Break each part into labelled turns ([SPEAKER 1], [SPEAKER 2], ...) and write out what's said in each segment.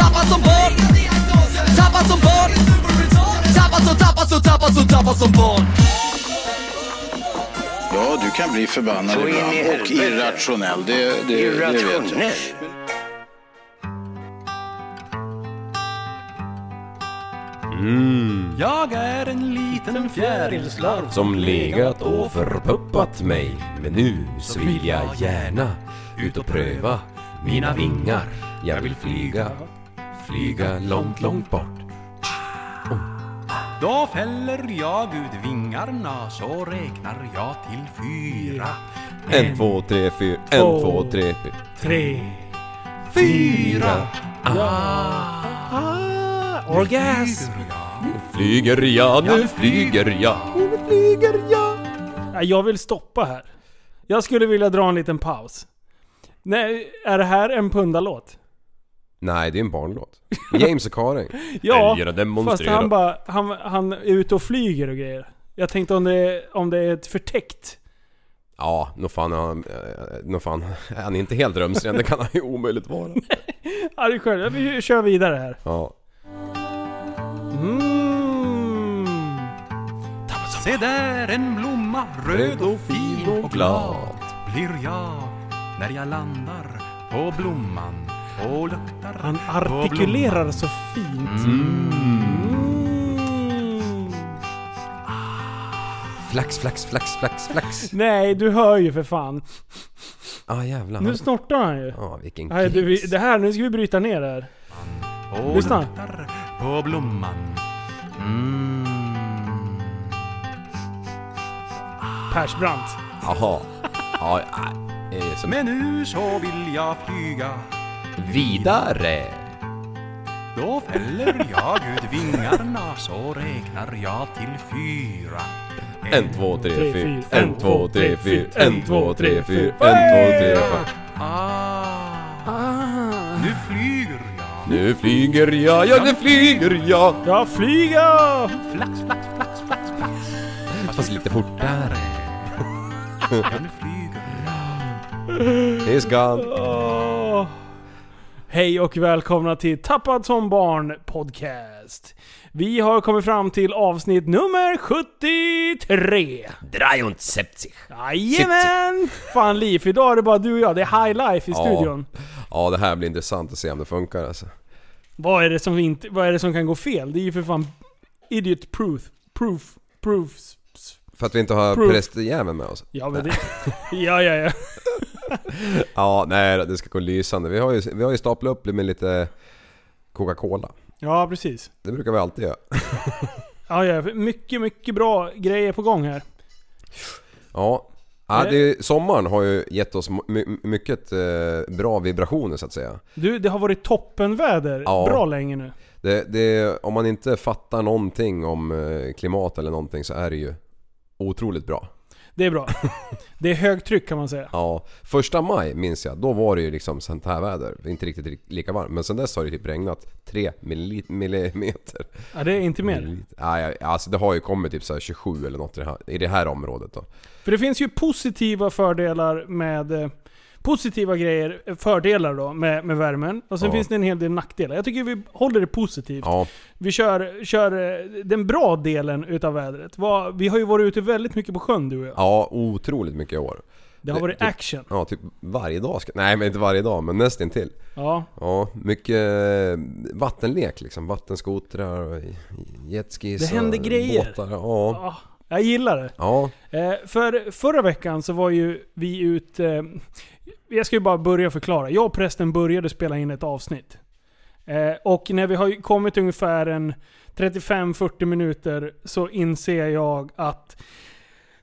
[SPEAKER 1] Tappad som barn Tappad som barn Tappad som, tappad som, tappad som, tappad som barn
[SPEAKER 2] Ja, du kan bli förbannad
[SPEAKER 3] Så in i
[SPEAKER 2] ibland och
[SPEAKER 3] helvete.
[SPEAKER 2] irrationell. Det, det, det vet jag.
[SPEAKER 3] Irrationell.
[SPEAKER 4] Jag är en liten fjärilslarv
[SPEAKER 5] Som legat och förpuppat mig Men nu så vill jag gärna ut och pröva mina vingar Jag vill flyga, flyga långt, långt bort
[SPEAKER 4] Då fäller jag ut vingarna så räknar jag till fyra
[SPEAKER 5] En, två, tre, fyra, en, två, tre, fyra
[SPEAKER 6] Tre.
[SPEAKER 5] Fyra
[SPEAKER 6] Orgasm.
[SPEAKER 5] Flyger jag, nu flyger jag Nu flyger jag
[SPEAKER 6] Nej, Jag vill stoppa här. Jag skulle vilja dra en liten paus. Nej, är det här en pundalåt?
[SPEAKER 5] Nej, det är en barnlåt James och Karin
[SPEAKER 6] Ja,
[SPEAKER 5] Älgarna
[SPEAKER 6] fast
[SPEAKER 5] demonstrerar
[SPEAKER 6] han bara... Han, han är ute och flyger och grejer. Jag tänkte om det är, om det är ett förtäckt...
[SPEAKER 5] Ja, nog fan, han, eh, nog fan Han är inte helt rumsren, det kan han ju omöjligt vara
[SPEAKER 6] Ja, det är skönt. Vi kör vidare här.
[SPEAKER 5] Ja
[SPEAKER 6] Mm.
[SPEAKER 4] Se där en blomma röd och fin och glad blir jag när jag landar på blomman och luktar
[SPEAKER 6] Han
[SPEAKER 4] på
[SPEAKER 6] artikulerar så fint. Mm.
[SPEAKER 5] Flax, flax, flax, flax, flax
[SPEAKER 6] Nej, du hör ju för fan.
[SPEAKER 5] Ah jävlar
[SPEAKER 6] Nu snortar han ju.
[SPEAKER 5] Ja, vilken
[SPEAKER 6] Nej, du, vi-
[SPEAKER 5] kiss.
[SPEAKER 6] det här, nu ska vi bryta ner det här.
[SPEAKER 4] blomman och
[SPEAKER 6] Lyssna.
[SPEAKER 4] luktar på blomman. Mm.
[SPEAKER 6] Persbrandt.
[SPEAKER 5] Jaha. Ja, eh, det är som
[SPEAKER 4] Men nu så vill jag flyga
[SPEAKER 5] vidare.
[SPEAKER 4] då fäller jag ut vingarna så räknar jag till fyra.
[SPEAKER 5] En, två, tre,
[SPEAKER 6] Tre,
[SPEAKER 5] fyra.
[SPEAKER 6] fyra.
[SPEAKER 5] En, två, tre, fyra. En, två, tre, fyra. En,
[SPEAKER 6] Hey!
[SPEAKER 5] två, tre, fyra.
[SPEAKER 4] Ah, nu flyger jag.
[SPEAKER 5] Nu flyger jag, ja nu flyger jag.
[SPEAKER 6] Ja, flyga!
[SPEAKER 4] Flax, flax, flax, flax, flax.
[SPEAKER 5] Fast lite fortare.
[SPEAKER 4] Ja, nu flyger jag.
[SPEAKER 5] He's gone.
[SPEAKER 6] Åh. Hej och välkomna till Tappad som barn podcast. Vi har kommit fram till avsnitt nummer 73.
[SPEAKER 5] Drajont septich.
[SPEAKER 6] Jajamän! Fan Liv, idag är det bara du och jag. Det är high life i studion.
[SPEAKER 5] Ja, det här blir intressant att se om det funkar alltså.
[SPEAKER 6] Vad är, det som inte, vad är det som kan gå fel? Det är ju för fan idiot proof. Proof. Proofs.
[SPEAKER 5] För att vi inte har
[SPEAKER 6] Proof.
[SPEAKER 5] prästjäveln med oss.
[SPEAKER 6] Ja men det... Ja ja ja.
[SPEAKER 5] Ja, nej då, det ska gå lysande. Vi har ju, vi har ju staplat upp det med lite Coca-Cola.
[SPEAKER 6] Ja precis.
[SPEAKER 5] Det brukar vi alltid göra.
[SPEAKER 6] Ja ja, mycket mycket bra grejer på gång här.
[SPEAKER 5] Ja. Ja,
[SPEAKER 6] Är
[SPEAKER 5] det, är- sommaren har ju gett oss my- my- mycket eh, bra vibrationer så att säga.
[SPEAKER 6] Du, det har varit toppenväder
[SPEAKER 5] Ja.
[SPEAKER 6] bra länge nu.
[SPEAKER 5] Det, det, om man inte fattar någonting om eh, klimat eller någonting så är det ju otroligt bra.
[SPEAKER 6] Det är bra. Det är högtryck kan man säga.
[SPEAKER 5] Ja, första maj minns jag, då var det ju liksom sånt här väder. Inte riktigt ri- lika varmt. Men sen dess har det typ regnat 3 milli- millimeter.
[SPEAKER 6] Ja, det är inte mer.
[SPEAKER 5] Milliliter. Nej, alltså det har ju kommit typ så här 27 eller något i det här, i det här området då.
[SPEAKER 6] För det finns ju positiva fördelar med... eh, Positiva grejer, eh, fördelar då med, med värmen. Och sen
[SPEAKER 5] Ja.
[SPEAKER 6] finns det en hel del nackdelar. Jag tycker vi håller det positivt.
[SPEAKER 5] Ja,
[SPEAKER 6] Vi kör, kör eh, den bra delen utav vädret. Vad- Vi har ju varit ute väldigt mycket på sjön du och jag.
[SPEAKER 5] ja otroligt mycket i år.
[SPEAKER 6] Det har varit
[SPEAKER 5] det-
[SPEAKER 6] action.
[SPEAKER 5] Ja, typ varje dag. Ska, nej, men inte varje dag, men nästintill.
[SPEAKER 6] Ja.
[SPEAKER 5] Ja, mycket eh, vattenlek liksom. Vattenskotrar och jetskis
[SPEAKER 6] Det
[SPEAKER 5] och
[SPEAKER 6] händer grejer.
[SPEAKER 5] Båtar, ja.
[SPEAKER 6] ja. Ah, Jag gillar det.
[SPEAKER 5] Ja,
[SPEAKER 6] Eh, För förra veckan så var ju vi ute... eh, Jag ska ju bara börja förklara. Jag och prästen började spela in ett avsnitt. Eh, Och när vi har ju kommit ungefär en 35-40 minuter så inser jag att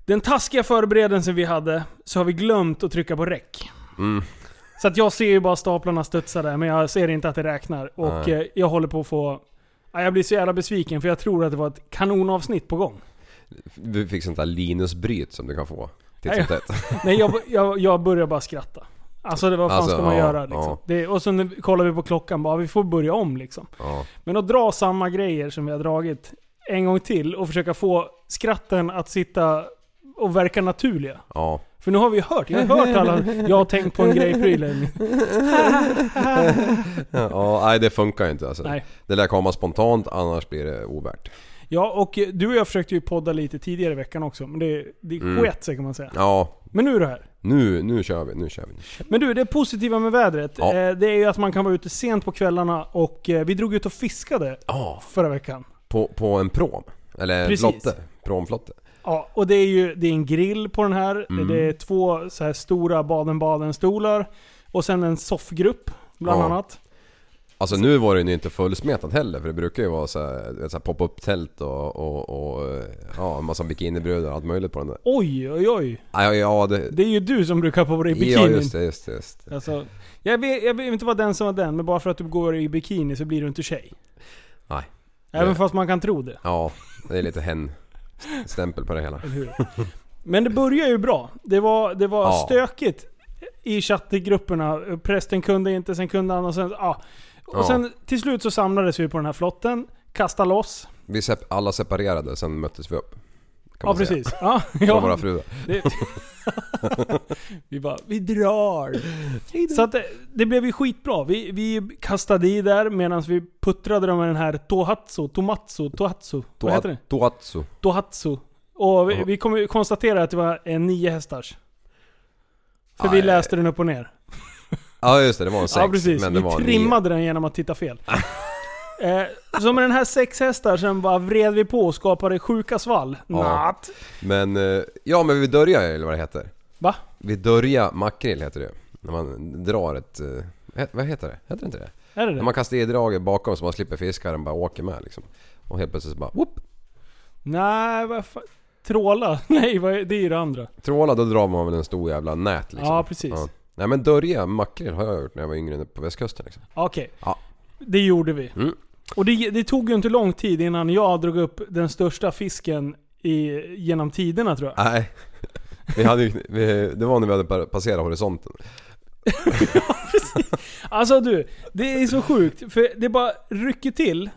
[SPEAKER 6] den taskiga förberedelsen vi hade så har vi glömt att trycka på räck. Så att jag ser ju bara staplarna studsa där, men jag ser inte att det räknar. Och
[SPEAKER 5] Nej.
[SPEAKER 6] eh, jag håller på att få... Ja, jag blir så jävla besviken för jag tror att det var ett kanonavsnitt på gång.
[SPEAKER 5] Du fick sånt där Linus-bryt som du kan få. Titt
[SPEAKER 6] Nej,
[SPEAKER 5] som tätt.
[SPEAKER 6] Nej, jag, jag, jag börjar bara skratta. Alltså det, vad fan
[SPEAKER 5] Alltså,
[SPEAKER 6] ska man
[SPEAKER 5] ja,
[SPEAKER 6] göra liksom?
[SPEAKER 5] ja.
[SPEAKER 6] det, Och sen kollar vi på klockan bara, vi får börja om liksom.
[SPEAKER 5] Ja.
[SPEAKER 6] Men att dra samma grejer som vi har dragit en gång till och försöka få skratten att sitta och verka naturliga.
[SPEAKER 5] ja.
[SPEAKER 6] För nu har vi ju hört, jag har hört alla, jag har tänkt på en grej-prylen.
[SPEAKER 5] Ja, nej det funkar ju inte alltså.
[SPEAKER 6] Nej.
[SPEAKER 5] Det lär komma spontant annars blir det ovärt.
[SPEAKER 6] Ja, och du och jag försökte ju podda lite tidigare i veckan också, men det, det
[SPEAKER 5] Mm.
[SPEAKER 6] sket sig kan man säga.
[SPEAKER 5] Ja,
[SPEAKER 6] Men nu är det här.
[SPEAKER 5] nu, nu kör vi, nu kör vi.
[SPEAKER 6] Men du, det positiva med vädret,
[SPEAKER 5] Ja.
[SPEAKER 6] eh, det är ju att man kan vara ute sent på kvällarna och eh, vi drog ut och fiskade
[SPEAKER 5] Ja,
[SPEAKER 6] förra veckan.
[SPEAKER 5] på, på en prom. Eller en
[SPEAKER 6] Precis.
[SPEAKER 5] flotte. Promflotte.
[SPEAKER 6] Ja, och det är ju det är en grill på den här.
[SPEAKER 5] Mm.
[SPEAKER 6] Det är två så här stora Baden-Baden-stolar. Och sen en soffgrupp, bland
[SPEAKER 5] Ja.
[SPEAKER 6] annat.
[SPEAKER 5] Alltså nu var den ju inte fullsmetat heller för det brukar ju vara så här, du vet, så här pop-up tält och, och, och eh, ja, en massa bikinibrudar och allt möjligt på den där.
[SPEAKER 6] Oj, oj, oj.
[SPEAKER 5] Ja, ja det...
[SPEAKER 6] Det är ju du som brukar ha på dig bikinin.
[SPEAKER 5] Ja just det, just det, just det.
[SPEAKER 6] Alltså, jag, vet, jag vet inte vad den som var den, men bara för att du går i bikini så blir du inte tjej.
[SPEAKER 5] Nej.
[SPEAKER 6] Även
[SPEAKER 5] Nej.
[SPEAKER 6] fast man kan tro det.
[SPEAKER 5] Ja, det är lite hen-stämpel på det hela.
[SPEAKER 6] Eller hur? Men det börjar ju bra. Det var, det var
[SPEAKER 5] Ja.
[SPEAKER 6] stökigt i chattgrupperna. Prästen kunde inte, sen kunde han och sen... Ja. Och
[SPEAKER 5] Ja.
[SPEAKER 6] sen till slut så samlades vi på den här flotten, kastade loss.
[SPEAKER 5] Vi sep- alla separerade, sen möttes vi upp. Kan
[SPEAKER 6] Ja
[SPEAKER 5] man säga.
[SPEAKER 6] precis. Ja,
[SPEAKER 5] Från våra
[SPEAKER 6] ja.
[SPEAKER 5] fruar.
[SPEAKER 6] Det, vi bara, vi drar. Så att det, det blev ju skitbra. Vi, vi kastade i där medan vi puttrade dem med den här Tohatsu, Tomatsu, Tohatsu. Vad heter det?
[SPEAKER 5] Toa- Toatsu.
[SPEAKER 6] Tohatsu. Och vi,
[SPEAKER 5] Ja.
[SPEAKER 6] vi kom, konstaterade att det var en nio hästars. För vi
[SPEAKER 5] Aj.
[SPEAKER 6] läste den upp och ner.
[SPEAKER 5] Ja just det, det var en eh, sex.
[SPEAKER 6] ja precis,
[SPEAKER 5] men det
[SPEAKER 6] vi
[SPEAKER 5] var en
[SPEAKER 6] trimmade den genom att titta fel. eh, så med den här sex hästar sen bara vred vi på och skapade sjuka svall.
[SPEAKER 5] Ja.
[SPEAKER 6] Natt.
[SPEAKER 5] nio. Men, eh, ja men vi dörjar eller vad det heter.
[SPEAKER 6] Va?
[SPEAKER 5] Vi dörjar makrill heter det När man drar ett... eh, he- Vad heter det? Heter det inte det?
[SPEAKER 6] Är det det?
[SPEAKER 5] När man kastar i draget bakom så man slipper fiska, den bara åker med liksom. Och helt plötsligt så bara whoop,
[SPEAKER 6] Nej, vad fan. Tråla? Nej, vad är, det är ju det andra.
[SPEAKER 5] Tråla, då drar man väl en stor jävla nät liksom.
[SPEAKER 6] Ja, precis.
[SPEAKER 5] Nej men dörja makrill har jag gjort när jag var yngre nere på västkusten liksom.
[SPEAKER 6] Okej.
[SPEAKER 5] Ja.
[SPEAKER 6] Det gjorde vi.
[SPEAKER 5] Mm.
[SPEAKER 6] Och det, det tog ju inte lång tid innan jag drog upp den största fisken i, genom tiderna tror jag.
[SPEAKER 5] Nej. Vi hade ju, vi, det var när vi hade par- passerat horisonten.
[SPEAKER 6] Alltså du, det är så sjukt. För det bara rycker till.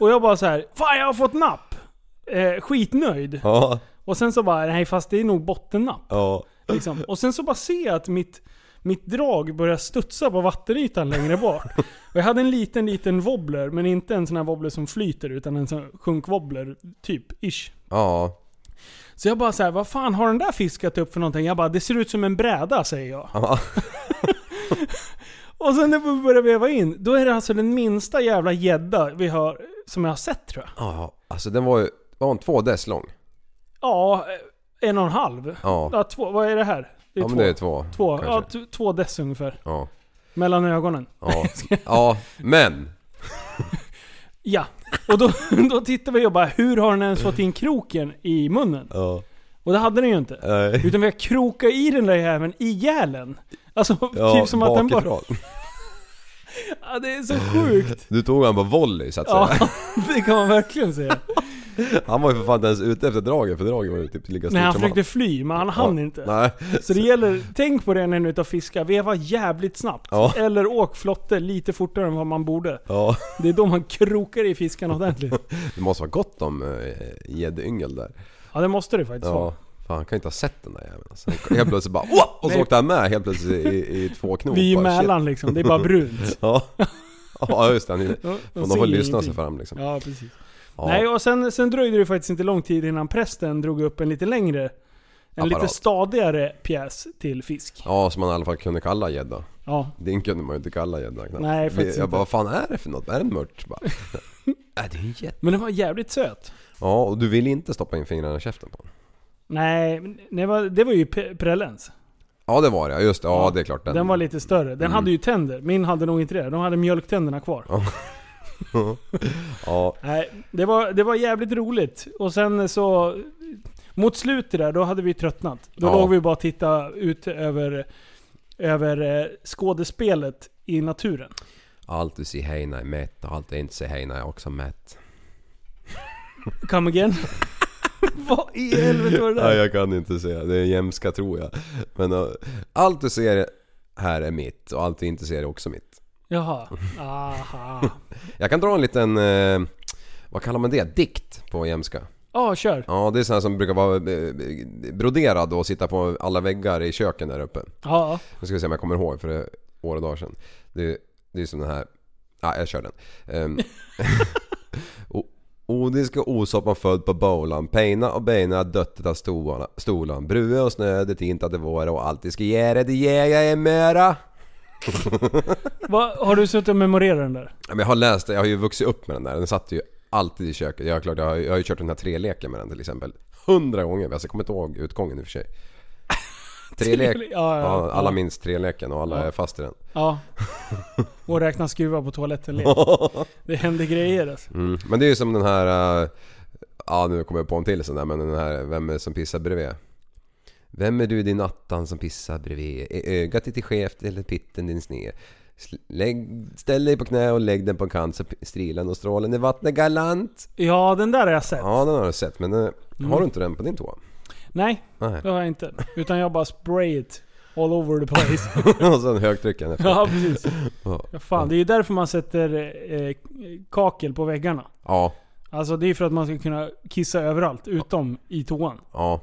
[SPEAKER 6] Och jag bara så här, Fan jag har fått napp! Eh, skitnöjd.
[SPEAKER 5] Ja,
[SPEAKER 6] Och sen så bara, nej fast det är nog bottennapp.
[SPEAKER 5] ja.
[SPEAKER 6] Liksom. Och sen så bara ser jag att mitt, mitt drag börjar studsa på vattenytan längre bort. Och jag hade en liten, liten wobbler, men inte en sån här wobbler som flyter, utan en sån här sjunkwobbler, typ, ish.
[SPEAKER 5] Ja,
[SPEAKER 6] Så jag bara så här, vad fan har den där fiskat upp för någonting? Jag bara, det ser ut som en bräda, säger jag.
[SPEAKER 5] ja.
[SPEAKER 6] Och sen när vi börjar veva in, då är det alltså den minsta jävla gädda vi har, som jag har sett tror jag.
[SPEAKER 5] ja. Alltså den var ju, var hon två dess lång?
[SPEAKER 6] Ja, eh, en och en halv.
[SPEAKER 5] Ja.
[SPEAKER 6] Ja, två, vad är det här? Det är
[SPEAKER 5] ja
[SPEAKER 6] två.
[SPEAKER 5] men det är två.
[SPEAKER 6] två,
[SPEAKER 5] kanske.
[SPEAKER 6] ja, t- två dess ungefär.
[SPEAKER 5] Ja.
[SPEAKER 6] Mellan ögonen.
[SPEAKER 5] Ja. ja, men.
[SPEAKER 6] Ja, och då, då tittar vi och bara hur har den ens fått in kroken i munnen?
[SPEAKER 5] Ja.
[SPEAKER 6] Och det hade den ju inte.
[SPEAKER 5] Nej.
[SPEAKER 6] Utan vi har krokat i den där jäveln i gälen. Alltså typ som att den bara...
[SPEAKER 5] bakifrån.
[SPEAKER 6] Ja, det är så sjukt.
[SPEAKER 5] Du tog han på volley så att
[SPEAKER 6] Ja,
[SPEAKER 5] säga.
[SPEAKER 6] det kan man verkligen säga.
[SPEAKER 5] Han var ju för fan inte ens ute efter draget för draget var ju typ lika stort
[SPEAKER 6] Nej, han
[SPEAKER 5] som
[SPEAKER 6] försökte fly, men han hann inte.
[SPEAKER 5] Nej.
[SPEAKER 6] Så det gäller, tänk på det när ni är ute och fiskar. Veva jävligt snabbt.
[SPEAKER 5] Ja.
[SPEAKER 6] Eller åk flotte lite fortare än vad man borde.
[SPEAKER 5] Ja.
[SPEAKER 6] Det är då man krokar i fiskarna ordentligt.
[SPEAKER 5] Det måste vara gott om eh, gäddyngel där.
[SPEAKER 6] Ja, det måste det faktiskt vara.
[SPEAKER 5] Ja. Fan, han kan ju inte ha sett den där jäveln alltså. Han- Helt plötsligt bara Wop! Och så
[SPEAKER 6] Nej.
[SPEAKER 5] åkte han med helt plötsligt i, i två knop.
[SPEAKER 6] Vi är i
[SPEAKER 5] bara, shit.
[SPEAKER 6] Mälaren liksom, det är bara brunt.
[SPEAKER 5] Ja. Ja just det, han är- Fan,
[SPEAKER 6] De,
[SPEAKER 5] de
[SPEAKER 6] ser
[SPEAKER 5] får lyssna sig
[SPEAKER 6] ingenting.
[SPEAKER 5] fram liksom.
[SPEAKER 6] Ja, precis.
[SPEAKER 5] Ja.
[SPEAKER 6] Nej, och sen, sen dröjde det faktiskt inte lång tid innan prästen drog upp en lite längre, en
[SPEAKER 5] Apparat.
[SPEAKER 6] lite stadigare pjäs till fisk.
[SPEAKER 5] ja, som man i alla fall kunde kalla gädda.
[SPEAKER 6] Ja.
[SPEAKER 5] Din kunde man ju inte kalla gädda knappt.
[SPEAKER 6] Nej, faktiskt
[SPEAKER 5] Jag bara, vad
[SPEAKER 6] inte.
[SPEAKER 5] fan är det för något? Är det en mört? Bara, Är det är en gädda.
[SPEAKER 6] Men den var jävligt söt.
[SPEAKER 5] Ja, och du vill inte stoppa in fingrarna i käften på den.
[SPEAKER 6] Nej, men det var, det var ju pe- prellens.
[SPEAKER 5] Ja det var det, just det. Ja, det är klart. Mm.
[SPEAKER 6] Den, var lite större. Den hade ju tänder. Min hade nog inte det. De hade mjölktänderna kvar.
[SPEAKER 5] Ja,
[SPEAKER 6] Nej, det var, det var jävligt roligt. Och sen så... Mot slutet där, då hade vi tröttnat. Då
[SPEAKER 5] Ja.
[SPEAKER 6] låg vi bara och tittade ut över över eh, skådespelet i naturen.
[SPEAKER 5] Allt du ser Heina är mätt och allt du inte ser Heina är också mätt.
[SPEAKER 6] Come again. Vad i helvete var det
[SPEAKER 5] Nej
[SPEAKER 6] där?
[SPEAKER 5] jag kan inte säga, det är jämska tror jag. Men eh, allt du ser här är mitt och allt du inte ser är också mitt.
[SPEAKER 6] Jaha. Aha.
[SPEAKER 5] Jag kan dra en liten, eh, vad kallar man det? Dikt på jämska.
[SPEAKER 6] Ja, kör.
[SPEAKER 5] Ja det är sån här som brukar vara eh, broderad och sitta på alla väggar i köken där uppe.
[SPEAKER 6] Ja.
[SPEAKER 5] Nu ska vi se om jag kommer ihåg för det är år och dagar sedan. Det, det är som den här... Ja, jag kör den. Um, Odisk och osoppan född på bolan. Peina och beina döttet av stolarna- stolan. Brue och snö, det tinta det våra och alltid ska ge det, det ger jag i möra.
[SPEAKER 6] Va, har du suttit och memorerat den där?
[SPEAKER 5] Ja, men Jag har läst det, jag har ju vuxit upp med den där. Den satt ju alltid i köket. Jag, är klart, jag, har, jag har ju kört den här treleken med den till exempel. Hundra gånger, alltså, jag kommer inte ihåg utgången i och för sig. Trelek,
[SPEAKER 6] Trele- ja, ja,
[SPEAKER 5] ja,
[SPEAKER 6] ja.
[SPEAKER 5] alla minns treleken och alla
[SPEAKER 6] Ja.
[SPEAKER 5] är fast i den.
[SPEAKER 6] Ja. Och räkna skruvar på toaletten led. Det händer grejer alltså.
[SPEAKER 5] Mm. Men det är ju som den här... eh, ja nu kommer jag på en till sån där men den här Vem är det som pissar bredvid? Vem är du din attan som pissar bredvid? Är ögat ditt skevt eller pitten din sned? Sl- Lägg, ställ dig på knä och lägg den på en kant så p- strilen och strålen i vattnet galant.
[SPEAKER 6] Ja, den där har jag sett.
[SPEAKER 5] Ja den har du sett men eh,
[SPEAKER 6] Mm.
[SPEAKER 5] har du inte den på din tå?
[SPEAKER 6] Nej,
[SPEAKER 5] Nej.
[SPEAKER 6] det har jag inte. Utan jag bara spray it all over the place.
[SPEAKER 5] och sen högtrycken efter.
[SPEAKER 6] Ja, precis.
[SPEAKER 5] Ja.
[SPEAKER 6] Ja, fan, det är ju därför man sätter eh, kakel på väggarna.
[SPEAKER 5] Ja,
[SPEAKER 6] Alltså det är för att man ska kunna kissa överallt, utom i toan.
[SPEAKER 5] ja.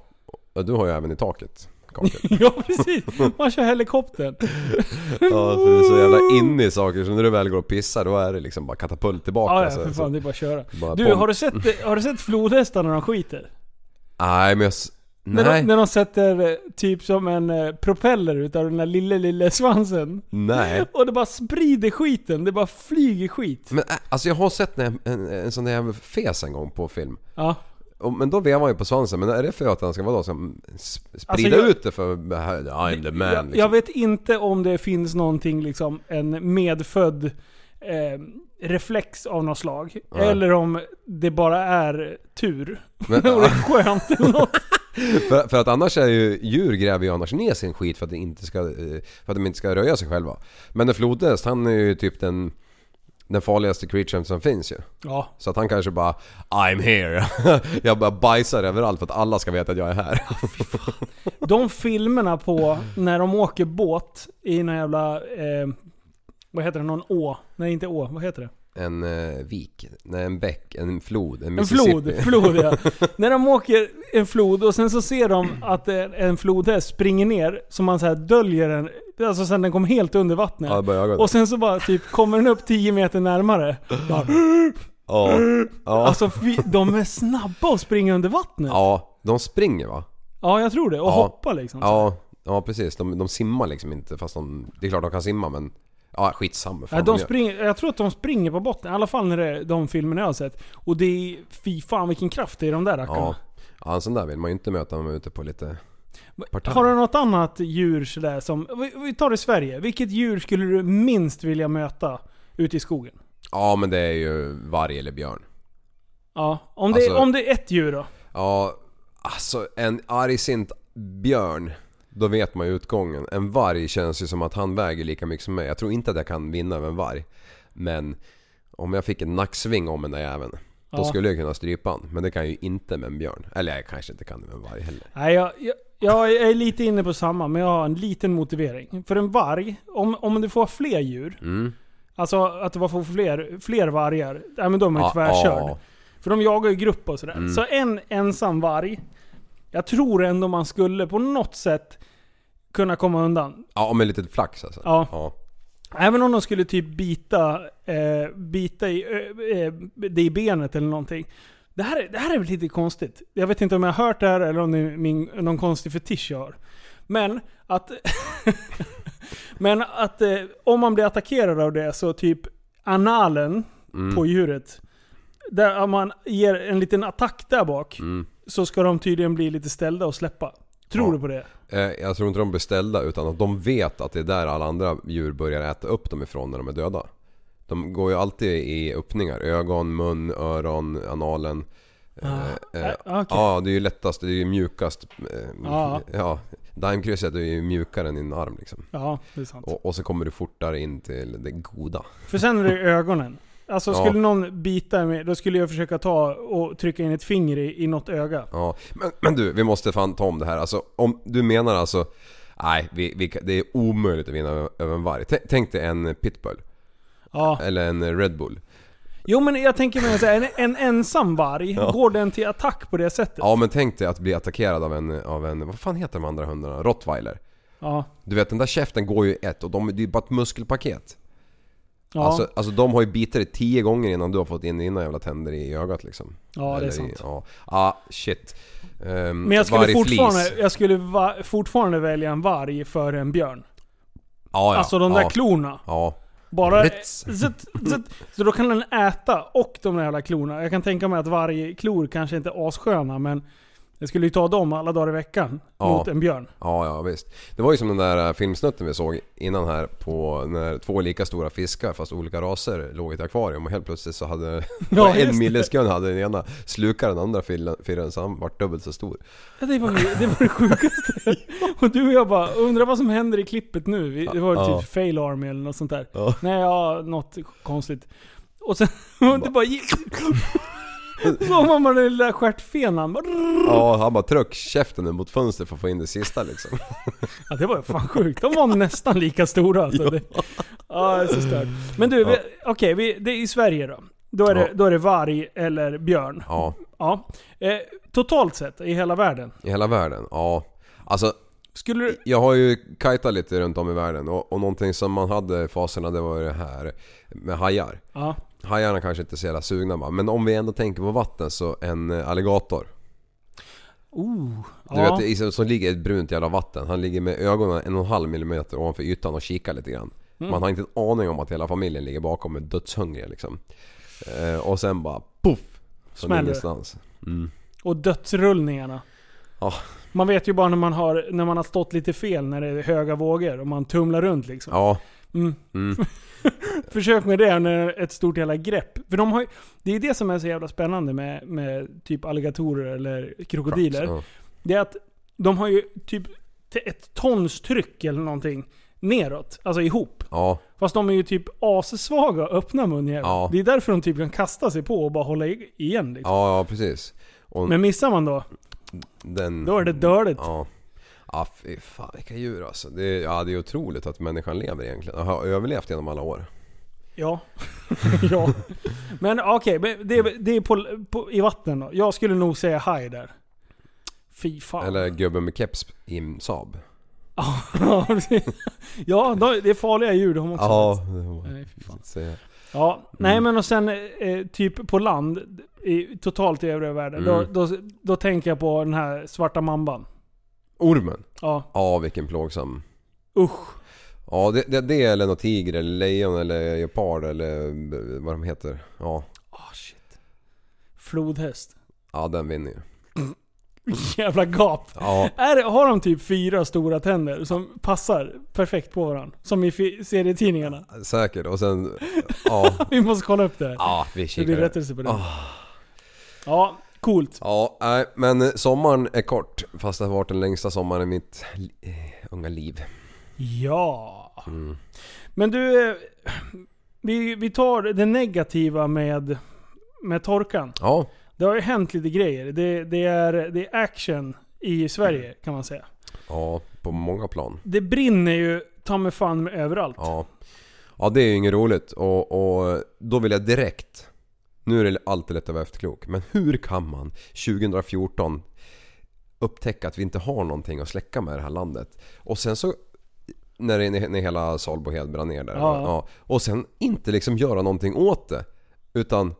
[SPEAKER 5] Och Du har ju även i taket. kakel.
[SPEAKER 6] Ja precis! Man kör helikoptern.
[SPEAKER 5] Ja, för det är så jävla inne i saker så när du väl går och pissar då är det liksom bara katapult tillbaka.
[SPEAKER 6] Ja, ja
[SPEAKER 5] så-
[SPEAKER 6] för
[SPEAKER 5] så-
[SPEAKER 6] fan, det är bara att köra.
[SPEAKER 5] Bara
[SPEAKER 6] Du,
[SPEAKER 5] bomb.
[SPEAKER 6] har du sett, har du sett flodhästar när de skiter?
[SPEAKER 5] Nej men jag... s- Nej,
[SPEAKER 6] När de, när de sätter eh, typ som en eh, propeller utav den där lille, lille svansen.
[SPEAKER 5] nej.
[SPEAKER 6] Och det bara sprider skiten, det bara flyger skit.
[SPEAKER 5] Men äh, alltså jag har sett en, en, en sån där jävla fes en gång på film.
[SPEAKER 6] Ja.
[SPEAKER 5] Och, men då vevar han ju på svansen, men är det för att han ska vara då som s- sprida
[SPEAKER 6] Alltså, jag-
[SPEAKER 5] ut det för I'm the man
[SPEAKER 6] jag,
[SPEAKER 5] liksom.
[SPEAKER 6] jag vet inte om det finns någonting, liksom en medfödd eh, reflex av något slag.
[SPEAKER 5] Nej.
[SPEAKER 6] Eller om det bara är tur.
[SPEAKER 5] Men,
[SPEAKER 6] Och det är skönt eller något.
[SPEAKER 5] för, för att annars är ju, djur gräver ju annars ner sin skit för att, det inte ska, eh, för att de inte ska röja sig själva. Men en flodhäst han är ju typ den, den farligaste creaturen som finns ju.
[SPEAKER 6] Ja,
[SPEAKER 5] Så att han kanske bara I'm here. jag bara bajsar överallt för att alla ska veta att jag är här.
[SPEAKER 6] De filmerna på när de åker båt i någon jävla... Eh, vad heter det? Någon å? Nej, inte å. Vad heter det?
[SPEAKER 5] en eh, vik, nej en bäck, en flod, en
[SPEAKER 6] En
[SPEAKER 5] Mississippi.
[SPEAKER 6] flod. Flod ja. när de åker en flod och sen så ser de att en en flodhäst springer ner så man så här döljer den. Alltså sen den kom helt under vattnet.
[SPEAKER 5] Ja, det börjar ögonen.
[SPEAKER 6] och sen så bara typ kommer den upp 10 meter närmare. Bara,
[SPEAKER 5] Ja, ja,
[SPEAKER 6] alltså fy, de är snabba att springa under vattnet. Ja,
[SPEAKER 5] ja, de springer va?
[SPEAKER 6] jag tror det. Och
[SPEAKER 5] Ja.
[SPEAKER 6] hoppa liksom.
[SPEAKER 5] Ja, ja precis. De, de simmar liksom inte fast de... Det är klart de kan simma men... Ja skitsamma.
[SPEAKER 6] Ja,
[SPEAKER 5] Fan,
[SPEAKER 6] de
[SPEAKER 5] gör-
[SPEAKER 6] springer, jag tror att de springer på botten, i alla fall när det är de filmerna jag har sett. Och det är, fy fan vilken kraft det är i de där
[SPEAKER 5] ja.
[SPEAKER 6] rackarna.
[SPEAKER 5] ja, en sån där vill man ju inte möta när man är ute på lite... partaj.
[SPEAKER 6] har du något annat djur sådär som, vi, vi tar i Sverige, vilket djur skulle du minst vilja möta ute i skogen?
[SPEAKER 5] Ja men det är ju varg eller björn.
[SPEAKER 6] Ja, om det, är-
[SPEAKER 5] Alltså-
[SPEAKER 6] om det är ett djur då?
[SPEAKER 5] Ja, alltså en argsint björn. Då vet man ju utgången. En varg känns ju som att han väger lika mycket som mig. Jag tror inte att jag kan vinna över en varg. Men om jag fick en nacksving om den där jäveln. Då
[SPEAKER 6] Ja.
[SPEAKER 5] skulle jag kunna strypa han. Men det kan jag ju inte med en björn. Eller jag kanske inte kan det med en varg heller.
[SPEAKER 6] Nej, jag, jag, jag är lite inne på samma, men jag har en liten motivering. För en varg, om, om du får fler djur,
[SPEAKER 5] Mm.
[SPEAKER 6] alltså att du får fler, fler vargar, ja, men då är man ju
[SPEAKER 5] Ja,
[SPEAKER 6] tvärkörd.
[SPEAKER 5] ja.
[SPEAKER 6] För de jagar ju i grupp och sådär. Så en ensam varg. Jag tror ändå man skulle på något sätt kunna komma undan.
[SPEAKER 5] Ja, med lite flax alltså.
[SPEAKER 6] Ja.
[SPEAKER 5] ja.
[SPEAKER 6] Även om de skulle typ bita, eh, bita i, ö- eh, det i benet eller någonting. Det här, är- det här är väl lite konstigt. Jag vet inte om jag har hört det här eller om det är min, någon konstig fetisch jag har. Men att... men att eh, om man blir attackerad av det så typ analen
[SPEAKER 5] Mm.
[SPEAKER 6] på djuret. Där om man ger en liten attack där bak så ska de tydligen bli lite ställda och släppa. Tror
[SPEAKER 5] Mm. Ja.
[SPEAKER 6] du på det?
[SPEAKER 5] Eh, Jag tror inte de beställda utan att de vet att det är där alla andra djur börjar äta upp dem ifrån när de är döda. De går ju alltid i öppningar. Ögon, mun, öron, analen. Eh, eh,
[SPEAKER 6] eh, okej.
[SPEAKER 5] Ja, det är ju lättast, det är ju mjukast. eh,
[SPEAKER 6] Ja.
[SPEAKER 5] Ja, Daimkrysset är ju mjukare än din arm liksom.
[SPEAKER 6] Ja, det är sant.
[SPEAKER 5] Och, och så kommer du fortare in till det goda.
[SPEAKER 6] För sen är det ju ögonen. Alltså
[SPEAKER 5] Ja.
[SPEAKER 6] skulle någon bita mig, då skulle jag försöka ta och trycka in ett finger i, i något öga.
[SPEAKER 5] Ja, men, men du, vi måste fan ta om det här. Alltså, om du menar alltså... Nej, vi, vi, kan- det är omöjligt att vinna över- över en varg. Tänk, tänk dig en pitbull.
[SPEAKER 6] Ja.
[SPEAKER 5] Eller en Red Bull.
[SPEAKER 6] Jo men jag tänker mig såhär, en, en ensam varg,
[SPEAKER 5] Ja.
[SPEAKER 6] går den till attack på det sättet?
[SPEAKER 5] Ja, men tänk dig att bli attackerad av en... Av en vad fan heter de andra hundarna? Rottweiler.
[SPEAKER 6] Ja.
[SPEAKER 5] Du vet, den där käften går ju ett och de, det är ju bara ett muskelpaket.
[SPEAKER 6] Ja,
[SPEAKER 5] Alltså, alltså de har ju bitit dig tio gånger innan du har fått in dina jävla tänder i ögat liksom.
[SPEAKER 6] ja det är
[SPEAKER 5] Eller i-
[SPEAKER 6] sant.
[SPEAKER 5] Ja, ah, shit. Ehm,
[SPEAKER 6] Men jag skulle,
[SPEAKER 5] vargflis.
[SPEAKER 6] fortfarande, jag skulle va, fortfarande välja en varg före en björn.
[SPEAKER 5] Ja, ja,
[SPEAKER 6] alltså de där
[SPEAKER 5] ja,
[SPEAKER 6] klorna.
[SPEAKER 5] Ja.
[SPEAKER 6] Bara...
[SPEAKER 5] Ritz.
[SPEAKER 6] Zut, zut. Så då kan den äta och de där jävla klorna. Jag kan tänka mig att varje klor kanske inte är assköna men jag skulle ju ta dem alla dagar i veckan
[SPEAKER 5] Ja.
[SPEAKER 6] mot en björn.
[SPEAKER 5] Ja, ja visst. Det var ju som den där äh, filmsnutten vi såg innan här på när två lika stora fiskar fast olika raser låg i ett akvarium och helt plötsligt så hade
[SPEAKER 6] Ja, just
[SPEAKER 5] en
[SPEAKER 6] det.
[SPEAKER 5] milleskön hade den ena slukat den andra firren- firren så han vart dubbelt så stor.
[SPEAKER 6] Ja, det, var, det var det sjukaste. Och du och jag bara, undrar vad som händer i klippet nu? Vi- Det var
[SPEAKER 5] Ja.
[SPEAKER 6] typ fail army eller något sånt där.
[SPEAKER 5] Ja.
[SPEAKER 6] Nej, ja, något konstigt. Och sen, och det bara gick. Så har man den lilla stjärtfenan.
[SPEAKER 5] Ja, han bara tryck käften nu mot fönstret för att få in det sista liksom.
[SPEAKER 6] Ja, det var fan sjukt. De var nästan lika stora alltså. Det, ja, det är så stört. Men du, vi- okej, vi- det är i Sverige då. Då är, det,
[SPEAKER 5] Ja.
[SPEAKER 6] då är det varg eller björn.
[SPEAKER 5] Ja,
[SPEAKER 6] Ja. Eh, totalt sett i hela världen.
[SPEAKER 5] i hela världen. Ja. Alltså,
[SPEAKER 6] Skulle du...
[SPEAKER 5] jag har ju kajtat lite runt om i världen och, och någonting som man hade i faserna det var ju det här med hajar.
[SPEAKER 6] Ja.
[SPEAKER 5] Hajarna kanske inte är så jävla sugna va, men om vi ändå tänker på vatten så en eh, alligator.
[SPEAKER 6] Oh.
[SPEAKER 5] Du
[SPEAKER 6] ja.
[SPEAKER 5] vet, isen som ligger i ett brunt jävla vatten. Han ligger med ögonen en och en halv millimeter ovanför ytan och kikar lite grann.
[SPEAKER 6] Mm.
[SPEAKER 5] Man har inte en aning om att hela familjen ligger bakom med dödshungriga liksom. Eh, och sen bara poff! Från
[SPEAKER 6] Smäller det.
[SPEAKER 5] ingenstans.
[SPEAKER 6] Och dödsrullningarna.
[SPEAKER 5] Ja.
[SPEAKER 6] Man vet ju bara när man, har, när man har stått lite fel när det är höga vågor och man tumlar runt liksom.
[SPEAKER 5] Ja, Mm,
[SPEAKER 6] Försök med det när det är ett stort jävla grepp. För de har ju, det är det som är så jävla spännande med, med typ alligatorer eller krokodiler.
[SPEAKER 5] ja.
[SPEAKER 6] Det är att de har ju typ t- ett tons tryck eller någonting neråt. Alltså ihop.
[SPEAKER 5] ja,
[SPEAKER 6] Fast de är ju typ assvaga och öppna munjävlar.
[SPEAKER 5] Ja.
[SPEAKER 6] Det är därför de typ kan kasta sig på och bara hålla i- igen liksom.
[SPEAKER 5] ja, ja precis. Och
[SPEAKER 6] Men missar man då,
[SPEAKER 5] den...
[SPEAKER 6] då är det dödligt.
[SPEAKER 5] Ja. Ja, fy fan vilka djur alltså. Det är, ja, det är otroligt att människan lever egentligen. Och har överlevt genom alla år.
[SPEAKER 6] Ja. ja. Men okej, men det, är- det är på, på, i vatten då. Jag skulle nog säga haj där. Fy fan.
[SPEAKER 5] Eller gubben med keps i Saab.
[SPEAKER 6] ja, precis. ja, då- det är farliga djur de också.
[SPEAKER 5] Ja, Mm. det var-
[SPEAKER 6] Nej, fy fan.
[SPEAKER 5] så-
[SPEAKER 6] Ja, nej men och sen eh, typ på land, i, totalt i övriga världen.
[SPEAKER 5] Mm.
[SPEAKER 6] Då, då, då tänker jag på den här svarta mamban.
[SPEAKER 5] Ormen.
[SPEAKER 6] Ja,
[SPEAKER 5] Ja, vilken plågsam
[SPEAKER 6] usch.
[SPEAKER 5] Ja, det, det, det eller något tiger eller lejon eller leopard eller b- vad de heter. Ja,
[SPEAKER 6] ah shit. Flodhäst.
[SPEAKER 5] ja den vinner ju.
[SPEAKER 6] Jävla gap.
[SPEAKER 5] Ja,
[SPEAKER 6] Är, det- har de typ fyra stora tänder som passar perfekt på varandra? Som i fi- serietidningarna.
[SPEAKER 5] säkert. Och sen... Ja,
[SPEAKER 6] Vi måste kolla upp det här.
[SPEAKER 5] ja vi
[SPEAKER 6] Det blir
[SPEAKER 5] kikar.
[SPEAKER 6] rättelse på det.
[SPEAKER 5] Ah.
[SPEAKER 6] Ja, coolt.
[SPEAKER 5] Ja, nej, men eh, sommaren är kort. Fast det har varit den längsta sommaren i mitt li- eh, unga liv.
[SPEAKER 6] Ja.
[SPEAKER 5] Mm.
[SPEAKER 6] Men du, eh, vi, vi tar det negativa med, med torkan.
[SPEAKER 5] Ja,
[SPEAKER 6] Det har ju hänt lite grejer. Det, det, är, det är action i
[SPEAKER 5] Mm.
[SPEAKER 6] Sverige kan man säga.
[SPEAKER 5] ja på många plan.
[SPEAKER 6] Det brinner ju ta mig fan med överallt.
[SPEAKER 5] Ja. ja, det är ju inget roligt. Och, och då vill jag direkt... Nu är det alltid lätt att vara efterklok. Men hur kan man 2014 upptäcka att vi inte har någonting att släcka med i det här landet? Och sen så... När, det- när hela Salbohed brann ner där.
[SPEAKER 6] Ja.
[SPEAKER 5] och sen inte liksom göra någonting åt det. Utan...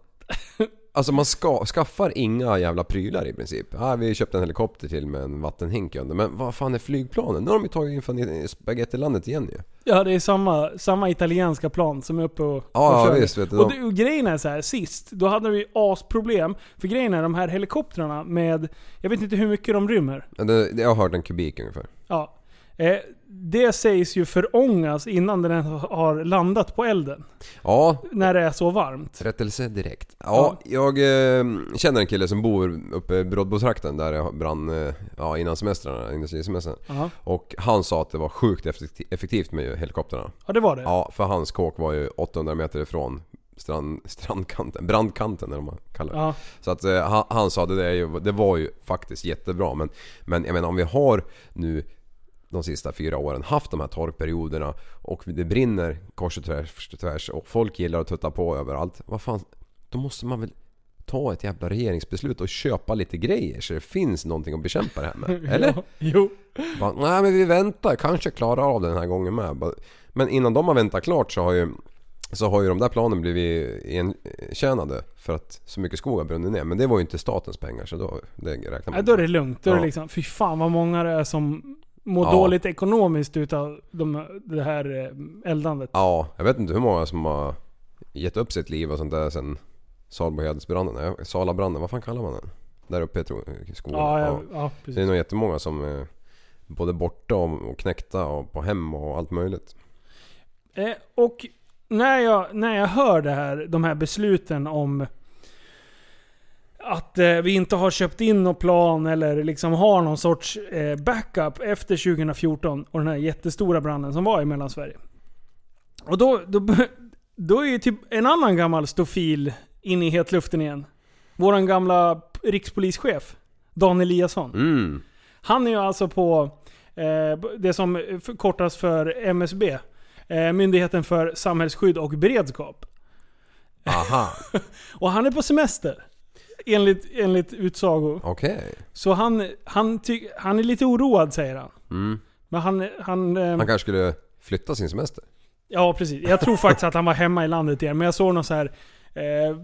[SPEAKER 5] Alltså man ska, skaffar inga jävla prylar i princip. Ah, vi köpte en helikopter till med en vattenhink under. Men vad fan är flygplanen? Nu har de ju tagit in från spagettilandet igen ju.
[SPEAKER 6] Ja, det är samma, samma italienska plan som är uppe och,
[SPEAKER 5] Ja,
[SPEAKER 6] och
[SPEAKER 5] ja
[SPEAKER 6] kör.
[SPEAKER 5] visst vet du.
[SPEAKER 6] Och, det, och grejen är så här, sist, då hade vi asproblem. För grejen är de här helikoptrarna med, jag vet inte hur mycket de rymmer.
[SPEAKER 5] Ja, det- det- Jag har hört en kubik ungefär.
[SPEAKER 6] Ja. Eh, det sägs ju förångas innan den ens har landat på elden.
[SPEAKER 5] Ja,
[SPEAKER 6] När det är så varmt.
[SPEAKER 5] rättelse direkt. Ja, jag eh, känner en kille som bor uppe i Brådbotrakten där det brann eh, ja, innan semestrarna, industrisemestern.
[SPEAKER 6] Jaha.
[SPEAKER 5] Och han sa att det var sjukt effekti- effektivt med helikoptrarna.
[SPEAKER 6] Ja, det var det.
[SPEAKER 5] Ja, för hans kåk var ju 800 meter ifrån strand, strandkanten, brandkanten eller vad man kallar det.
[SPEAKER 6] Ja.
[SPEAKER 5] Så att eh, han, han sa att det, där är ju, det var ju faktiskt jättebra men, men jag menar om vi har nu de sista fyra åren haft de här torkperioderna och det brinner kors och tvärs, tvärs och folk gillar att tutta på överallt. Vad fan, då måste man väl ta ett jävla regeringsbeslut och köpa lite grejer så det finns någonting att bekämpa det här med. Eller?
[SPEAKER 6] Ja, jo.
[SPEAKER 5] Bara, Nej men vi väntar, kanske klarar av det den här gången med. Bara- Men innan de har väntat klart så har ju, så har ju de där planen blivit intjänade för att så mycket skog har brunnit ner. Men det var ju inte statens pengar så då det räknar man
[SPEAKER 6] Ja, då är det lugnt. Då är det
[SPEAKER 5] Ja.
[SPEAKER 6] liksom, fy fan vad många det är som mår
[SPEAKER 5] Ja.
[SPEAKER 6] dåligt ekonomiskt utav de, det här eh, eldandet.
[SPEAKER 5] Ja, jag vet inte hur många som har gett upp sitt liv och sånt där sen Salbohedsbranden, nej, Salabranden, vad fan kallar man den? Där uppe i tro- i skogen.
[SPEAKER 6] Ja,
[SPEAKER 5] Ja.
[SPEAKER 6] ja, ja
[SPEAKER 5] Det är
[SPEAKER 6] precis.
[SPEAKER 5] nog jättemånga som eh, både borta och och knäckta och på hem och allt möjligt.
[SPEAKER 6] Eh, och när jag, när jag hör det här, de här besluten om att eh, vi inte har köpt in någon plan eller liksom har någon sorts eh, backup efter 2014 och den här jättestora branden som var i Mellansverige. Och då, då, då är ju typ en annan gammal stofil inne i hetluften igen. Våran gamla rikspolischef, Dan Eliasson.
[SPEAKER 5] Mm.
[SPEAKER 6] Han är ju alltså på eh, det som kortas för MSB. Eh, Myndigheten för samhällsskydd och beredskap.
[SPEAKER 5] Aha,
[SPEAKER 6] Och han är på semester. Enligt, enligt utsago.
[SPEAKER 5] okej.
[SPEAKER 6] Så han, han, ty, han är lite oroad säger han.
[SPEAKER 5] Mm.
[SPEAKER 6] Men han... han, eh,
[SPEAKER 5] Han kanske skulle flytta sin semester?
[SPEAKER 6] Ja precis. Jag tror faktiskt att han var hemma i landet igen. Men jag såg någon så här eh,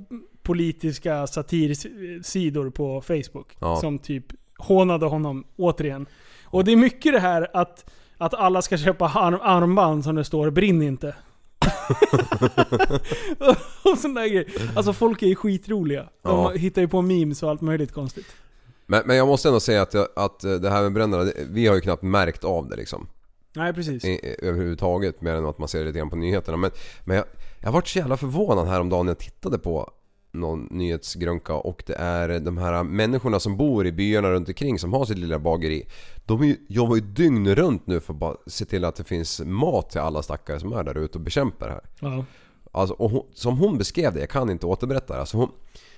[SPEAKER 6] politiska satirsidor på Facebook.
[SPEAKER 5] Ja.
[SPEAKER 6] Som typ hånade honom återigen. Och det är mycket det här att, att alla ska köpa arm, armband som det står 'Brinn inte' och sån där grej. Alltså folk är ju skitroliga. De
[SPEAKER 5] Ja.
[SPEAKER 6] hittar ju på memes och allt möjligt konstigt.
[SPEAKER 5] Men, men jag måste ändå säga att, jag- att eh, det här med bränderna, det- vi har ju knappt märkt av det liksom.
[SPEAKER 6] Nej precis.
[SPEAKER 5] I, i- överhuvudtaget, mer än att man ser det lite grann på nyheterna. Men, men jag, jag varit så jävla förvånad häromdagen när jag tittade på någon nyhetsgrönka och det är de här människorna som bor i byarna runt omkring som har sitt lilla bageri. De är ju, jobbar ju dygn runt nu för att bara se till att det finns mat till alla stackare som är där ute och bekämpar det här.
[SPEAKER 6] Ja.
[SPEAKER 5] Alltså, och hon, som hon beskrev det, jag kan inte återberätta det. Alltså hon,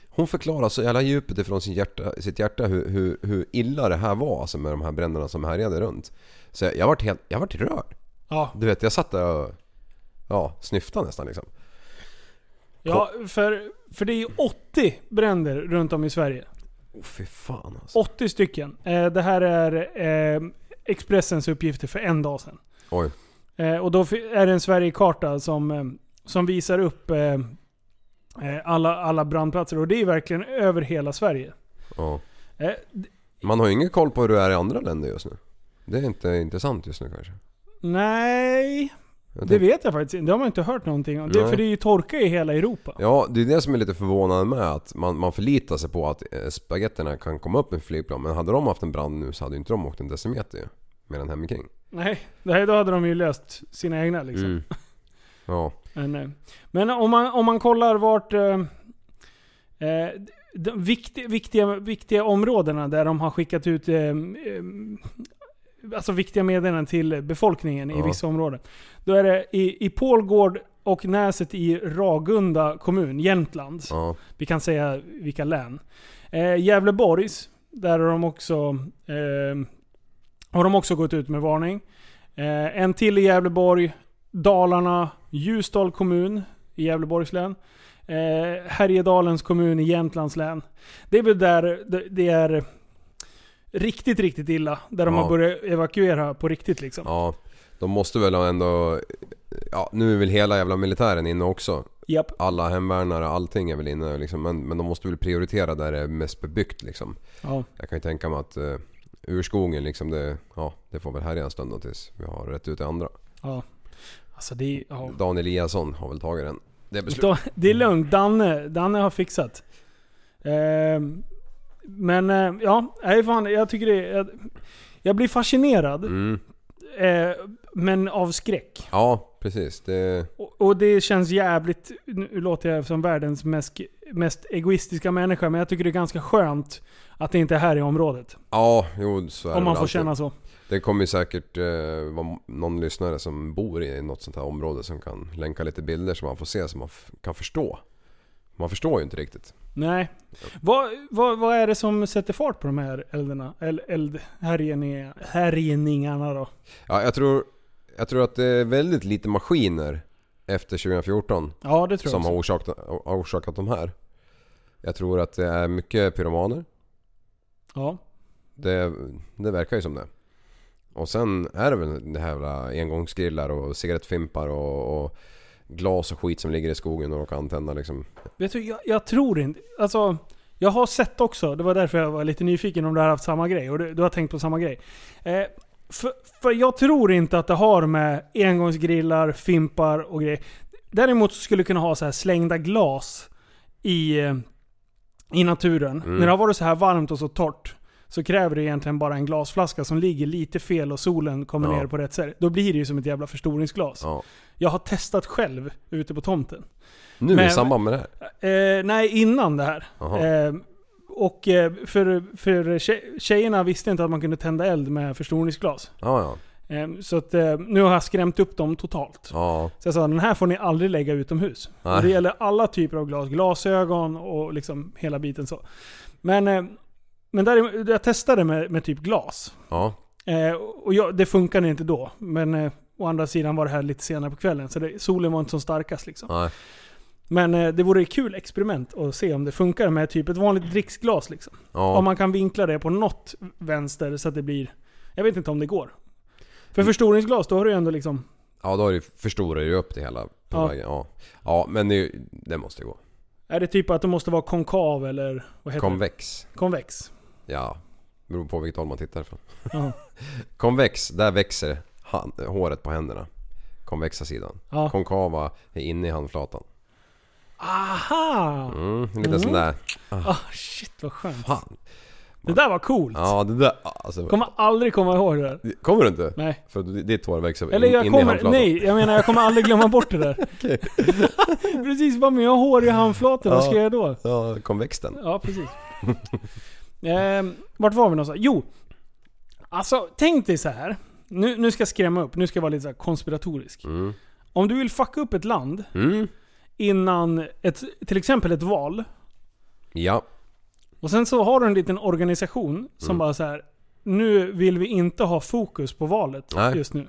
[SPEAKER 5] hon förklarar så jävla djupet ifrån sin hjärta, sitt hjärta hur, hur, hur illa det här var alltså med de här bränderna som härjade runt. Så jag, jag vart helt, jag vart rörd.
[SPEAKER 6] Ja.
[SPEAKER 5] Du vet, jag satt där och ja, snyftade nästan liksom.
[SPEAKER 6] ja för, för det är ju 80 bränder runt om i Sverige.
[SPEAKER 5] Åh fy fan alltså.
[SPEAKER 6] 80 stycken. Eh, det här är eh, Expressens uppgifter för en dag sedan.
[SPEAKER 5] Oj.
[SPEAKER 6] Eh, och då fi- är det en Sverigekarta som, eh, som visar upp eh, eh, alla, alla brandplatser. Och det är verkligen över hela Sverige.
[SPEAKER 5] Ja.
[SPEAKER 6] Eh, d-
[SPEAKER 5] Man har ju ingen koll på hur det är i andra länder just nu. Det är inte intressant just nu kanske.
[SPEAKER 6] nej,
[SPEAKER 5] Jag
[SPEAKER 6] det
[SPEAKER 5] tänkte-
[SPEAKER 6] vet jag faktiskt inte. Det har man inte hört någonting om. Det,
[SPEAKER 5] Nej.
[SPEAKER 6] för det är ju torka i hela Europa.
[SPEAKER 5] Ja, det är det som är lite förvånande med att man, man förlitar sig på att eh, spagetterna kan komma upp med flygplan. Men hade de haft en brand nu så hade ju inte de åkt en decimeter ju. Mer än hemikring.
[SPEAKER 6] Nej, det här, då hade de ju löst sina egna liksom.
[SPEAKER 5] Mm. Ja.
[SPEAKER 6] Men, eh, Men om man, om man kollar vart... Eh, eh, de viktiga, viktiga, viktiga områdena där de har skickat ut eh, eh, alltså viktiga meddelanden till befolkningen i
[SPEAKER 5] Ja.
[SPEAKER 6] vissa områden. Då är det i, i Pålgård och Näset i Ragunda kommun, Jämtland.
[SPEAKER 5] ja.
[SPEAKER 6] Vi kan säga vilka län. Eh, Gävleborgs, där har de också, eh, har de också gått ut med varning. Eh, en till i Gävleborg, Dalarna, Ljusdal kommun i Gävleborgs län. Eh, Härjedalens kommun i Jämtlands län. Det är väl där det- det är riktigt, riktigt illa. Där de
[SPEAKER 5] Ja.
[SPEAKER 6] har börjat evakuera på riktigt liksom.
[SPEAKER 5] ja. De måste väl ändå... Ja, nu är väl hela jävla militären inne också.
[SPEAKER 6] Japp.
[SPEAKER 5] Alla hemvärnare, allting är väl inne liksom. Men, men de måste väl prioritera där det är mest bebyggt liksom.
[SPEAKER 6] Ja.
[SPEAKER 5] Jag kan ju tänka mig att eh, urskogen liksom, det, ja, det får väl härja en stund då tills vi har rätt ut det andra.
[SPEAKER 6] ja. Alltså det är... Ja.
[SPEAKER 5] Dan Eliasson har väl tagit den. Det beslutet.
[SPEAKER 6] Då, det är lugnt. Danne, Danne har fixat. Ehm, men eh, ja, nej fan, jag tycker det är, jag, jag blir fascinerad
[SPEAKER 5] Mm.
[SPEAKER 6] eh, men av skräck.
[SPEAKER 5] Ja, precis. Det,
[SPEAKER 6] Och, och det känns jävligt, nu låter jag som världens mest, mest egoistiska människa, men jag tycker det är ganska skönt att det inte är här i området.
[SPEAKER 5] ja, jo så är det
[SPEAKER 6] Om man
[SPEAKER 5] väl
[SPEAKER 6] får
[SPEAKER 5] alltid.
[SPEAKER 6] känna så.
[SPEAKER 5] Det kommer ju säkert eh, vara någon lyssnare som bor i något sånt här område som kan länka lite bilder som man får se som man f- kan förstå. Man förstår ju inte riktigt.
[SPEAKER 6] Nej. Vad, vad, vad är det som sätter fart på de här elderna? El, eld, härjeningar- härjeningarna då?
[SPEAKER 5] Ja, jag, tror, jag tror att det är väldigt lite maskiner efter 2014
[SPEAKER 6] Ja, det tror
[SPEAKER 5] som har
[SPEAKER 6] jag också.
[SPEAKER 5] orsakat, har orsakat de här. Jag tror att det är mycket pyromaner.
[SPEAKER 6] Ja.
[SPEAKER 5] Det, det verkar ju som det. Och sen är det väl det här jävla engångsgrillar och cigarettfimpar och, och glas och skit som ligger i skogen och råkar antända liksom.
[SPEAKER 6] Vet du, jag, jag tror inte... Alltså, jag har sett också, det var därför jag var lite nyfiken om du har haft samma grej. Och du, du har tänkt på samma grej. Eh, för, för jag tror inte att det har med engångsgrillar, fimpar och grejer. Däremot så skulle det kunna ha så här slängda glas i, eh, i naturen.
[SPEAKER 5] Mm.
[SPEAKER 6] När det har varit så här varmt och så torrt så kräver det egentligen bara en glasflaska som ligger lite fel och solen kommer
[SPEAKER 5] Ja.
[SPEAKER 6] ner på rätt sätt. Då blir det ju som ett jävla förstoringsglas.
[SPEAKER 5] Ja.
[SPEAKER 6] Jag har testat själv ute på tomten.
[SPEAKER 5] Nu
[SPEAKER 6] Men-
[SPEAKER 5] i samband med det här.
[SPEAKER 6] Eh, nej, innan det här.
[SPEAKER 5] Jaha.
[SPEAKER 6] Eh, och eh, för, för tje- tjejerna visste inte att man kunde tända eld med förstoringsglas.
[SPEAKER 5] Ja, ja.
[SPEAKER 6] Eh, så att, eh, nu har jag skrämt upp dem totalt.
[SPEAKER 5] Ja,
[SPEAKER 6] Så jag sa den här får ni aldrig lägga utomhus.
[SPEAKER 5] Nej.
[SPEAKER 6] Och det gäller alla typer av glas. Glasögon och liksom hela biten så. Men, eh, men där, jag testade med, med typ glas.
[SPEAKER 5] ja.
[SPEAKER 6] Eh, och jag, det funkade inte då. Men eh, å andra sidan var det här lite senare på kvällen. Så det, solen var inte som starkast liksom.
[SPEAKER 5] Nej.
[SPEAKER 6] Men eh, det vore ett kul experiment att se om det funkar med typ ett vanligt dricksglas. Liksom. Om
[SPEAKER 5] Ja.
[SPEAKER 6] man kan vinkla det på något vänster så att det blir... Jag vet inte om det går.
[SPEAKER 5] Mm.
[SPEAKER 6] För förstoringsglas, då har du ju ändå liksom...
[SPEAKER 5] ja, då har du- förstorar du ju upp det hela på
[SPEAKER 6] Ja.
[SPEAKER 5] vägen. Ja. ja, men det, är ju- det måste ju gå.
[SPEAKER 6] Är det typ att det måste vara konkav eller vad heter
[SPEAKER 5] Konvex.
[SPEAKER 6] det? Konvex.
[SPEAKER 5] Ja, beror på vilket håll man tittar ifrån.
[SPEAKER 6] Ja.
[SPEAKER 5] Konvex, där växer han, håret på händerna. Konvexa sidan.
[SPEAKER 6] Ja.
[SPEAKER 5] Konkava är inne i handflatan.
[SPEAKER 6] Aha!
[SPEAKER 5] Mm, lite sån där.
[SPEAKER 6] Ah, shit vad skönt.
[SPEAKER 5] Fan.
[SPEAKER 6] Det där var coolt.
[SPEAKER 5] Ja, det där. Alltså,
[SPEAKER 6] Kommer aldrig komma ihåg det där.
[SPEAKER 5] kommer du inte?
[SPEAKER 6] Nej.
[SPEAKER 5] För ditt hår växer
[SPEAKER 6] Eller
[SPEAKER 5] in,
[SPEAKER 6] jag
[SPEAKER 5] in i
[SPEAKER 6] kommer...
[SPEAKER 5] handflatan.
[SPEAKER 6] Nej, jag menar jag kommer aldrig glömma bort det där. Precis, vad men jag har hår i handflatan, vad ska jag göra då?
[SPEAKER 5] Ja, konvexten.
[SPEAKER 6] Ja, precis. Ehm, vart var vi någonstans? Jo. Alltså, tänk dig så här. Nu, nu ska jag skrämma upp. Nu ska jag vara lite så här konspiratorisk.
[SPEAKER 5] Mm.
[SPEAKER 6] Om du vill fucka upp ett land
[SPEAKER 5] Mm.
[SPEAKER 6] innan ett, till exempel ett val.
[SPEAKER 5] Ja.
[SPEAKER 6] Och sen så har du en liten organisation
[SPEAKER 5] Mm.
[SPEAKER 6] som bara så här. Nu vill vi inte ha fokus på valet
[SPEAKER 5] Nej.
[SPEAKER 6] just nu.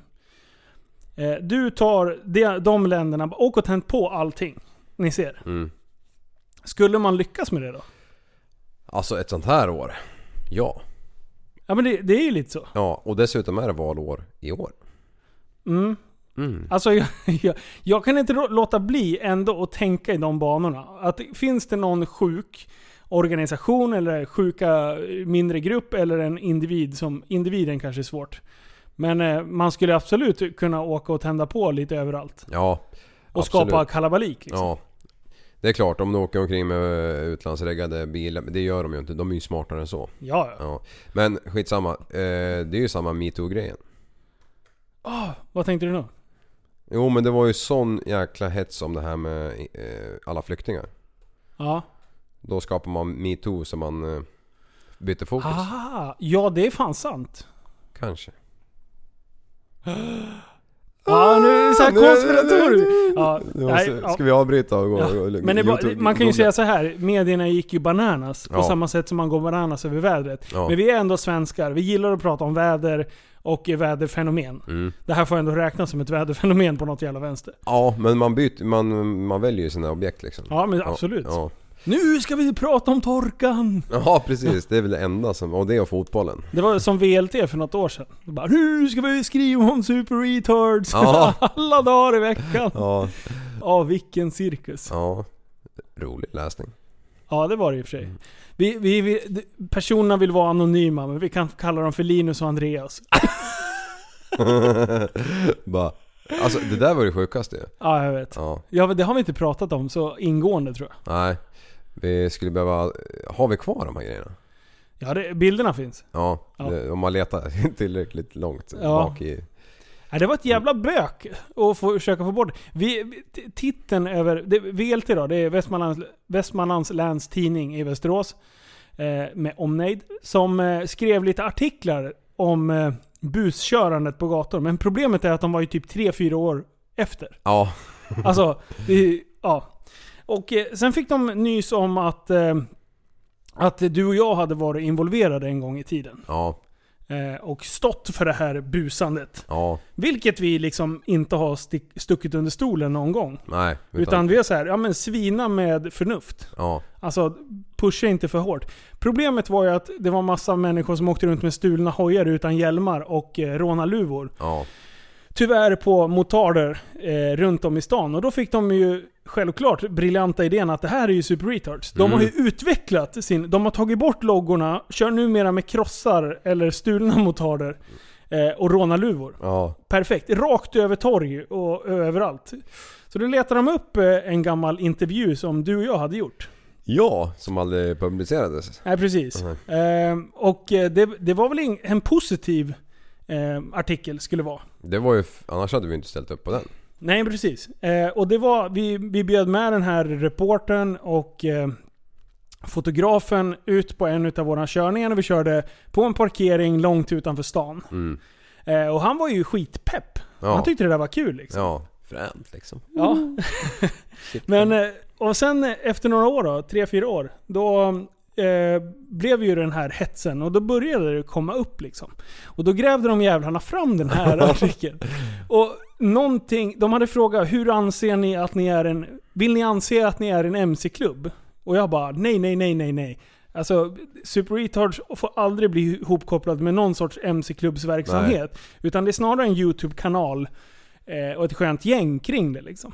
[SPEAKER 6] Eh, du tar de, de länderna, åk och tänd på allting. Ni ser.
[SPEAKER 5] Mm.
[SPEAKER 6] Skulle man lyckas med det då?
[SPEAKER 5] Alltså ett sånt här år. Ja.
[SPEAKER 6] Ja men det, det är ju lite så.
[SPEAKER 5] Ja, och dessutom är det valår i år.
[SPEAKER 6] Mm. Alltså jag, jag, jag kan inte rå- låta bli ändå att tänka i de banorna. Att finns det någon sjuk organisation eller sjuka eh, mindre grupp eller en individ som, individen kanske är svårt. Men eh, man skulle absolut kunna åka och tända på lite överallt.
[SPEAKER 5] Ja.
[SPEAKER 6] Och
[SPEAKER 5] absolut.
[SPEAKER 6] skapa kalabalik liksom.
[SPEAKER 5] Ja. Det är klart, om de åker omkring med eh, utlandsreggade bilar. Men det gör de ju inte. De är ju smartare än så.
[SPEAKER 6] Ja, ja.
[SPEAKER 5] Ja. Men skitsamma. Eh, det är ju samma metoo-grejen.
[SPEAKER 6] Ah, Vad tänkte du nu?
[SPEAKER 5] Jo men det var ju sån jäkla hets om det här med eh, alla flyktingar.
[SPEAKER 6] Ja.
[SPEAKER 5] Då skapar man metoo så man eh, byter fokus.
[SPEAKER 6] Ah, ja det är fan sant.
[SPEAKER 5] Kanske.
[SPEAKER 6] Ja, Ah, nu är det så här
[SPEAKER 5] nu- nu- nu-
[SPEAKER 6] konspiratoriskt. Ja,
[SPEAKER 5] Nu
[SPEAKER 6] nej,
[SPEAKER 5] måste,
[SPEAKER 6] ja.
[SPEAKER 5] Ska vi avbryta och gå?
[SPEAKER 6] Ja,
[SPEAKER 5] och- och-
[SPEAKER 6] Men det är bara,
[SPEAKER 5] YouTube-
[SPEAKER 6] man kan ju
[SPEAKER 5] googla?
[SPEAKER 6] säga så här, medierna gick ju bananas på
[SPEAKER 5] Ja.
[SPEAKER 6] samma sätt som man går bananas över vädret.
[SPEAKER 5] Ja.
[SPEAKER 6] Men vi är ändå svenskar, vi gillar att prata om väder och väderfenomen.
[SPEAKER 5] Mm.
[SPEAKER 6] Det här får ändå räknas som ett väderfenomen på något jävla vänster.
[SPEAKER 5] Ja men man, byter, man, man väljer ju sina objekt liksom.
[SPEAKER 6] Ja men absolut.
[SPEAKER 5] Ja,
[SPEAKER 6] Nu ska vi prata om torkan!
[SPEAKER 5] ja. ja precis, det är väl det enda som... Och det och fotbollen.
[SPEAKER 6] Det var som VLT för något år sedan. Det Bara, nu ska vi skriva om super retards
[SPEAKER 5] Ja.
[SPEAKER 6] alla dagar i veckan. Ja,
[SPEAKER 5] Ja,
[SPEAKER 6] vilken cirkus.
[SPEAKER 5] ja. Rolig läsning.
[SPEAKER 6] Ja, det var det i och för sig.
[SPEAKER 5] Mm.
[SPEAKER 6] Vi, vi, vi, d- personerna vill vara anonyma, men vi kan kalla dem för Linus och Andreas.
[SPEAKER 5] Bara, alltså det där var det sjukaste ju.
[SPEAKER 6] Ja, jag vet.
[SPEAKER 5] Ja,
[SPEAKER 6] Ja, men det har vi inte pratat om så ingående tror jag.
[SPEAKER 5] nej. Vi skulle behöva... Har vi kvar de här grejerna?
[SPEAKER 6] Ja, det, bilderna finns.
[SPEAKER 5] Ja,
[SPEAKER 6] Ja.
[SPEAKER 5] Det, om man letar tillräckligt långt
[SPEAKER 6] Ja.
[SPEAKER 5] bak i...
[SPEAKER 6] Ja, det var ett jävla bök att få, försöka få bort vi, t- Titeln över... Det, VLT då, det är Västmanlands, Västmanlands läns tidning i Västerås. Eh, med omnejd. Som eh, skrev lite artiklar om eh, buskörandet på gator. Men problemet är att de var ju typ 3-4 år efter.
[SPEAKER 5] Ja,
[SPEAKER 6] Alltså, det, ja. Och eh, sen fick de nys om att, eh, att du och jag hade varit involverade en gång i tiden.
[SPEAKER 5] ja,
[SPEAKER 6] Eh, och stått för det här busandet.
[SPEAKER 5] ja,
[SPEAKER 6] Vilket vi liksom inte har stick, stuckit under stolen någon gång.
[SPEAKER 5] nej.
[SPEAKER 6] Utan, vi är så här, ja men svina med förnuft.
[SPEAKER 5] Ja,
[SPEAKER 6] Alltså, pusha inte för hårt. Problemet var ju att det var massa människor som åkte runt med stulna hojar utan hjälmar och eh, rånarluvor
[SPEAKER 5] ja,
[SPEAKER 6] tyvärr på motarder eh, runt om i stan. Och då fick de ju självklart briljanta idén att det här är ju Super Retards. De har ju utvecklat sin... De har tagit bort loggorna, kör numera med krossar eller stulna motarder. Eh, och rånarluvor.
[SPEAKER 5] ja,
[SPEAKER 6] Perfekt. Rakt över torg och överallt. Så då letar de upp eh, en gammal intervju som du och jag hade gjort.
[SPEAKER 5] ja, som aldrig publicerades.
[SPEAKER 6] Nej, precis. Eh, och eh, det, det var väl en, en positiv eh, artikel skulle det vara.
[SPEAKER 5] Det var ju, f- annars hade vi inte ställt upp på den.
[SPEAKER 6] Nej, precis. Eh, och det var, vi, vi bjöd med den här reportern och eh, fotografen ut på en av våra körningar. och Vi körde på en parkering långt utanför stan.
[SPEAKER 5] Mm.
[SPEAKER 6] Eh, och han var ju skitpepp.
[SPEAKER 5] Ja.
[SPEAKER 6] Han tyckte det där var kul liksom.
[SPEAKER 5] Ja, fränt liksom.
[SPEAKER 6] Ja. Men, eh, och sen eh, efter några år då, tre, fyra år, då eh, blev ju den här hetsen och då började det komma upp liksom. Och då grävde de jävlarna fram den här artikeln. Och någonting, de hade frågat hur anser ni att ni är en, vill ni anse att ni är en MC-klubb? Och jag bara nej, nej, nej, nej, nej. Alltså, Super Retards får aldrig bli ihopkopplad med någon sorts MC-klubbsverksamhet. Utan det är snarare en YouTube-kanal eh, och ett skönt gäng kring det liksom.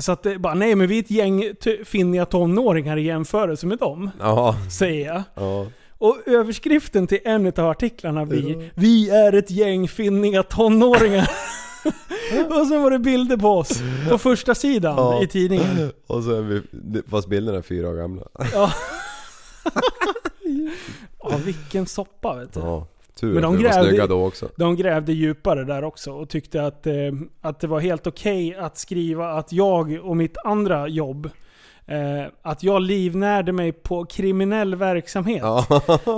[SPEAKER 6] Så att det är bara, nej men vi är ett gäng ty- finniga tonåringar i jämförelse med dem,
[SPEAKER 5] Ja,
[SPEAKER 6] säger jag.
[SPEAKER 5] ja.
[SPEAKER 6] Och överskriften till en av artiklarna blir Vi är ett gäng finniga tonåringar. och sen var det bilder på oss på första sidan
[SPEAKER 5] Ja.
[SPEAKER 6] i tidningen.
[SPEAKER 5] Och så är vi, fast bilderna är fyra år gamla.
[SPEAKER 6] Ja, vilken soppa vet du.
[SPEAKER 5] Ja, tur
[SPEAKER 6] Men
[SPEAKER 5] att
[SPEAKER 6] de
[SPEAKER 5] vi var
[SPEAKER 6] grävde-
[SPEAKER 5] snygga då också.
[SPEAKER 6] De grävde djupare där också och tyckte att, eh, att det var helt okej att skriva att jag och mitt andra jobb, eh, att jag livnärde mig på kriminell verksamhet.
[SPEAKER 5] Ja,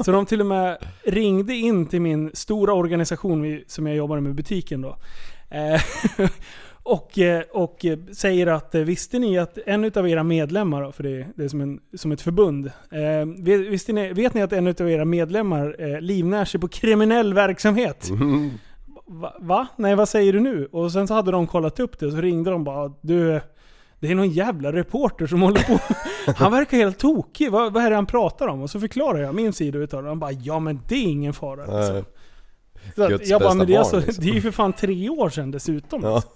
[SPEAKER 6] Så de till och med ringde in till min stora organisation vi- som jag jobbade med, butiken då. Eh, och, eh, och eh, säger att eh, visste ni att en utav era medlemmar, då, för det, det är som, en, som ett förbund. Eh, vi- visste ni, vet ni att en utav era medlemmar eh, livnär sig på kriminell verksamhet? Va, va? Nej vad säger du nu? Och sen så hade de kollat upp det så ringde de bara du det är någon jävla reporter som håller på. Han verkar helt tokig. Vad, vad är det han pratar om? Och så förklarar jag min sida utav det. Han bara ja men det är ingen fara. Liksom.
[SPEAKER 5] Nej.
[SPEAKER 6] Så att
[SPEAKER 5] Guds
[SPEAKER 6] jag bara,
[SPEAKER 5] bästa
[SPEAKER 6] men det, är
[SPEAKER 5] barn,
[SPEAKER 6] alltså,
[SPEAKER 5] liksom.
[SPEAKER 6] det är ju för fan tre år sedan dessutom.
[SPEAKER 5] Ja.
[SPEAKER 6] Alltså.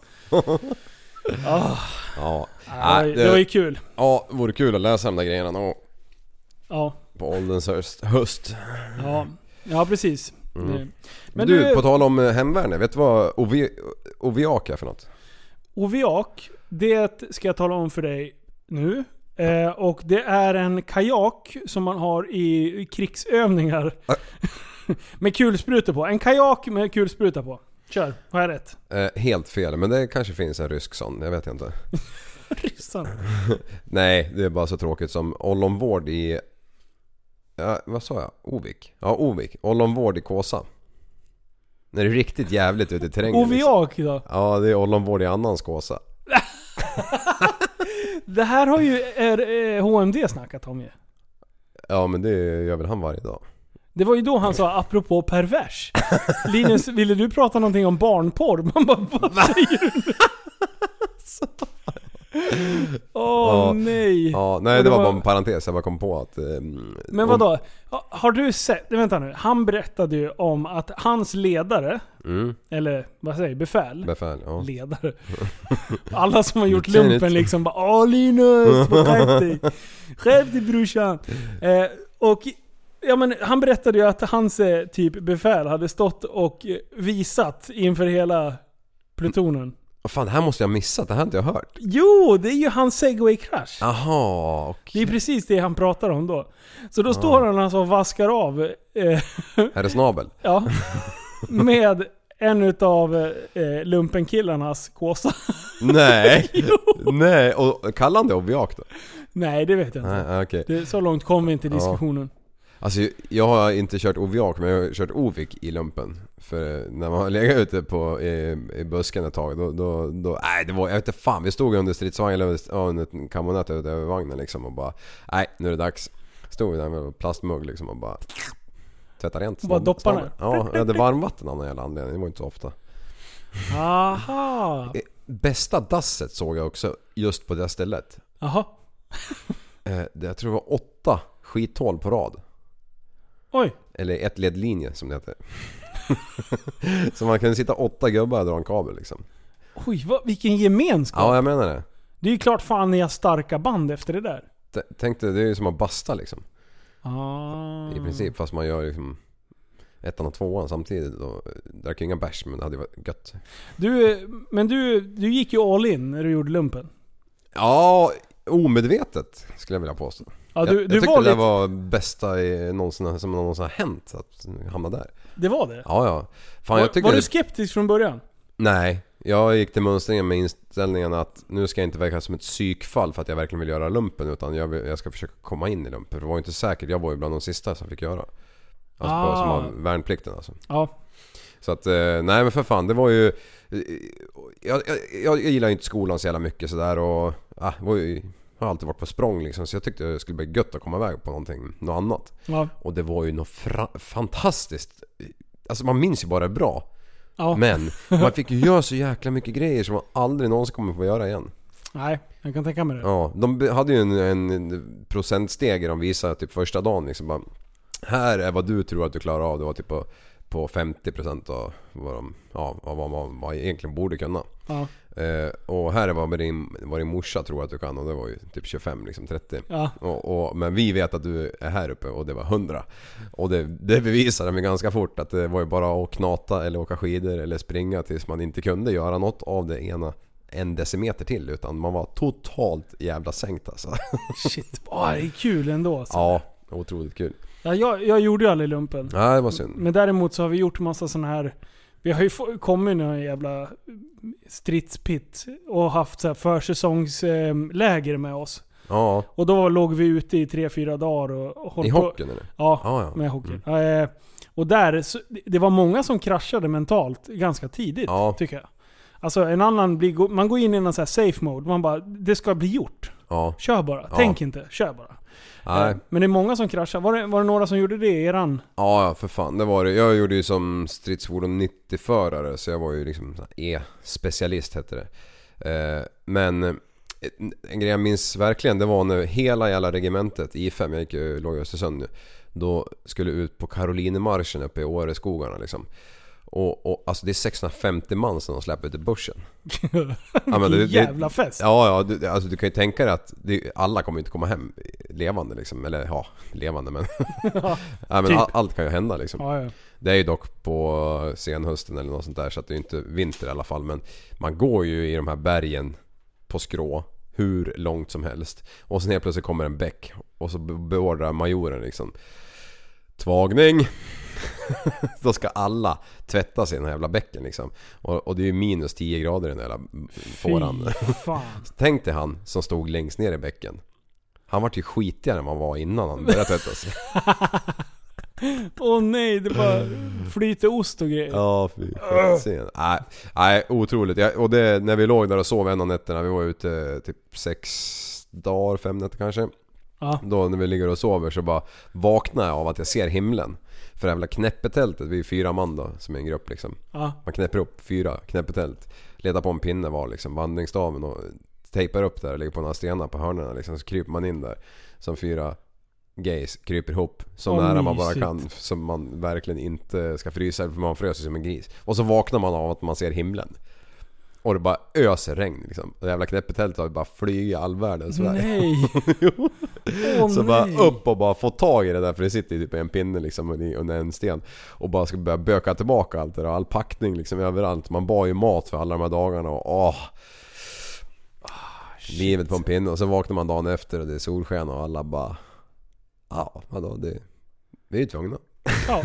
[SPEAKER 6] Ah,
[SPEAKER 5] ja.
[SPEAKER 6] det, var, ju- det var ju kul.
[SPEAKER 5] ja, vore kul att läsa de där grejerna någon gång.
[SPEAKER 6] Ja,
[SPEAKER 5] På ålderns höst. höst.
[SPEAKER 6] ja, ja precis. Mm. Men
[SPEAKER 5] Men du,
[SPEAKER 6] du-
[SPEAKER 5] på tal om eh, hemvärnet. Vet du vad ovi, oviak är för något?
[SPEAKER 6] Oviak, det ska jag tala om för dig nu. Eh, och det är en kajak som man har i krigsövningar. med kulsprutor på. En kajak med kulspruta på. Kör, har jag rätt?
[SPEAKER 5] Eh, helt fel, men det kanske finns en rysk sån. Jag vet inte.
[SPEAKER 6] Ryssarna.
[SPEAKER 5] Nej, det är bara så tråkigt som ollonvård i... Ja, vad sa jag? Ovik? Ja, Ovik. Ollonvård i Kåsa. När det är riktigt jävligt ute i terrängen. liksom.
[SPEAKER 6] Oviak då?
[SPEAKER 5] Ja, det är ollonvård i annans Kåsa.
[SPEAKER 6] Det här har ju är, eh, HMD snackat om ju.
[SPEAKER 5] Ja, men det gör väl han varje dag.
[SPEAKER 6] Det var ju då han sa apropå pervers. Linus, ville du prata någonting om barnporr? Man bara, vad säger du? Åh
[SPEAKER 5] Ja.
[SPEAKER 6] nej.
[SPEAKER 5] Ja, nej
[SPEAKER 6] Och
[SPEAKER 5] det var bara en parentes. Jag bara kom på att... ehm,
[SPEAKER 6] Men vadå? Ha- Har du sett? Vänta nu. Han berättade ju om att hans ledare,
[SPEAKER 5] Mm,
[SPEAKER 6] eller vad säger jag, befäl?
[SPEAKER 5] befäl. Ja.
[SPEAKER 6] Ledare. Alla som har gjort
[SPEAKER 5] Lieutenant.
[SPEAKER 6] lumpen liksom bara Åh Linus, vad skärp dig! Skärp dig brorsan! Eh, och ja, men, han berättade ju att hans eh, typ befäl hade stått och eh, visat inför hela plutonen.
[SPEAKER 5] Vad fan, det här måste jag ha missat. Det här har inte jag hört.
[SPEAKER 6] Jo, det är ju hans segway-krasch.
[SPEAKER 5] Ah, Aha,
[SPEAKER 6] Det
[SPEAKER 5] okej.
[SPEAKER 6] är precis det han pratar om då. Så då står han alltså och vaskar av eh,
[SPEAKER 5] Här är snabel.
[SPEAKER 6] Ja. Med en utav eh, lumpenkillarnas kåsa.
[SPEAKER 5] Nej! Nej, och kallar han det objak då?
[SPEAKER 6] Nej, det vet jag inte.
[SPEAKER 5] Nej, ah, okej.
[SPEAKER 6] Det, så långt kom vi inte i
[SPEAKER 5] Ja.
[SPEAKER 6] diskussionen.
[SPEAKER 5] Alltså jag har inte kört oviak men jag har kört ovik i lumpen. För eh, när man har legat ute på, i, i busken ett tag då, då, då, nej det var, jag vet inte fan. Vi stod under stridsvagnen, eller under- ja, under en kammonett ute över vagnen liksom och bara, nej nu är det dags. Stod vi där med en plastmugg liksom och bara tvättade rent.
[SPEAKER 6] Bara
[SPEAKER 5] snabbt-
[SPEAKER 6] dopparna?
[SPEAKER 5] snabbt. Ja, jag hade varmvatten av någon jävla anledning, det var inte så ofta.
[SPEAKER 6] Aha!
[SPEAKER 5] Eh, Bästa dasset såg jag också just på det stället.
[SPEAKER 6] Jaha.
[SPEAKER 5] Eh, det- Jag tror det var åtta skithål på rad.
[SPEAKER 6] Oj.
[SPEAKER 5] Eller ett led linje som det heter. så man kunde sitta åtta gubbar och dra en kabel liksom.
[SPEAKER 6] Oj, vad, vilken gemenskap.
[SPEAKER 5] Ja, jag menar det.
[SPEAKER 6] Det är ju klart fan ni har starka band efter det där.
[SPEAKER 5] T- Tänk dig, det är ju som att basta liksom.
[SPEAKER 6] Ah.
[SPEAKER 5] I princip. Fast man gör liksom ettan och tvåan samtidigt. Och eh, drack ju inga bärs men det hade ju varit gött.
[SPEAKER 6] Du, eh, men du, du gick ju all in när du gjorde lumpen.
[SPEAKER 5] Ja, omedvetet skulle jag vilja påstå.
[SPEAKER 6] Ja,
[SPEAKER 5] jag
[SPEAKER 6] du,
[SPEAKER 5] jag
[SPEAKER 6] du
[SPEAKER 5] tyckte
[SPEAKER 6] var
[SPEAKER 5] det
[SPEAKER 6] lite,
[SPEAKER 5] var bästa i, någonsin, som någonsin har hänt att hamna där.
[SPEAKER 6] det var det?
[SPEAKER 5] Ja, ja. Fan, jag
[SPEAKER 6] var
[SPEAKER 5] tycker
[SPEAKER 6] var
[SPEAKER 5] det-
[SPEAKER 6] du skeptisk från början?
[SPEAKER 5] Nej, jag gick till mönstringen med inställningen att nu ska jag inte verka som ett psykfall för att jag verkligen vill göra lumpen utan jag, vill, jag ska försöka komma in i lumpen. För det var ju inte säkert, jag var ju bland de sista som fick göra. Alltså
[SPEAKER 6] Ah.
[SPEAKER 5] på, som har värnplikten alltså.
[SPEAKER 6] Ja.
[SPEAKER 5] Så att, eh, nej men för fan det var ju... eh, Jag, jag, jag gillar ju inte skolan så jävla mycket sådär och... Ah, det var ju, jag har alltid varit på språng liksom så jag tyckte det skulle bli gött att komma iväg på någonting, något annat.
[SPEAKER 6] Ja.
[SPEAKER 5] Och det var ju något fra- fantastiskt. Alltså man minns ju bara det bra.
[SPEAKER 6] ja.
[SPEAKER 5] Men man fick ju göra så jäkla mycket grejer som man aldrig någonsin kommer få göra igen.
[SPEAKER 6] Nej, jag kan tänka mig det.
[SPEAKER 5] Ja, de be- hade ju en, en procentstege de visade typ första dagen liksom bara, Här är vad du tror att du klarar av. Det var typ på, på 50% av vad, de, ja, av vad man vad egentligen borde kunna.
[SPEAKER 6] Ja.
[SPEAKER 5] Eh, och här är vad din, vad din morsa tror att du kan och det var ju typ 25, liksom 30.
[SPEAKER 6] Ja.
[SPEAKER 5] Och, och, men vi vet att du är här uppe och det var 100. Och det, det bevisade mig ganska fort att det var ju bara att knata eller åka skidor eller springa tills man inte kunde göra något av det ena en decimeter till utan man var totalt jävla sänkt alltså.
[SPEAKER 6] Shit, vad det är kul ändå alltså.
[SPEAKER 5] Ja, otroligt kul.
[SPEAKER 6] ja, jag, jag gjorde ju aldrig lumpen.
[SPEAKER 5] Nej, det var synd.
[SPEAKER 6] Men däremot så har vi gjort massa sådana här vi har ju få- kommit någon jävla stridspitt och haft så här försäsongsläger med oss.
[SPEAKER 5] Ja,
[SPEAKER 6] Och då låg vi ute i tre fyra dagar och och höll
[SPEAKER 5] i
[SPEAKER 6] på-
[SPEAKER 5] hockeyn eller?
[SPEAKER 6] Ja,
[SPEAKER 5] Ja, Mm. ja.
[SPEAKER 6] med hockey. Eh, och där, så, det var många som kraschade mentalt ganska tidigt,
[SPEAKER 5] Ja.
[SPEAKER 6] tycker jag. Alltså en annan blir, go- man går in i en sån här safe mode, man bara det ska bli gjort.
[SPEAKER 5] Ja,
[SPEAKER 6] Kör bara,
[SPEAKER 5] Ja.
[SPEAKER 6] tänk inte, kör bara.
[SPEAKER 5] nej.
[SPEAKER 6] Eh, Men det är många som kraschar. Var det, var det några som gjorde det i eran?
[SPEAKER 5] Ja, ja, för fan. Det var det. Jag gjorde ju som stridsfordon 90-förare så jag var ju liksom sån här E-specialist hette det. Eh, Men eh, en grej jag minns verkligen det var när hela jävla regementet, I5, jag gick ju, låg i Östersund nu. Då skulle ut på Karolinemarschen uppe i Åreskogarna liksom. Och, och alltså det är 650 man som de släpper ut i bussen. ja, men
[SPEAKER 6] Vilken jävla fest.
[SPEAKER 5] Ja, ja du, alltså du kan ju tänka dig att det, alla kommer ju inte komma hem levande liksom. Eller ja, levande men... ja, men
[SPEAKER 6] Typ.
[SPEAKER 5] all, allt kan ju hända liksom.
[SPEAKER 6] Ja, ja.
[SPEAKER 5] Det är ju dock på senhösten eller något sånt där så att det är ju inte vinter i alla fall. Men man går ju i de här bergen på skrå hur långt som helst. Och sen helt plötsligt kommer en bäck och så be- beordrar majoren liksom Tvagning! Då ska alla tvätta sig i den här jävla bäcken liksom. Och, och det är ju minus 10 grader i den här jävla fåran.
[SPEAKER 6] Fy fan.
[SPEAKER 5] Tänk dig han som stod längst ner i bäcken. Han vart ju skitigare än vad han var innan han började tvätta sig.
[SPEAKER 6] Åh nej, det bara flyter ost och grejer.
[SPEAKER 5] Ja, fy skitscen. Nej, nej, otroligt. Jag, och det, när vi låg där och sov en av nätterna, vi var ute typ sex dagar, fem nätter kanske.
[SPEAKER 6] Ja.
[SPEAKER 5] Då när vi ligger och sover så bara vaknar jag av att jag ser himlen. För det här jävla knäppetältet, vi är fyra man då som är en grupp liksom.
[SPEAKER 6] Ja.
[SPEAKER 5] Man knäpper upp fyra knäppetält. Letar på en pinne var liksom, vandringsstaven och tejpar upp där och lägger på några stenar på hörnen liksom. Så kryper man in där. Som fyra gays kryper ihop så
[SPEAKER 6] Åh,
[SPEAKER 5] nära man bara
[SPEAKER 6] mysigt.
[SPEAKER 5] kan. Så man verkligen inte ska frysa för man frös ju som en gris. Och så vaknar man av att man ser himlen. Och det bara öser regn liksom. Det jävla knäppetältet har ju bara flugit all världens väg.
[SPEAKER 6] Nej.
[SPEAKER 5] Jo.
[SPEAKER 6] Åh,
[SPEAKER 5] så bara
[SPEAKER 6] nej.
[SPEAKER 5] upp och bara få tag i det där för det sitter ju typ en pinne liksom under- under en sten. Och bara ska börja böka tillbaka allt det där all packning liksom överallt. Man bar ju mat för alla de här dagarna och åh.
[SPEAKER 6] Ah,
[SPEAKER 5] Livet på en pinne och så vaknar man dagen efter och det är solsken och alla bara... Ja, vadå? Det, vi är ju tvungna.
[SPEAKER 6] Ja.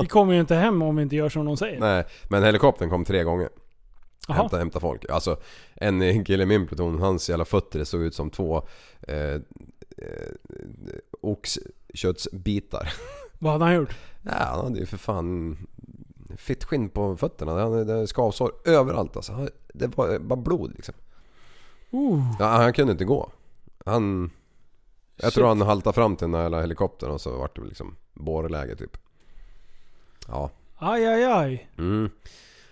[SPEAKER 6] Vi kommer ju inte hem om vi inte gör som de säger.
[SPEAKER 5] Nej, men helikoptern kom tre gånger.
[SPEAKER 6] Jaha.
[SPEAKER 5] Hämta, hämta folk. Alltså en kille i min pluton, hans jävla fötter det såg ut som två eh, eh, oxköttsbitar.
[SPEAKER 6] Vad hade han gjort?
[SPEAKER 5] Ja, han hade ju för fan fittskinn på fötterna. Han hade skavsår överallt alltså. Han- Det var bara blod liksom.
[SPEAKER 6] Oh,
[SPEAKER 5] Ja, han kunde inte gå. Han... Jag
[SPEAKER 6] Shit.
[SPEAKER 5] tror han haltade fram till den här jävla helikoptern och så vart det liksom bårläge typ. Ja.
[SPEAKER 6] aj, aj, aj.
[SPEAKER 5] Mm.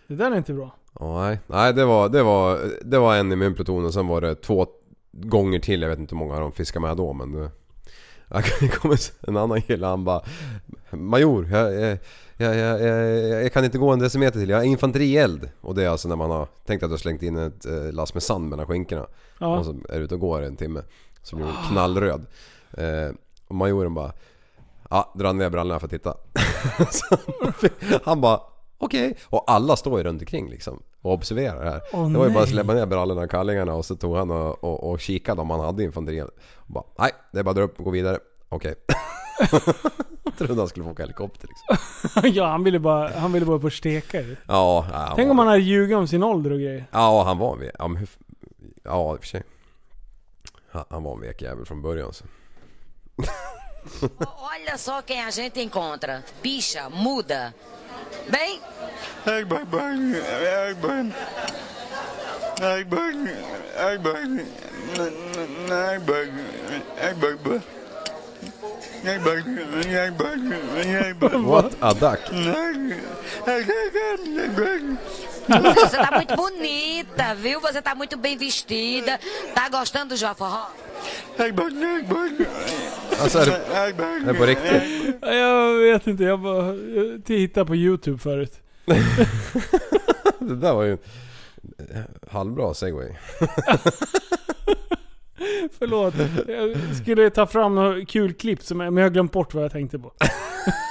[SPEAKER 6] Det där är inte bra.
[SPEAKER 5] Ja, nej, nej det, var, det, var, det var en i min pluton och sen var det två gånger till. Jag vet inte hur många de fiskade med då men... Det det kom en annan kille han bara... Major, jag, jag, jag, jag, jag, jag kan inte gå en decimeter till. Jag har infanterield. Och det är alltså när man har tänkt att du har slängt in ett eh, lass med sand mellan skinkorna.
[SPEAKER 6] Ja.
[SPEAKER 5] Och så är du ute och går en timme. Så blir hon knallröd. Eh, och majoren bara... Ja, dra ner brallorna för att titta. så han bara... Okej. Och alla står ju runt omkring liksom. Och observerar det här.
[SPEAKER 6] Åh,
[SPEAKER 5] det var ju bara att
[SPEAKER 6] nej.
[SPEAKER 5] släppa ner brallorna och kallingarna och så tog han och, och, och kikade om han hade infanterield. Och bara, nej, det är bara att dra upp och gå vidare. Okej. Trodde han skulle få åka helikopter liksom.
[SPEAKER 6] ja, han ville bara, han ville bara på steka ju.
[SPEAKER 5] Ja, ja, han
[SPEAKER 6] Tänk
[SPEAKER 5] var-
[SPEAKER 6] om han hade ljugit om sin ålder och grejer.
[SPEAKER 5] Ja, han var en ve- Ja, men hur... f- Ja, i och för sig. Han- Han var en vek jävel från början så.
[SPEAKER 7] Olha só quem a gente encontra. Picha, muda. Bem,
[SPEAKER 2] Äggbögg, äggbögg, äggbögg, äggbögg, äggbögg, äggbögg, äggbögg, äggbögg, äggbögg.
[SPEAKER 5] What a duck!
[SPEAKER 7] você tá muito bonita, viu? Você tá muito bem vestida. Tá gostando do Jó Forró?
[SPEAKER 5] Alltså är det, är det på riktigt?
[SPEAKER 6] Jag vet inte, jag bara jag tittade på YouTube förut.
[SPEAKER 5] Det där var ju en eh, halvbra segway.
[SPEAKER 6] Förlåt. Jag skulle ta fram några kul klipp, som, jag- men jag har glömt bort vad jag tänkte på.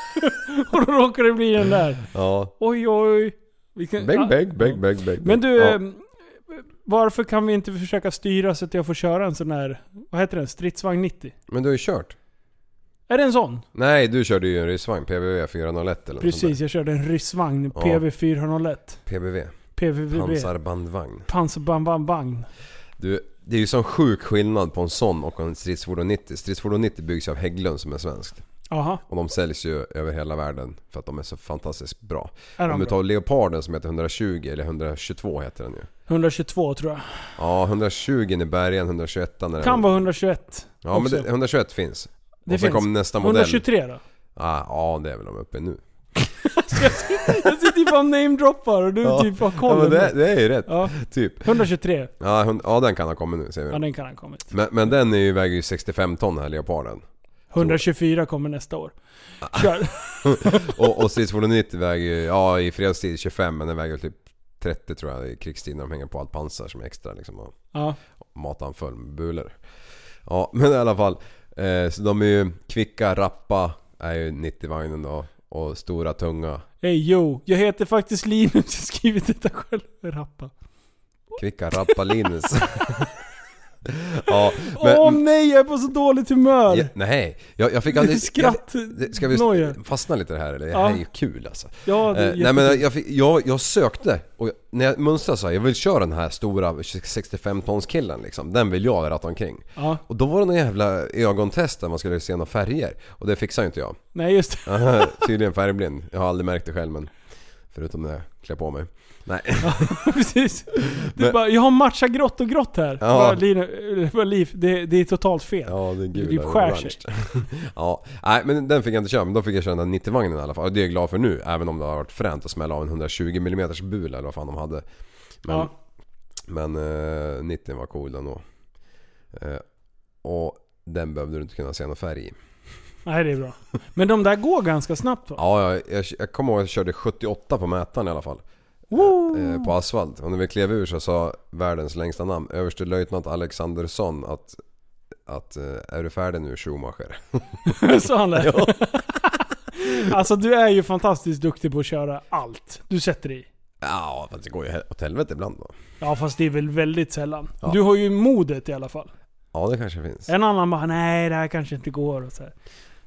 [SPEAKER 6] och då råkar det bli den där.
[SPEAKER 5] Ja.
[SPEAKER 6] Oj, oj. Vilken,
[SPEAKER 5] Bäng,
[SPEAKER 6] ah.
[SPEAKER 5] bäng, bäng, bäng, bäng.
[SPEAKER 6] Men du,
[SPEAKER 5] Ja.
[SPEAKER 6] ehm, varför kan vi inte försöka styra så att jag får köra en sån här, vad heter den? Stridsvagn 90?
[SPEAKER 5] Men du har ju kört.
[SPEAKER 6] Är det en sån?
[SPEAKER 5] Nej, du körde ju en ryssvagn. PVV 401 eller något sånt
[SPEAKER 6] Precis, jag körde en ryssvagn.
[SPEAKER 5] Ja.
[SPEAKER 6] PV401.
[SPEAKER 5] där. PVV.
[SPEAKER 6] PVVB.
[SPEAKER 5] Pansarbandvagn.
[SPEAKER 6] Pansarbandvagn.
[SPEAKER 5] Du, det är ju sån sjuk skillnad på en sån och en stridsfordon 90. Stridsfordon 90 byggs ju av Hägglund som är svenskt.
[SPEAKER 6] Jaha,
[SPEAKER 5] Och de säljs ju över hela världen för att de är så fantastiskt bra.
[SPEAKER 6] är
[SPEAKER 5] Om
[SPEAKER 6] de
[SPEAKER 5] du
[SPEAKER 6] bra?
[SPEAKER 5] tar Leoparden som heter 120 eller 122 heter den ju.
[SPEAKER 6] 122 tror jag.
[SPEAKER 5] Ja, 120 i bergen, 121 när den-
[SPEAKER 6] Kan vara 121.
[SPEAKER 5] Ja men
[SPEAKER 6] också.
[SPEAKER 5] det, 121 finns.
[SPEAKER 6] Det
[SPEAKER 5] och sen
[SPEAKER 6] finns.
[SPEAKER 5] kom nästa modell.
[SPEAKER 6] 123 då?
[SPEAKER 5] Ah, ja det är väl de uppe nu.
[SPEAKER 6] Jag sitter ju bara och namedroppar och du
[SPEAKER 5] Ja.
[SPEAKER 6] typ har
[SPEAKER 5] Ja,
[SPEAKER 6] koll.
[SPEAKER 5] men
[SPEAKER 6] ändå.
[SPEAKER 5] det, det är ju rätt.
[SPEAKER 6] ja,
[SPEAKER 5] Typ.
[SPEAKER 6] 123.
[SPEAKER 5] Ja, hund, ja den kan ha kommit nu säger
[SPEAKER 6] Ja
[SPEAKER 5] vi.
[SPEAKER 6] den kan ha kommit.
[SPEAKER 5] Men, men den är ju, väger ju 65 ton här leoparden.
[SPEAKER 6] 124 kommer nästa år. Kör.
[SPEAKER 5] Och, och stridsfordon 90 väger ju, ja i fredstid 25 men den väger väl typ 30 tror jag i krigstid när de hänger på allt pansar som är extra liksom. Och
[SPEAKER 6] Ja.
[SPEAKER 5] matar en full med bulor. Ja men i alla fall. Eh, så de är ju kvicka, rappa är ju 90-vagnen då. Och stora, tunga.
[SPEAKER 6] Hej yo, jag heter faktiskt Linus. Jag har skrivit detta själv. Rappa.
[SPEAKER 5] Kvicka, rappa Linus. ja, men,
[SPEAKER 6] Åh nej, jag är på så dåligt humör.
[SPEAKER 5] Ja, nej, jag, jag fick aldrig...
[SPEAKER 6] Skratt-
[SPEAKER 5] jag- det- Ska vi
[SPEAKER 6] noja.
[SPEAKER 5] fastna lite i det här eller? Det
[SPEAKER 6] Ja.
[SPEAKER 5] här är ju kul alltså.
[SPEAKER 6] Ja, det är
[SPEAKER 5] Eh, nej men
[SPEAKER 6] jättekul.
[SPEAKER 5] jag, fick, jag, jag sökte och jag, när jag mönstrade så här, jag vill köra den här stora 65 tons killen liksom. Den vill jag ratta omkring.
[SPEAKER 6] Ja.
[SPEAKER 5] Och då var det någon jävla ögontest där man skulle se några färger. Och det fixar ju inte jag.
[SPEAKER 6] Nej just det.
[SPEAKER 5] Tydligen färgblind. Jag har aldrig märkt det själv men... Förutom när jag klär på mig. Nej.
[SPEAKER 6] Precis. Du
[SPEAKER 5] Men-
[SPEAKER 6] bara, jag har matcha grått och grått här.
[SPEAKER 5] Ja.
[SPEAKER 6] Bara, Lina, eh, bara, Liv, det, det är totalt fel.
[SPEAKER 5] Ja, det är gula
[SPEAKER 6] Det typ
[SPEAKER 5] och
[SPEAKER 6] skär
[SPEAKER 5] orange.
[SPEAKER 6] sig.
[SPEAKER 5] ja, nej men den fick jag inte köra men då fick jag köra den där 90-vagnen i alla fall. Och det är jag glad för nu även om det har varit fränt att smälla av en 120 mm bula eller vad fan de hade. Men,
[SPEAKER 6] Ja.
[SPEAKER 5] men eh, 90 var cool ändå. Eh, och den behövde du inte kunna se någon färg i.
[SPEAKER 6] Nej det är bra. Men de där går ganska snabbt va?
[SPEAKER 5] Ja, jag, jag, jag kommer ihåg att jag körde 78 på mätaren i alla fall. Eh, på asfalt. Och när vi klev ur så sa världens längsta namn, överstelöjtnant Alexandersson att, att eh, är du färdig nu Schumacher?
[SPEAKER 6] Sa han det? Alltså du är ju fantastiskt duktig på att köra allt du sätter i.
[SPEAKER 5] Ja, fast det går ju åt helvete ibland då.
[SPEAKER 6] Ja fast det är väl väldigt sällan.
[SPEAKER 5] Ja.
[SPEAKER 6] Du har ju modet i alla fall.
[SPEAKER 5] Ja, det kanske finns.
[SPEAKER 6] En annan bara nej det här kanske inte går och så här.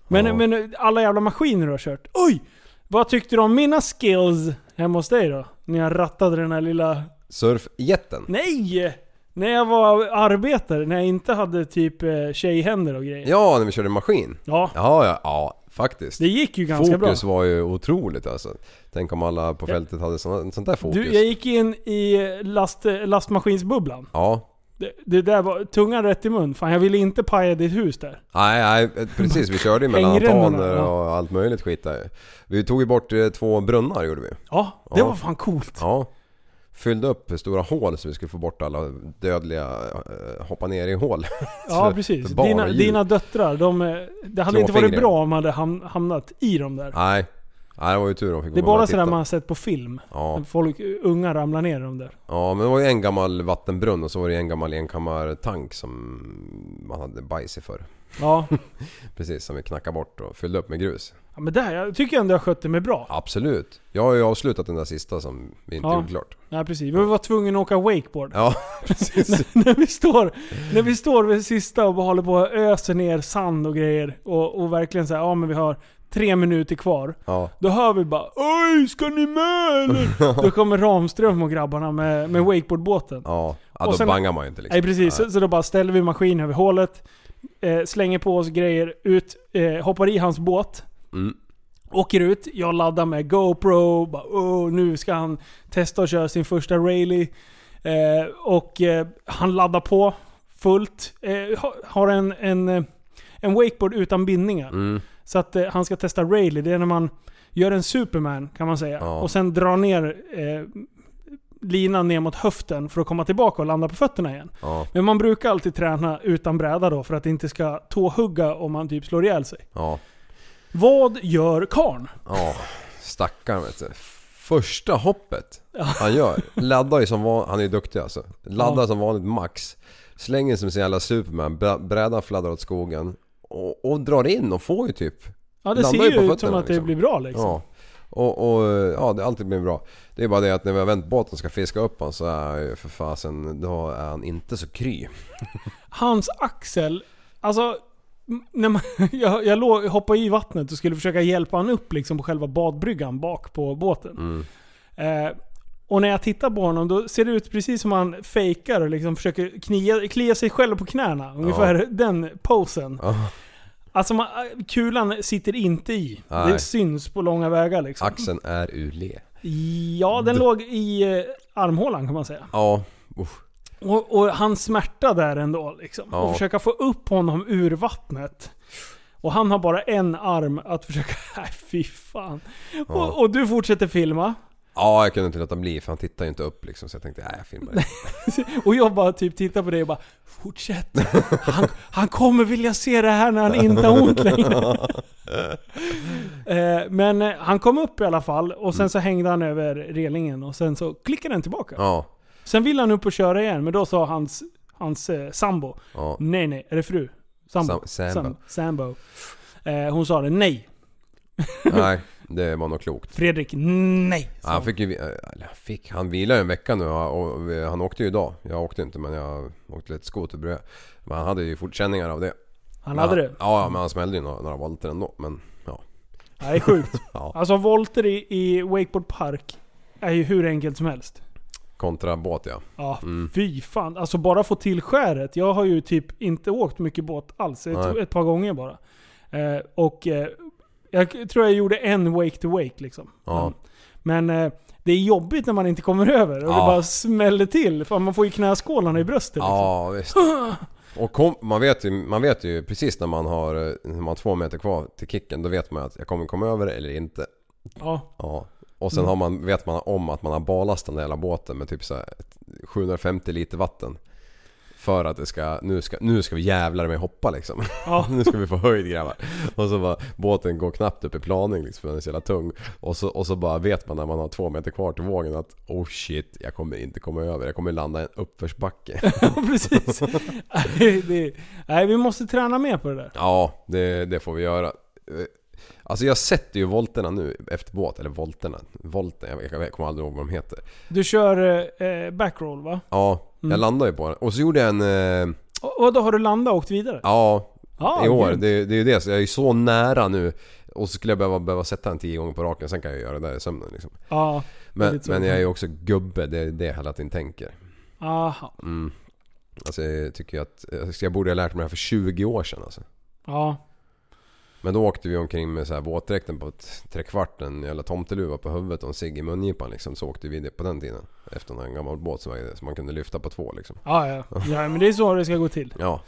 [SPEAKER 6] Men,
[SPEAKER 5] Ja.
[SPEAKER 6] men alla jävla maskiner du har kört. Oj! Vad tyckte du om mina skills hemma hos dig då? När jag rattade den här lilla...
[SPEAKER 5] Surfjätten?
[SPEAKER 6] Nej! När jag var arbetare, när jag inte hade typ eh, tjejhänder och grejer.
[SPEAKER 5] Ja, när vi körde maskin.
[SPEAKER 6] Ja.
[SPEAKER 5] Ja, ja, ja faktiskt.
[SPEAKER 6] Det gick ju ganska bra.
[SPEAKER 5] fokus var ju otroligt alltså. Tänk om alla på fältet hade sånt, sånt där fokus.
[SPEAKER 6] Du, jag gick in i last, lastmaskinsbubblan.
[SPEAKER 5] Ja.
[SPEAKER 6] Det, det där var tungan rätt i mun. Fan jag ville inte paja ditt hus där.
[SPEAKER 5] Nej, nej precis. Vi körde ju mellan
[SPEAKER 6] Hängrännorna,
[SPEAKER 5] altaner
[SPEAKER 6] ja.
[SPEAKER 5] och allt möjligt skit där. Vi tog ju bort eh, två brunnar gjorde vi.
[SPEAKER 6] Ja, det
[SPEAKER 5] Ja.
[SPEAKER 6] var fan coolt.
[SPEAKER 5] Ja. Fyllde upp stora hål så vi skulle få bort alla dödliga eh, hoppa ner i hål.
[SPEAKER 6] Ja
[SPEAKER 5] För-
[SPEAKER 6] precis.
[SPEAKER 5] för barn
[SPEAKER 6] Dina,
[SPEAKER 5] och djur.
[SPEAKER 6] dina döttrar, de, eh, det hade inte varit
[SPEAKER 5] Klåfingriga.
[SPEAKER 6] bra om man hade ham- hamnat i dem där.
[SPEAKER 5] Nej. Nej, det var ju tur de fick
[SPEAKER 6] Det är
[SPEAKER 5] vara med
[SPEAKER 6] bara
[SPEAKER 5] och
[SPEAKER 6] sådär
[SPEAKER 5] titta.
[SPEAKER 6] man har sett på film.
[SPEAKER 5] Ja.
[SPEAKER 6] Folk, unga ramlar ner i dem där.
[SPEAKER 5] ja, men det var ju en gammal vattenbrunn och så var det en gammal enkammartank som man hade bajs i för.
[SPEAKER 6] Ja.
[SPEAKER 5] Precis, som vi knackade bort och fyllde upp med grus.
[SPEAKER 6] ja men där, jag tycker ändå jag skötte mig bra.
[SPEAKER 5] Absolut. Jag har ju avslutat den där sista som vi inte
[SPEAKER 6] Ja.
[SPEAKER 5] gjorde klart.
[SPEAKER 6] Nej precis. Vi var tvungna att åka wakeboard.
[SPEAKER 5] Ja, precis.
[SPEAKER 6] när, vi står, när vi står vid sista och bara håller på att ösa ner sand och grejer och, och verkligen såhär, ja men vi har tre minuter kvar.
[SPEAKER 5] Ja.
[SPEAKER 6] Då hör vi bara Oj, ska ni med eller? Då kommer Ramström och grabbarna med, med wakeboardbåten.
[SPEAKER 5] Ja, ja
[SPEAKER 6] Och
[SPEAKER 5] då
[SPEAKER 6] sen-
[SPEAKER 5] bangar man ju inte liksom.
[SPEAKER 6] Nej precis, så, så då bara ställer vi maskinen över hålet, eh, slänger på oss grejer, ut, eh, hoppar i hans båt.
[SPEAKER 5] Mm.
[SPEAKER 6] Åker ut, jag laddar med GoPro, bara, oh, nu ska han testa att köra sin första rally. Eh, och eh, han laddar på fullt. Eh, ha- har en, en, eh, en wakeboard utan bindningar.
[SPEAKER 5] Mm.
[SPEAKER 6] Så att eh, han ska testa rally. Det är när man gör en Superman kan man säga.
[SPEAKER 5] Ja.
[SPEAKER 6] Och sen drar ner eh, linan ner mot höften för att komma tillbaka och landa på fötterna igen.
[SPEAKER 5] Ja,
[SPEAKER 6] Men man brukar alltid träna utan bräda då för att inte ska tåhugga om man typ slår ihjäl sig.
[SPEAKER 5] ja,
[SPEAKER 6] Vad gör karn?
[SPEAKER 5] ja. Stackarn vet du. Första hoppet han gör. Laddar ju som vanligt. Han är ju duktig alltså. Laddar
[SPEAKER 6] Ja.
[SPEAKER 5] som vanligt max. Slänger som sin jävla Superman. Bra- Brädan fladdrar åt skogen. Och, och drar in och får ju typ.
[SPEAKER 6] Ja det
[SPEAKER 5] Landar
[SPEAKER 6] ser
[SPEAKER 5] ju på
[SPEAKER 6] ju ut som
[SPEAKER 5] fötterna,
[SPEAKER 6] att det
[SPEAKER 5] liksom.
[SPEAKER 6] blir bra liksom.
[SPEAKER 5] Ja. Och, och ja, det har alltid blivit bra. Det är bara det att när vi har vänt båten och ska fiska upp honom så är ju för fasen, då är han inte så kry.
[SPEAKER 6] Hans axel, alltså... m- När man, jag jag låg, hoppade i vattnet och skulle försöka hjälpa han upp liksom på själva badbryggan bak på båten.
[SPEAKER 5] Mm.
[SPEAKER 6] Eh, och när jag tittar på honom då ser det ut precis som han fejkar och liksom försöker knia, klia sig själv på knäna. Ungefär den posen.
[SPEAKER 5] Ja.
[SPEAKER 6] Alltså man, kulan sitter inte i. Det
[SPEAKER 5] Nej.
[SPEAKER 6] syns på långa vägar liksom.
[SPEAKER 5] Axeln är ur le.
[SPEAKER 6] Ja, den låg i eh, armhålan kan man säga.
[SPEAKER 5] Ja, usch.
[SPEAKER 6] Och, och hans smärta där ändå liksom.
[SPEAKER 5] Ja.
[SPEAKER 6] Och försöka få upp honom ur vattnet. Och han har bara en arm att försöka... Nej fy fan. Och, och du fortsätter filma.
[SPEAKER 5] Ja, jag kunde inte låta bli för han tittar ju inte upp liksom så jag tänkte, nej jag filmar inte.
[SPEAKER 6] Och jag bara typ tittar på dig och bara Fortsätt! Han, han kommer vilja se det här när han inte har ont längre. Eh, Men eh, han kom upp i alla fall och sen så hängde han över relingen och sen så klickade den tillbaka.
[SPEAKER 5] Ja,
[SPEAKER 6] Sen ville han upp och köra igen men då sa hans, hans eh, sambo
[SPEAKER 5] ja.
[SPEAKER 6] Nej nej, är det fru? Sambo?
[SPEAKER 5] Sam- Sambo.
[SPEAKER 6] Sam- sambo. Eh, hon sa det, nej.
[SPEAKER 5] Nej, det var nog klokt.
[SPEAKER 6] Fredrik, nej. sa
[SPEAKER 5] Han fick ju, vi- äh, eller han fick, han vilar ju en vecka nu och och vi- han åkte ju idag. Jag åkte inte men jag åkte lite skoterbröd. Men han hade ju fortkänningar av det.
[SPEAKER 6] Han hade
[SPEAKER 5] Men
[SPEAKER 6] det.
[SPEAKER 5] Ja, men han smällde ju några, några volter ändå. Men ja.
[SPEAKER 6] Ja, Det är sjukt.
[SPEAKER 5] ja.
[SPEAKER 6] Alltså volter i, i Wakeboard Park är ju hur enkelt som helst.
[SPEAKER 5] Kontra båt ja.
[SPEAKER 6] Ja,
[SPEAKER 5] Mm.
[SPEAKER 6] fy fan. Alltså bara få till skäret. Jag har ju typ inte åkt mycket båt alls. Ett,
[SPEAKER 5] Nej.
[SPEAKER 6] ett par gånger bara. Eh, och eh, jag tror jag gjorde en wake to wake liksom.
[SPEAKER 5] Ja.
[SPEAKER 6] Men eh, det är jobbigt när man inte kommer över och det
[SPEAKER 5] Ja.
[SPEAKER 6] bara smäller till. För man får ju knäskålarna i bröstet. Liksom.
[SPEAKER 5] Ja visst. Och kom, man, vet ju, man vet ju precis när man har, eh, när man har två meter kvar till kicken. Då vet man att jag kommer komma över eller inte.
[SPEAKER 6] liksom. Ja.
[SPEAKER 5] Ja. Och
[SPEAKER 6] Mm.
[SPEAKER 5] sen har man, vet man om att man har ballastat den där hela båten med typ så här 750 liter vatten. För att det ska, nu ska, nu ska vi jävlar med hoppa liksom.
[SPEAKER 6] Ja.
[SPEAKER 5] nu ska vi få höjd grabbar. Och så bara, båten går knappt upp i planing liksom för den är så jävla tung. Och så, och så bara vet man när man har två meter kvar till vågen att oh shit, jag kommer inte komma över. Jag kommer landa i en uppförsbacke.
[SPEAKER 6] Ja, precis. Nej, det, nej, vi måste träna mer på det där.
[SPEAKER 5] ja, det, det får vi göra. Eh, Alltså jag sätter ju volterna nu efter båt, eller volterna. Volten, jag, vet- jag kommer aldrig ihåg vad de heter.
[SPEAKER 6] Du kör eh, eh, backroll va?
[SPEAKER 5] Mm. Ja, jag landade ju på den. Och så gjorde jag en... Eh,
[SPEAKER 6] Och, och då har du landat och åkt vidare?
[SPEAKER 5] ja,
[SPEAKER 6] Ja,
[SPEAKER 5] i år.
[SPEAKER 6] grymt.
[SPEAKER 5] Det, det är ju det, så jag är ju så nära nu. Och så skulle jag behöva, behöva sätta den tio gånger på raken, sen kan jag göra det där i sömnen liksom.
[SPEAKER 6] Ja,
[SPEAKER 5] Men,
[SPEAKER 6] Väldigt så.
[SPEAKER 5] men jag är ju också gubbe, det är det jag hela tiden tänker.
[SPEAKER 6] aha.
[SPEAKER 5] Mm. Alltså jag tycker ju att, alltså, jag borde ha lärt mig det här för 20 år sedan alltså.
[SPEAKER 6] Ja.
[SPEAKER 5] Men då åkte vi omkring med så här våtdräkten på ett trekvart, en jävla tomteluva på huvudet och en cigg i mungipan liksom. Så åkte vi det på den tiden. Efter en gammal båt som vägde, som man kunde lyfta på två liksom.
[SPEAKER 6] Ja, ja. ja, men det är så det ska gå till.
[SPEAKER 5] Ja,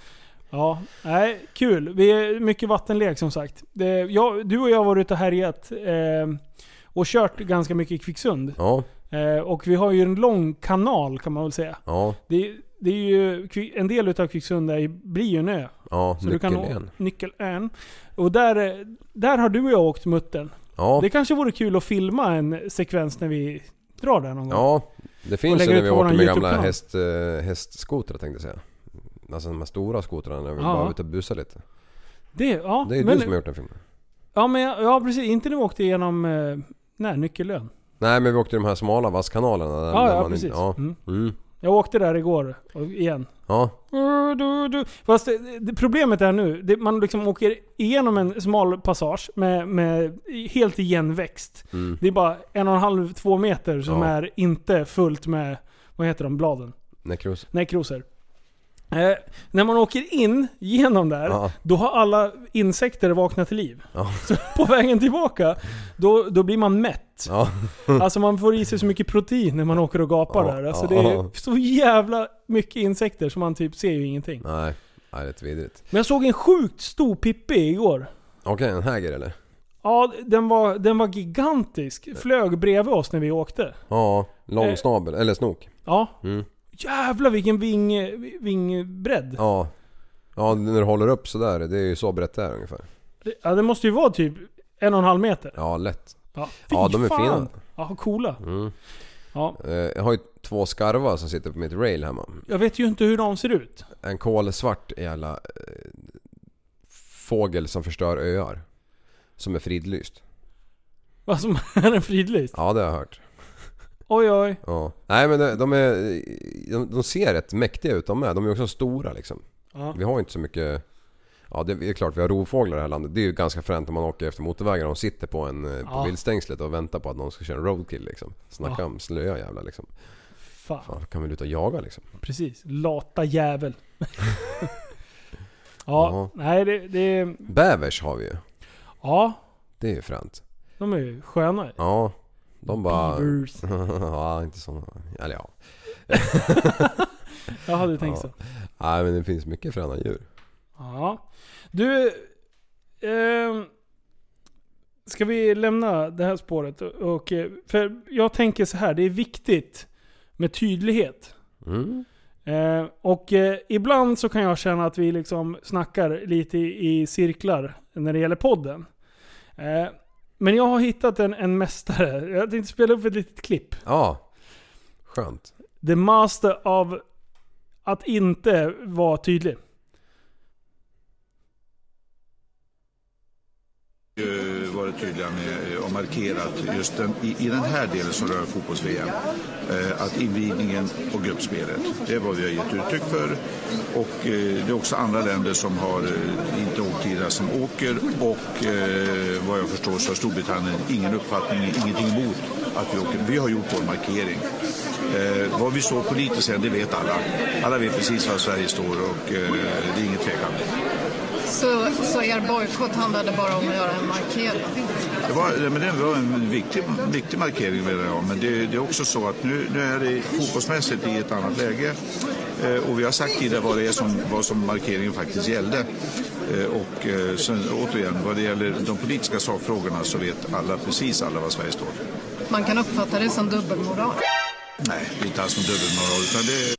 [SPEAKER 6] Ja, nej, kul. Vi är mycket vattenlek som sagt. Det, jag, du och jag har varit ute och härjat eh, och kört ganska mycket i Kvicksund.
[SPEAKER 5] ja,
[SPEAKER 6] Eh, och vi har ju en lång kanal kan man väl säga.
[SPEAKER 5] ja,
[SPEAKER 6] Det, det är ju, Kvi- en del utav Kvicksund är, ju- blir ju en ö.
[SPEAKER 5] ja.
[SPEAKER 6] Så du kan å-
[SPEAKER 5] Nyckeln.
[SPEAKER 6] Nyckelön. Och där, eh, där har du och jag åkt muttern.
[SPEAKER 5] Ja,
[SPEAKER 6] Det kanske vore kul att filma en sekvens när vi drar där någon gång.
[SPEAKER 5] ja. Det
[SPEAKER 6] Och
[SPEAKER 5] finns ju
[SPEAKER 6] lägger
[SPEAKER 5] när
[SPEAKER 6] ut
[SPEAKER 5] vi
[SPEAKER 6] på
[SPEAKER 5] åker
[SPEAKER 6] våran
[SPEAKER 5] med gamla
[SPEAKER 6] YouTube-kanal.
[SPEAKER 5] häst, eh, hästskotrar tänkte jag säga. Alltså de här stora skotrarna när vi
[SPEAKER 6] Ja.
[SPEAKER 5] bara är ute och busar lite.
[SPEAKER 6] Det, ja,
[SPEAKER 5] Det är ju
[SPEAKER 6] men,
[SPEAKER 5] du som har gjort den filmen.
[SPEAKER 6] Ja, men, jag- ja precis. Inte när vi åkte igenom eh, nej, Nyckelön.
[SPEAKER 5] Nej men vi åkte de här smala vasskanalerna. Där,
[SPEAKER 6] Ja,
[SPEAKER 5] där
[SPEAKER 6] ja
[SPEAKER 5] man,
[SPEAKER 6] precis.
[SPEAKER 5] inte- Ja.
[SPEAKER 6] Mm.
[SPEAKER 5] Mm.
[SPEAKER 6] Jag åkte där igår och igen.
[SPEAKER 5] ja,
[SPEAKER 6] Du, du, du. Fast det, det, problemet är nu, det, man liksom åker igenom en smal passage med, med helt igenväxt.
[SPEAKER 5] Mm.
[SPEAKER 6] Det är bara en och en halv, två meter som
[SPEAKER 5] Ja.
[SPEAKER 6] är inte fullt med, vad heter de, bladen?
[SPEAKER 5] nekros.
[SPEAKER 6] Nej, krosor. Eh, när man åker in genom där,
[SPEAKER 5] Ja.
[SPEAKER 6] då har alla insekter vaknat till liv.
[SPEAKER 5] Ja.
[SPEAKER 6] Så på vägen tillbaka, då, då blir man mätt.
[SPEAKER 5] Ja.
[SPEAKER 6] Alltså man får i sig så mycket protein när man åker och gapar
[SPEAKER 5] Mm. Ja,
[SPEAKER 6] där. Alltså
[SPEAKER 5] ja,
[SPEAKER 6] det är
[SPEAKER 5] ja.
[SPEAKER 6] så jävla mycket insekter så man typ ser ju ingenting.
[SPEAKER 5] Nej, nej det är lite vidrigt.
[SPEAKER 6] Men jag såg en sjukt stor pippi igår.
[SPEAKER 5] Okej, en häger eller?
[SPEAKER 6] Ja, den var, den var gigantisk. Flög bredvid oss när vi åkte.
[SPEAKER 5] Ja,
[SPEAKER 6] Eh.
[SPEAKER 5] lång snabel, eller snok.
[SPEAKER 6] Ja.
[SPEAKER 5] Mm.
[SPEAKER 6] Jävlar vilken ving, vingbredd.
[SPEAKER 5] Ja. Ja, när du håller upp sådär, det är ju så brett det är ungefär.
[SPEAKER 6] Det- Ja, den måste ju vara typ en och en halv meter.
[SPEAKER 5] Ja, lätt.
[SPEAKER 6] Ja, fy
[SPEAKER 5] Ja, de är
[SPEAKER 6] fan.
[SPEAKER 5] fina.
[SPEAKER 6] Ja, coola.
[SPEAKER 5] Mm.
[SPEAKER 6] Ja.
[SPEAKER 5] Eh, Jag har ju två skarvar som sitter på mitt rail hemma.
[SPEAKER 6] Jag vet ju inte hur de ser ut.
[SPEAKER 5] En kolsvart jävla eh, fågel som förstör öar. Som är fridlyst.
[SPEAKER 6] Vad som är en fridlyst.
[SPEAKER 5] Ja, det har jag hört.
[SPEAKER 6] Oj oj.
[SPEAKER 5] Ja. Nej men de- de är... De, de ser rätt mäktiga ut de med. De är ju också stora liksom.
[SPEAKER 6] Ja.
[SPEAKER 5] Vi har ju inte så mycket... Ja det är klart vi har rovfåglar i det här landet. Det är ju ganska fränt om man åker efter motorvägar och de sitter på, en, eh, på
[SPEAKER 6] Ja.
[SPEAKER 5] viltstängslet och väntar på att någon ska köra en roadkill liksom. Snacka
[SPEAKER 6] Ja.
[SPEAKER 5] om slöa jävlar liksom.
[SPEAKER 6] Fan.
[SPEAKER 5] Fan, kan vi luta och jaga liksom?
[SPEAKER 6] Precis. Lata jävel. ja,
[SPEAKER 5] Ja.
[SPEAKER 6] nej det, det...
[SPEAKER 5] Bävers har vi ju.
[SPEAKER 6] Ja,
[SPEAKER 5] Det är ju fränt.
[SPEAKER 6] de är ju sköna.
[SPEAKER 5] Ja. De bara...
[SPEAKER 6] Beavers.
[SPEAKER 5] ja, inte såna. Eller ja.
[SPEAKER 6] Jag hade tänkt så.
[SPEAKER 5] Nej men det finns mycket fräna djur.
[SPEAKER 6] Ja. Du... ehm, ska vi lämna det här spåret? Och, och, eh, för jag tänker så här, det är viktigt med tydlighet.
[SPEAKER 5] Mm.
[SPEAKER 6] Eh, och eh, ibland så kan jag känna att vi liksom snackar lite i, i cirklar när det gäller podden. Eh, men jag har hittat en, en mästare. Jag tänkte spela upp ett litet klipp.
[SPEAKER 5] Ja. Skönt.
[SPEAKER 6] The master av att inte vara tydlig.
[SPEAKER 8] ju varit tydliga med eh, och markerat just den, i, i den här delen som rör fotbolls-VM. Eh, att invigningen och gruppspelet, det är vad vi har gett uttryck för. Och eh, det är också andra länder som har eh, inte åkt till det som åker och eh, vad jag förstår så har Storbritannien ingen uppfattning, ingenting emot att vi åker. Vi har gjort vår markering. Eh, vad vi står politiskt sen, det vet alla. Alla vet precis var Sverige står och eh, det är inget tvekan.
[SPEAKER 9] Så, så er bojkott handlade bara om att göra en markering?
[SPEAKER 8] Det var, nej, men det var en viktig, viktig markering menar jag. Men det, det är också så att nu, nu är det fotbollsmässigt i ett annat läge. Eh, och vi har sagt tidigare vad det är som, vad som markeringen faktiskt gällde. Eh, och eh, sen, återigen, vad det gäller de politiska sakfrågorna så vet alla precis alla vad Sverige står för.
[SPEAKER 9] Man kan uppfatta det som dubbelmoral.
[SPEAKER 8] Nej, det är inte alls som dubbelmoral utan det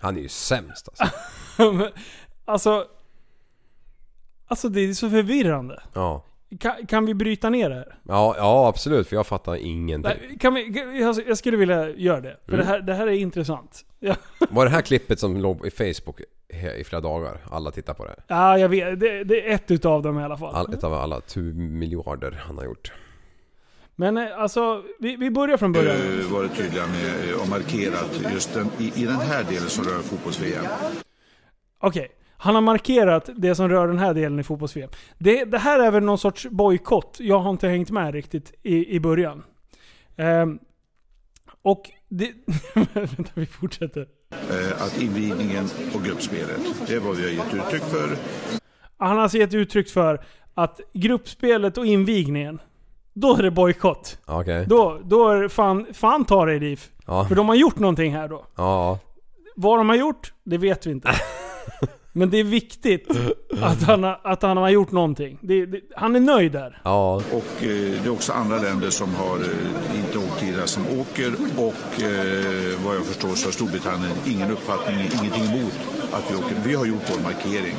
[SPEAKER 5] Han är ju sämst alltså.
[SPEAKER 6] Men, alltså... Alltså det är så förvirrande.
[SPEAKER 5] Ja.
[SPEAKER 6] Kan, kan vi bryta ner det här?
[SPEAKER 5] Ja, ja absolut för jag fattar ingenting.
[SPEAKER 6] Nej, Kan vi, kan- alltså, jag- jag skulle vilja göra det. För det, här, det här är intressant. Ja,
[SPEAKER 5] Var det här klippet som låg i Facebook he- i flera dagar? Alla tittar på det. här.
[SPEAKER 6] ja jag vet. Det, det är ett utav dem i alla fall.
[SPEAKER 5] All, ett av alla tu miljarder han har gjort.
[SPEAKER 6] Men eh, alltså, vi, vi börjar från början.
[SPEAKER 8] eh, varit tydliga med eh, och markerat just den, i, i den här delen som rör fotbolls-VM.
[SPEAKER 6] Okej. Han har markerat det som rör den här delen i fotbolls -VM. det, det här är väl någon sorts bojkott. Jag har inte hängt med riktigt i, i början. Ehm, och det... vänta, vi fortsätter.
[SPEAKER 8] eh, att invigningen och gruppspelet, det är vad vi har gett uttryck för.
[SPEAKER 6] Han har alltså gett uttryck för att gruppspelet och invigningen, då är det bojkott.
[SPEAKER 5] Ja, Okej.
[SPEAKER 6] Då, då är det fan, fan ta dig DIF.
[SPEAKER 5] Ja.
[SPEAKER 6] För de har gjort någonting här då.
[SPEAKER 5] Ja.
[SPEAKER 6] Vad de har gjort, det vet vi inte. Men det är viktigt att han, har- att han har gjort någonting. Det, det, han är nöjd där.
[SPEAKER 5] Ja.
[SPEAKER 8] Och eh, det är också andra länder som har eh, inte åkt till det som åker och eh, vad jag förstår så har Storbritannien ingen uppfattning, ingenting emot att vi åker. Vi har gjort vår markering.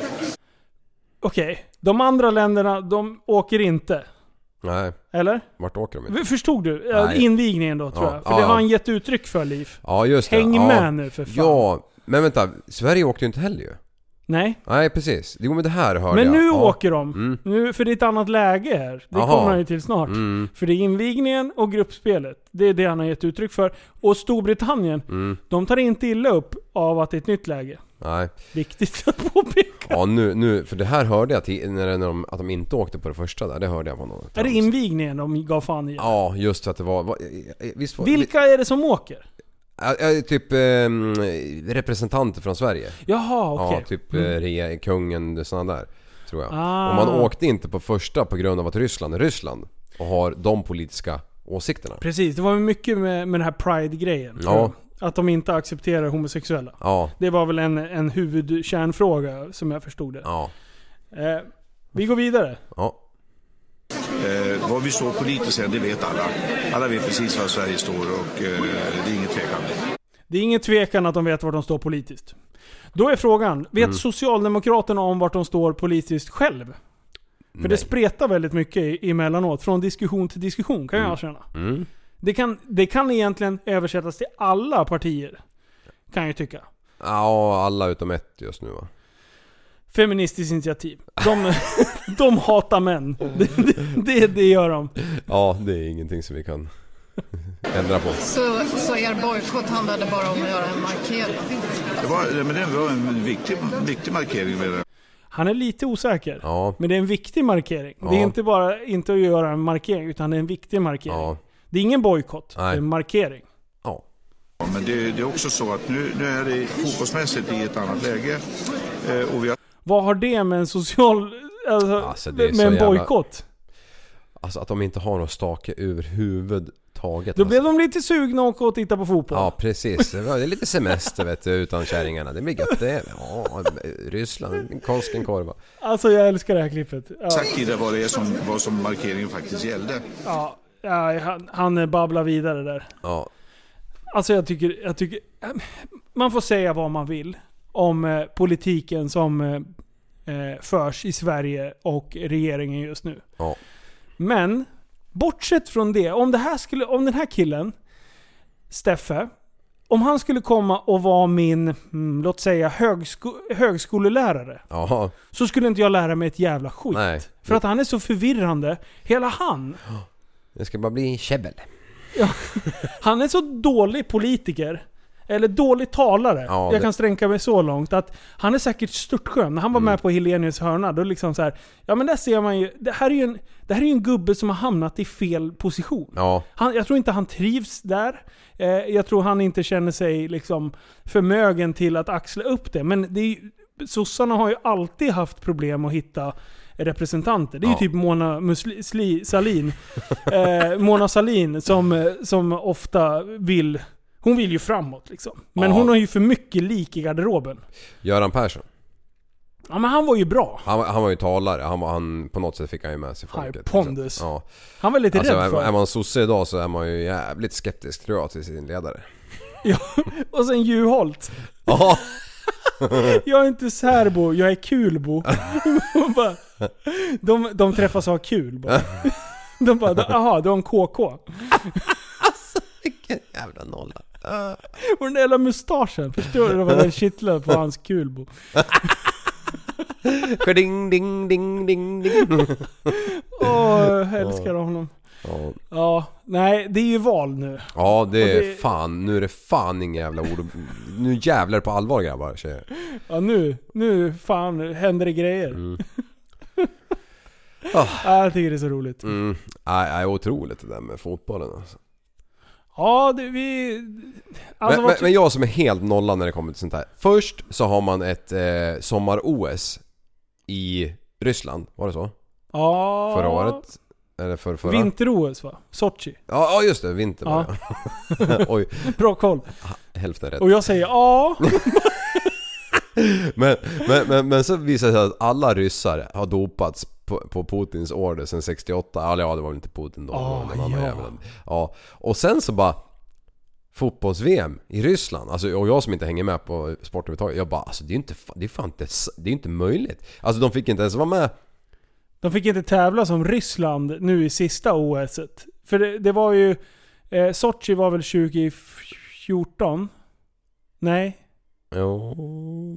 [SPEAKER 6] Okej, de andra länderna, de åker inte.
[SPEAKER 5] Nej.
[SPEAKER 6] Eller?
[SPEAKER 5] Vart åker de? inte?
[SPEAKER 6] V- Förstod du? Ja,
[SPEAKER 5] Nej.
[SPEAKER 6] Invigningen då tror
[SPEAKER 5] Ja,
[SPEAKER 6] jag. För
[SPEAKER 5] ja,
[SPEAKER 6] det
[SPEAKER 5] ja.
[SPEAKER 6] har han gett uttryck för, Liv.
[SPEAKER 5] Ja, just det.
[SPEAKER 6] Häng
[SPEAKER 5] ja.
[SPEAKER 6] med nu för fan.
[SPEAKER 5] Ja. Men vänta. Sverige åkte ju inte heller ju.
[SPEAKER 6] Nej.
[SPEAKER 5] Nej, precis. Jo, men det här hörde
[SPEAKER 6] Men
[SPEAKER 5] jag.
[SPEAKER 6] nu
[SPEAKER 5] ja. Mm.
[SPEAKER 6] åker de. Nu, för det är ett annat läge här. Det
[SPEAKER 5] Aha.
[SPEAKER 6] kommer han ju till snart.
[SPEAKER 5] Mm.
[SPEAKER 6] För det är invigningen och gruppspelet. Det är det han har gett uttryck för. Och Storbritannien,
[SPEAKER 5] Mm.
[SPEAKER 6] de tar inte illa upp av att det är ett nytt läge.
[SPEAKER 5] Nej.
[SPEAKER 6] Viktigt att påpeka.
[SPEAKER 5] Ja, nu, nu. För det här hörde jag till, när, när de, att de inte åkte på det första där. Det hörde jag på någon.
[SPEAKER 6] Är det invigningen de gav fan i?
[SPEAKER 5] Ja, just för att det var... var visst var
[SPEAKER 6] Vilka är det som åker?
[SPEAKER 5] Ja, ja, typ ehm, representanter från Sverige.
[SPEAKER 6] Jaha, okej.
[SPEAKER 5] Ja, typ mm. re, kungen, sådana där. Tror jag.
[SPEAKER 6] Ah.
[SPEAKER 5] Och man åkte inte på första på grund av att Ryssland är Ryssland och har de politiska åsikterna.
[SPEAKER 6] Precis, det var väl mycket med, med den här pride-grejen. tror
[SPEAKER 5] Ja.
[SPEAKER 6] jag. Att de inte accepterar homosexuella.
[SPEAKER 5] Ja,
[SPEAKER 6] Det var väl en, en huvudkärnfråga som jag förstod det.
[SPEAKER 5] ja,
[SPEAKER 6] Eh, vi går vidare.
[SPEAKER 5] ja.
[SPEAKER 8] Eh, vad vi står politiskt är, det vet alla. Alla vet precis var Sverige står och eh, det är inget tvekan.
[SPEAKER 6] Det är ingen tvekan att de vet vart de står politiskt. Då är frågan, vet Socialdemokraterna om vart de står politiskt själv? För det spretar väldigt mycket i- emellanåt, från diskussion till diskussion kan jag känna. Det, kan, det kan egentligen översättas till alla partier, kan jag ju tycka.
[SPEAKER 5] Ja, alla utom ett just nu va?
[SPEAKER 6] Feministiskt initiativ. De, de hatar män. Det, det- det, det gör de.
[SPEAKER 5] Ja, det är ingenting som vi kan ändra på.
[SPEAKER 9] Så, så er bojkott handlade bara om att göra en markering.
[SPEAKER 8] Det var, eh, men det var en viktig, viktig markering. Med det.
[SPEAKER 6] Han är lite osäker.
[SPEAKER 5] Ja,
[SPEAKER 6] Men det är en viktig markering. Det
[SPEAKER 5] Ja.
[SPEAKER 6] är inte bara inte att göra en markering, utan det är en viktig markering.
[SPEAKER 5] ja,
[SPEAKER 6] Det är ingen bojkott, det
[SPEAKER 5] Nej.
[SPEAKER 6] är en markering.
[SPEAKER 5] ja.
[SPEAKER 8] Ja, Men det, det är också så att nu, nu är det fotbollsmässigt i ett annat läge eh, och vi har
[SPEAKER 6] Vad har det med en social... Alltså,
[SPEAKER 5] Alltså, det är
[SPEAKER 6] med
[SPEAKER 5] så
[SPEAKER 6] en
[SPEAKER 5] jävla-
[SPEAKER 6] bojkott?
[SPEAKER 5] Alltså att de inte har någon stake överhuvudtaget.
[SPEAKER 6] Då
[SPEAKER 5] Alltså.
[SPEAKER 6] blev de lite sugna och åka och titta på fotboll.
[SPEAKER 5] Ja precis, det var- det är lite semester vet du utan kärringarna. Det blir gött det. Ja, Ryssland, Konskenkorva.
[SPEAKER 6] Alltså jag älskar det här klippet. Ja,
[SPEAKER 8] sagt tidigare vad det är som, vad som markeringen faktiskt gällde.
[SPEAKER 6] ja, ja, han, han babblar vidare där.
[SPEAKER 5] Ja,
[SPEAKER 6] Alltså jag tycker, jag tycker... Man får säga vad man vill om eh, politiken som eh, eh, förs i Sverige och regeringen just nu.
[SPEAKER 5] ja.
[SPEAKER 6] Men, bortsett från det. Om, det här skulle, om den här killen, Steffe, om han skulle komma och vara min, mm, låt säga högsko, högskolelärare.
[SPEAKER 5] Ja,
[SPEAKER 6] Så skulle inte jag lära mig ett jävla skit.
[SPEAKER 5] Nej.
[SPEAKER 6] För att han är så förvirrande. Hela han.
[SPEAKER 5] det ska bara bli käbbel.
[SPEAKER 6] Han är så dålig politiker. Eller dålig talare.
[SPEAKER 5] Ja,
[SPEAKER 6] jag
[SPEAKER 5] det-
[SPEAKER 6] kan stränka mig så långt att han är säkert störtskön. När han var
[SPEAKER 5] Mm.
[SPEAKER 6] med på Helenius hörna, då liksom så här, Ja men där ser man ju. Det här är ju en, det här är ju en gubbe som har hamnat i fel position.
[SPEAKER 5] Ja,
[SPEAKER 6] Han, jag tror inte han trivs där. Eh, jag tror han inte känner sig liksom förmögen till att axla upp det. Men det är, ju- sossarna har ju alltid haft problem att hitta representanter. Det är
[SPEAKER 5] Ja.
[SPEAKER 6] ju typ Mona Musli, Sli, Salin. Eh, Mona Salin som, eh, som ofta vill... Hon vill ju framåt liksom. Men
[SPEAKER 5] Ja.
[SPEAKER 6] hon har ju för mycket lik i garderoben.
[SPEAKER 5] Göran Persson.
[SPEAKER 6] Ja men han var ju bra.
[SPEAKER 5] Han, var- han var ju talare, han, var- han, på något sätt fick han ju med sig folket. liksom.
[SPEAKER 6] pondus.
[SPEAKER 5] Ja.
[SPEAKER 6] Han var lite
[SPEAKER 5] Alltså,
[SPEAKER 6] rädd
[SPEAKER 5] är,
[SPEAKER 6] för.
[SPEAKER 5] är man sosse idag så är man ju jävligt skeptisk tror jag till sin ledare.
[SPEAKER 6] Ja, och sen Juholt.
[SPEAKER 5] Ja,
[SPEAKER 6] Jag är inte särbo, jag är kulbo. Hon bara, de, de träffas och har kul bara. De bara, aha, du har en KK. Och
[SPEAKER 5] vilken jävla nolla.
[SPEAKER 6] den där jävla mustaschen, förstår du vad den kittlar på hans kulbo?
[SPEAKER 5] Ding, ding, ding, ding, ding.
[SPEAKER 6] Åh, jag älskar honom.
[SPEAKER 5] Ja,
[SPEAKER 6] Ja, nej det är ju val nu.
[SPEAKER 5] ja det
[SPEAKER 6] Och
[SPEAKER 5] är
[SPEAKER 6] det-
[SPEAKER 5] fan. Nu är det fan inga jävla ord. Nu jävlar på allvar grabbar tjejer.
[SPEAKER 6] Ja nu, nu fan händer det grejer.
[SPEAKER 5] Mm. Ah.
[SPEAKER 6] Ja, jag tycker det är så roligt.
[SPEAKER 5] Mm. Nej, nej, otroligt det där med fotbollen alltså.
[SPEAKER 6] Ja, det, vi... Alltså,
[SPEAKER 5] men,
[SPEAKER 6] vad
[SPEAKER 5] men, men jag som är helt nollad när det kommer till sånt här. Först så har man ett eh, sommar-OS i Ryssland, var det så?
[SPEAKER 6] ja,
[SPEAKER 5] Förra året? Eller för, förra?
[SPEAKER 6] Vinter-OS va? Sochi.
[SPEAKER 5] Ja, ja, just det, vinter var
[SPEAKER 6] Ja.
[SPEAKER 5] det. Oj,
[SPEAKER 6] Bra koll.
[SPEAKER 5] hälften rätt.
[SPEAKER 6] Och jag säger ja.
[SPEAKER 5] Men, men, men, men så visar det sig att alla ryssar har dopats på, på Putins order sedan 68. Eller ja, det var väl inte Putin då. det var
[SPEAKER 6] Ah,
[SPEAKER 5] någon annan
[SPEAKER 6] ja.
[SPEAKER 5] jävel. ja. Och sen så bara... Fotbolls-VM i Ryssland. Alltså, och jag som inte hänger med på sport överhuvudtaget. Jag bara alltså det är ju inte, fa- det är fan inte, s- det är inte möjligt. Alltså de fick inte ens vara med.
[SPEAKER 6] De fick inte tävla som Ryssland nu i sista OS. et. För det, det var ju... Eh, Sochi var väl 2014? Nej,
[SPEAKER 5] Jo,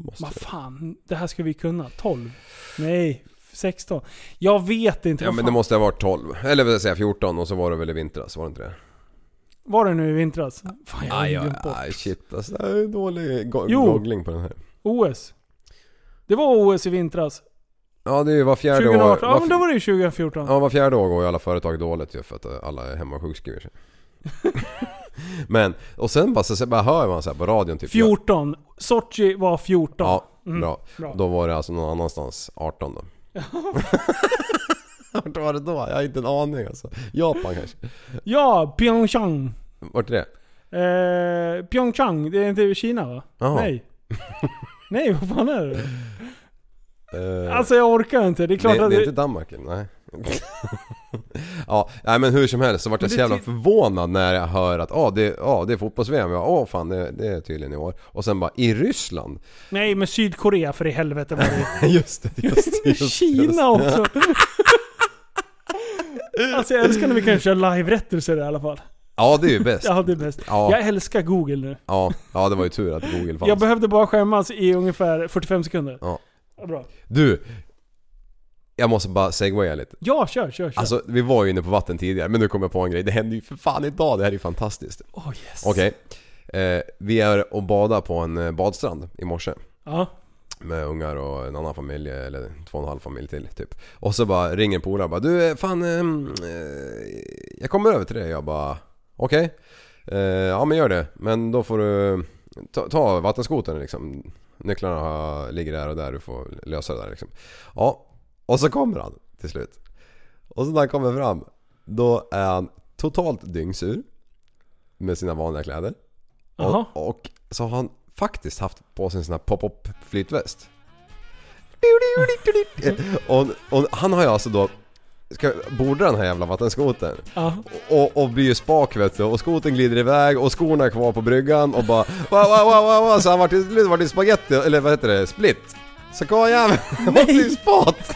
[SPEAKER 5] måste
[SPEAKER 6] vad fan. Det här ska vi kunna. 12? Nej, 16. Jag vet inte.
[SPEAKER 5] Ja
[SPEAKER 6] vad
[SPEAKER 5] men
[SPEAKER 6] fan.
[SPEAKER 5] det måste ha varit 12. Eller vill jag säga 14 och så var det väl i vintras, var det inte det?
[SPEAKER 6] Var det nu i vintras? Fan, jag har
[SPEAKER 5] Aj,
[SPEAKER 6] ju
[SPEAKER 5] aj,
[SPEAKER 6] glömt bort.
[SPEAKER 5] aj shit alltså. Det är dålig go-
[SPEAKER 6] Jo.
[SPEAKER 5] googling på den här.
[SPEAKER 6] OS. Det var OS i vintras.
[SPEAKER 5] Ja det är ju var fjärde
[SPEAKER 6] 2018.
[SPEAKER 5] år.
[SPEAKER 6] Ja men då var det ju 2014.
[SPEAKER 5] Ja, var fjärde år går ju alla företag dåligt ju för att eh, alla är hemma och sjukskriver sig. Men, och sen bara, så, så bara hör man så här på radion typ.
[SPEAKER 6] 14. Sochi var 14.
[SPEAKER 5] Ja, bra.
[SPEAKER 6] Mm, bra.
[SPEAKER 5] Då var det alltså någon annanstans 18 då. Vart var det då? Jag har inte en aning alltså. Japan kanske?
[SPEAKER 6] Ja, Pyeongchang.
[SPEAKER 5] Vart är det?
[SPEAKER 6] Eh, Pyeongchang, det är inte Kina va?
[SPEAKER 5] Jaha.
[SPEAKER 6] Nej. Nej, vad fan är det?
[SPEAKER 5] Eh,
[SPEAKER 6] Alltså jag orkar inte. Det är klart
[SPEAKER 5] det,
[SPEAKER 6] att...
[SPEAKER 5] det är
[SPEAKER 6] Det,
[SPEAKER 5] inte Danmark eller? Nej. ja, nej men hur som helst så vart jag
[SPEAKER 6] Men
[SPEAKER 5] så
[SPEAKER 6] det
[SPEAKER 5] jävla
[SPEAKER 6] ty-
[SPEAKER 5] förvånad när jag hör att ah, det, ah, det är fotbolls-VM. Jag bara, Åh fan det, det är tydligen i år. Och sen bara i Ryssland.
[SPEAKER 6] Nej, men Sydkorea för i helvete var det
[SPEAKER 5] just det, just det. Just, det, just det.
[SPEAKER 6] Kina också. alltså jag älskar när vi kan köra live-rättelser i alla fall.
[SPEAKER 5] Ja det är ju bäst.
[SPEAKER 6] Ja, det är bäst.
[SPEAKER 5] Ja.
[SPEAKER 6] Jag älskar Google nu.
[SPEAKER 5] Ja, ja det var ju tur att Google fanns.
[SPEAKER 6] Jag behövde bara skämmas i ungefär 45 sekunder.
[SPEAKER 5] Ja.
[SPEAKER 6] Bra.
[SPEAKER 5] du! Jag måste bara segwaya lite.
[SPEAKER 6] Ja, kör, kör, kör.
[SPEAKER 5] Alltså vi var ju inne på vatten tidigare men nu kom jag på en grej. Det hände ju för fan idag, det här är ju fantastiskt.
[SPEAKER 6] oh, yes.
[SPEAKER 5] Okej. Eh, vi är och badar på en eh, badstrand i morse.
[SPEAKER 6] Ja.
[SPEAKER 5] Med ungar och en annan familj eller två och en halv familj till typ. Och så bara ringer en polare och bara du eh, fan ehm, eh, jag kommer över till dig. Jag bara okej. Eh, ja men gör det. Men då får du ta, ta vattenskotern liksom. Nycklarna har- ligger där och där. Du får lösa det där liksom. Ja. Och så kommer han till slut. Och så när han kommer fram. Då är han totalt dyngsur. Med sina vanliga kläder.
[SPEAKER 6] Jaha.
[SPEAKER 5] Och, och så har han faktiskt haft på sig en sån här pop-up flytväst. och, och han har ju alltså då Ska, borde den här jävla vattenskotern.
[SPEAKER 6] Ja.
[SPEAKER 5] Och, och blir ju spak vet du. Och skoten glider iväg och skorna är kvar på bryggan och bara wow, wow, wow, wow, wow. Så han vart till slut vart det spagetti, eller vad heter det, split. Så karljäveln vart ju spat!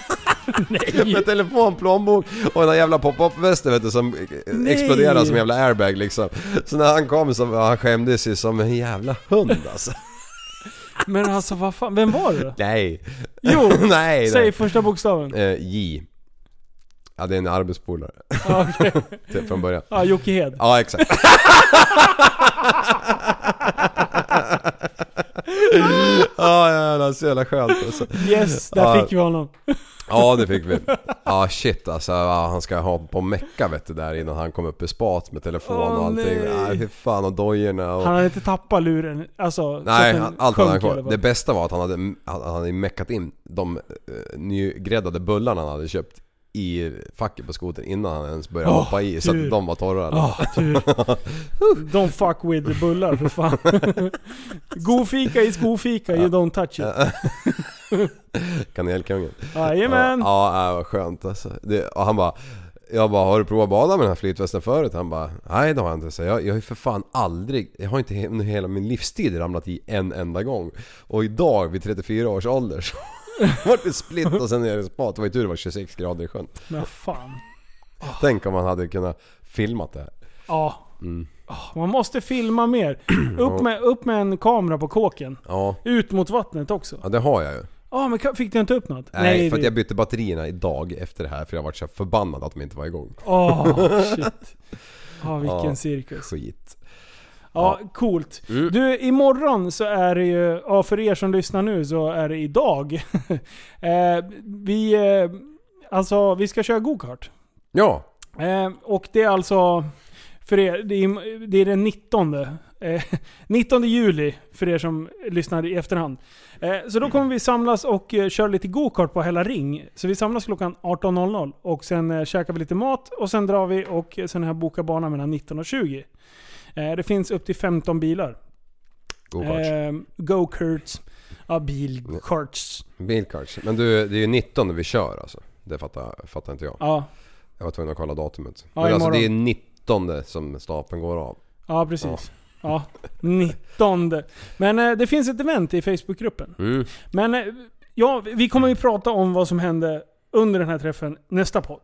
[SPEAKER 5] Med telefon, plånbok och den där jävla pop-up västen vet du som
[SPEAKER 6] Nej.
[SPEAKER 5] exploderar som en jävla airbag liksom. Så när han kom så han skämdes ju som en jävla hund alltså.
[SPEAKER 6] Men alltså vad fan, vem var det då?
[SPEAKER 5] Nej.
[SPEAKER 6] Jo,
[SPEAKER 5] nej, nej.
[SPEAKER 6] Säg första bokstaven.
[SPEAKER 5] Eh, J. Ja det är en arbetspolare.
[SPEAKER 6] Ja, okej.
[SPEAKER 5] Typ från början.
[SPEAKER 6] Ja, Jocke Hed.
[SPEAKER 5] Ja exakt. Ja jävlar så jävla skönt alltså.
[SPEAKER 6] Yes, där
[SPEAKER 5] Ja.
[SPEAKER 6] fick vi honom.
[SPEAKER 5] Ja det fick vi. Ja shit alltså ja, han ska ha på mecka vet du där innan han kom upp i spat med telefon och
[SPEAKER 6] Åh,
[SPEAKER 5] allting.
[SPEAKER 6] nej.
[SPEAKER 5] Ja, fy fan och dojorna och...
[SPEAKER 6] Han hade inte tappat luren. Alltså, så
[SPEAKER 5] Nej,
[SPEAKER 6] att den
[SPEAKER 5] han- allt hade han
[SPEAKER 6] sjönk i alla
[SPEAKER 5] kvar.
[SPEAKER 6] fall.
[SPEAKER 5] Det bästa var att han hade, han han hade meckat in de uh, nygräddade bullarna han hade köpt i facket på skotern innan han ens började
[SPEAKER 6] Åh,
[SPEAKER 5] hoppa i. Så att
[SPEAKER 6] tur.
[SPEAKER 5] de var torra.
[SPEAKER 6] Ah, tur. don't fuck with the bullar för fan. God fika is god fika, you don't touch it.
[SPEAKER 5] Kanelkungen.
[SPEAKER 6] Jajamän.
[SPEAKER 5] Ja, ja, ja, vad skönt alltså. Det, och han bara... Jag bara, har du provat att bada med den här flytvästen förut? Han bara, nej det har jag inte. Så jag, jag har ju för fan aldrig, jag har inte he- under hela min livstid ramlat i en enda gång. Och idag vid 34 års ålder så vart det split och sen är det spat. Det var ju tur det var 26 grader i sjön.
[SPEAKER 6] Men fan.
[SPEAKER 5] Tänk om man hade kunnat filmat det här.
[SPEAKER 6] Ja.
[SPEAKER 5] Mm.
[SPEAKER 6] Ah, Man måste filma mer. Upp med, upp med en kamera på kåken.
[SPEAKER 5] Ja,
[SPEAKER 6] Ut mot vattnet också.
[SPEAKER 5] ja det har jag ju.
[SPEAKER 6] Ah, men ka- fick du inte upp något?
[SPEAKER 5] Nej, för att
[SPEAKER 6] det-
[SPEAKER 5] jag bytte batterierna idag efter det här för jag varit så förbannad att de inte var igång.
[SPEAKER 6] Åh, shit. Ja, vilken
[SPEAKER 5] Ja.
[SPEAKER 6] cirkus.
[SPEAKER 5] Skit.
[SPEAKER 6] Ja, coolt.
[SPEAKER 5] Mm.
[SPEAKER 6] Du, imorgon så är det ju, ja, för er som lyssnar nu så är det idag. eh, vi, eh, alltså, vi ska köra gokart.
[SPEAKER 5] Ja,
[SPEAKER 6] Eh, och det är alltså, för er, det är, det är den 19. Eh, 19 juli för er som lyssnar i efterhand. Eh, så då kommer vi samlas och eh, köra lite gokart på hela Ring. Så vi samlas klockan 18.00 och sen eh, käkar vi lite mat och sen drar vi och eh, sen har jag bokat bana mellan 19 och 20. Eh, det finns upp till 15 bilar.
[SPEAKER 5] go karts.
[SPEAKER 6] Eh, Go-karts. Ja, bilkarts.
[SPEAKER 5] Bilkarts. Men du, det är ju 19 vi kör alltså. Det fattar, fattar inte jag.
[SPEAKER 6] Ja,
[SPEAKER 5] Jag var tvungen att kolla datumet.
[SPEAKER 6] Ja,
[SPEAKER 5] Men alltså
[SPEAKER 6] imorgon.
[SPEAKER 5] det är 19 som stapeln går av.
[SPEAKER 6] ja precis. Ja, 19. Men eh, det finns ett event i Facebookgruppen.
[SPEAKER 5] Mm.
[SPEAKER 6] Men eh, ja, vi kommer ju prata om vad som hände under den här träffen nästa podd.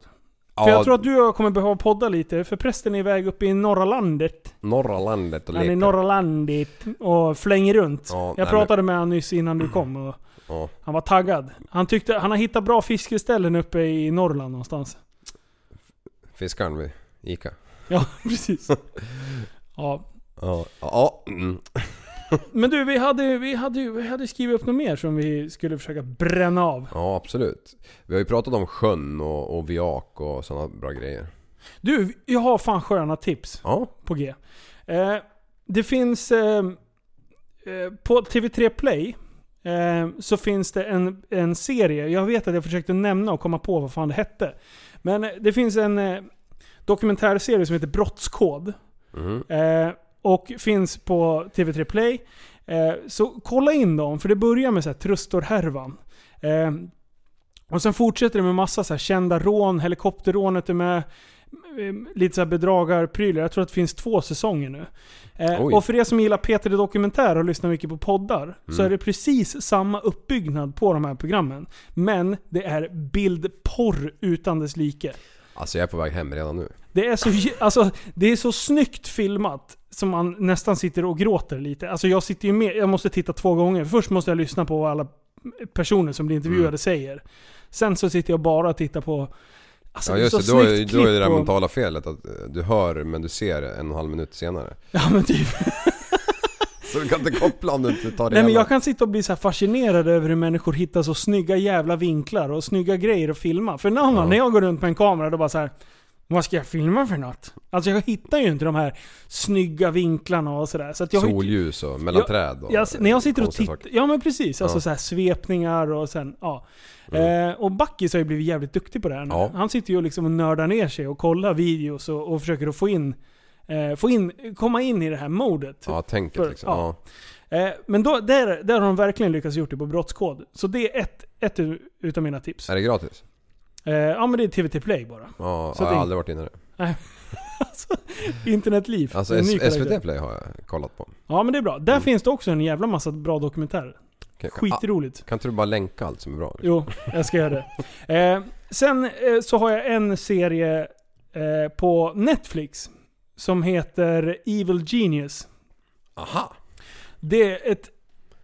[SPEAKER 6] För jag tror att du och jag kommer behöva podda lite, för prästen är iväg uppe i norra landet.
[SPEAKER 5] norra landet och
[SPEAKER 6] Han är
[SPEAKER 5] leker.
[SPEAKER 6] i norra landet och flänger runt.
[SPEAKER 5] Ja, nej, Mm.
[SPEAKER 6] jag pratade med honom nyss innan du kom och
[SPEAKER 5] Ja.
[SPEAKER 6] han var taggad. Han tyckte han har hittat bra fiskeställen uppe i Norrland någonstans.
[SPEAKER 5] Fiskaren vid Ica.
[SPEAKER 6] Ja, precis. Ja.
[SPEAKER 5] Ja. ja. Mm.
[SPEAKER 6] Men du, vi hade, vi, hade, ju- vi hade skrivit upp något mer som vi skulle försöka bränna av.
[SPEAKER 5] ja, absolut. Vi har ju pratat om sjön och, och viak och sådana bra grejer.
[SPEAKER 6] Du, jag har fan sköna tips.
[SPEAKER 5] Ja.
[SPEAKER 6] på G. Eh, det finns... Eh, eh, på TV3 Play eh, så finns det en, en serie. Jag vet att jag försökte nämna och komma på vad fan det hette. Men eh, det finns en eh, dokumentärserie som heter Brottskod.
[SPEAKER 5] Mhm.
[SPEAKER 6] Eh, och finns på TV3 Play. Eh, så kolla in dem, för det börjar med så här Trustor-härvan. Eh, och sen fortsätter det med massa så här kända rån, helikopterrånet är med. eh, Lite så här bedragarprylar. Jag tror att det finns två säsonger nu. Eh,
[SPEAKER 5] Oj.
[SPEAKER 6] och för er som gillar Peter det Dokumentär och lyssnar mycket på poddar, så är det precis samma uppbyggnad på de här programmen. Men det är bildporr utan dess like.
[SPEAKER 5] Alltså jag är på väg hem redan nu.
[SPEAKER 6] Det är så, j- alltså, det är så snyggt filmat som man nästan sitter och gråter lite. Alltså jag sitter ju med, jag måste titta två gånger. Först måste jag lyssna på vad alla personer som blir intervjuade
[SPEAKER 5] Mm.
[SPEAKER 6] säger. Sen så sitter jag bara och tittar på... Alltså
[SPEAKER 5] Ja
[SPEAKER 6] det är så
[SPEAKER 5] just det, då är,
[SPEAKER 6] snyggt
[SPEAKER 5] då är det
[SPEAKER 6] klipp
[SPEAKER 5] där
[SPEAKER 6] och-
[SPEAKER 5] mentala felet att eh, du hör men du ser en och en halv minut senare.
[SPEAKER 6] Ja men typ.
[SPEAKER 5] Så du kan inte koppla om du inte tar det
[SPEAKER 6] Nej men
[SPEAKER 5] hela.
[SPEAKER 6] jag kan sitta och bli så här fascinerad över hur människor hittar så snygga jävla vinklar och snygga grejer att filma. För när, när jag går runt med en kamera då bara så här. Vad ska jag filma för något? Alltså jag hittar ju inte de här snygga vinklarna och sådär. Så att jag har ju-
[SPEAKER 5] Solljus och mellan
[SPEAKER 6] Jag-
[SPEAKER 5] träd och
[SPEAKER 6] jag, när jag sitter och
[SPEAKER 5] konstiga saker.
[SPEAKER 6] tittar, ja men precis. Alltså
[SPEAKER 5] Ja. Mm.
[SPEAKER 6] så här svepningar och sen, ja. Eh, och Backis har ju blivit jävligt duktig på det här nu.
[SPEAKER 5] Ja.
[SPEAKER 6] Han sitter ju och liksom och nördar ner sig och kollar videos och, och försöker att få in, eh, få in, komma in i det här modet.
[SPEAKER 5] Ja, tänket
[SPEAKER 6] Typ, För-
[SPEAKER 5] liksom.
[SPEAKER 6] ja.
[SPEAKER 5] Ja.
[SPEAKER 6] Eh, men då, där, där har de verkligen lyckats gjort det på brottskod. Så det är ett, ett u- utav mina tips.
[SPEAKER 5] Är det gratis?
[SPEAKER 6] Eh, ja men det är TVT Play bara.
[SPEAKER 5] Ja,
[SPEAKER 6] Så
[SPEAKER 5] jag har
[SPEAKER 6] tänk-
[SPEAKER 5] aldrig varit inne där.
[SPEAKER 6] Internetliv.
[SPEAKER 5] Alltså
[SPEAKER 6] Det är en
[SPEAKER 5] S- Mm.
[SPEAKER 6] ny karaktär.
[SPEAKER 5] SVT Play har jag kollat på.
[SPEAKER 6] Ja men det är bra. Där finns det också en jävla massa bra dokumentärer.
[SPEAKER 5] Kan, kan,
[SPEAKER 6] Skitroligt.
[SPEAKER 5] kan inte du bara länka allt som är bra? liksom?
[SPEAKER 6] Jo, jag ska göra det. Eh, sen eh, så har jag en serie eh, på Netflix som heter Evil Genius.
[SPEAKER 5] Aha!
[SPEAKER 6] Det är ett...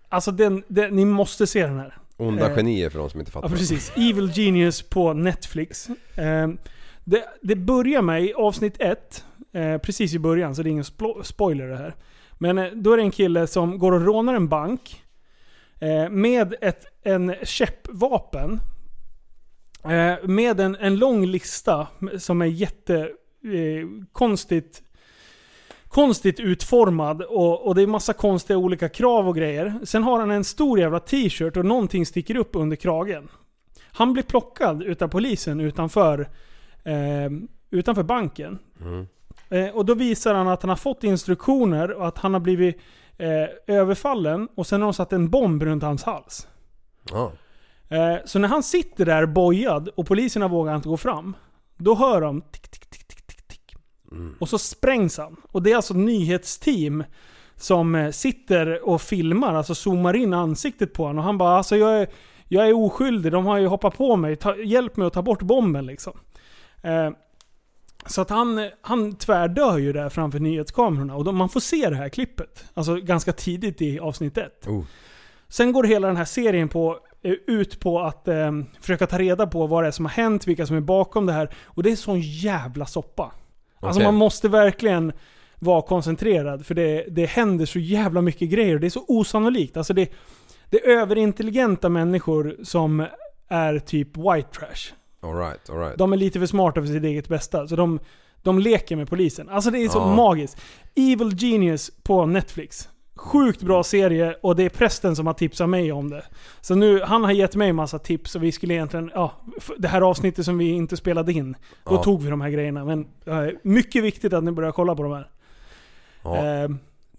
[SPEAKER 6] Alltså den, den, ni måste se den här.
[SPEAKER 5] Onda
[SPEAKER 6] Eh,
[SPEAKER 5] genier för de som inte
[SPEAKER 6] Ja,
[SPEAKER 5] fattar.
[SPEAKER 6] precis. Evil Genius på Netflix. Eh, det, det börjar med i avsnitt ett, eh, precis i början, så det är ingen splo- spoiler det här. Men eh, då är det en kille som går och rånar en bank eh, med ett, en käppvapen. Eh, med en, en lång lista som är jätte eh, konstigt konstigt utformad och, och det är massa konstiga olika krav och grejer. Sen har han en stor jävla t-shirt och någonting sticker upp under kragen. Han blir plockad utav polisen utanför, eh, utanför banken. Eh, och då visar han att han har fått instruktioner och att han har blivit eh, överfallen och sen har de satt en bomb runt hans hals.
[SPEAKER 5] Ja.
[SPEAKER 6] Eh, så när han sitter där bojad och poliserna vågar inte gå fram, då hör de tick, tick, tick, tick, tick, tick. Och så sprängs han. Och det är alltså nyhetsteam som eh, sitter och filmar, alltså zoomar in ansiktet på honom. Och han bara alltså jag är, jag är oskyldig, de har ju hoppat på mig, ta, hjälp mig att ta bort bomben liksom. Eh, så att han, han tvärdör ju där framför nyhetskamerorna och de, man får se det här klippet. Alltså ganska tidigt i avsnitt ett.
[SPEAKER 5] Oh.
[SPEAKER 6] Sen går hela den här serien på eh, ut på att eh, försöka ta reda på vad det är som har hänt, vilka som är bakom det här. Och det är sån jävla soppa. Alltså
[SPEAKER 5] Okej.
[SPEAKER 6] man måste verkligen vara koncentrerad för det, det händer så jävla mycket grejer. Det är så osannolikt. Alltså det, det är överintelligenta människor som är typ white trash.
[SPEAKER 5] Alright, alright.
[SPEAKER 6] De är lite för smarta för sitt eget bästa. Så de, de leker med polisen. Alltså det är så
[SPEAKER 5] Ja.
[SPEAKER 6] magiskt. Evil Genius på Netflix. Sjukt bra serie och det är prästen som har tipsat mig om det. Så nu, han har gett mig massa tips och vi skulle egentligen, ja, f- det här avsnittet som vi inte spelade in, då
[SPEAKER 5] Ja.
[SPEAKER 6] tog vi de här grejerna. Men eh, mycket viktigt att ni börjar kolla på de här.
[SPEAKER 5] Ja,
[SPEAKER 6] Eh,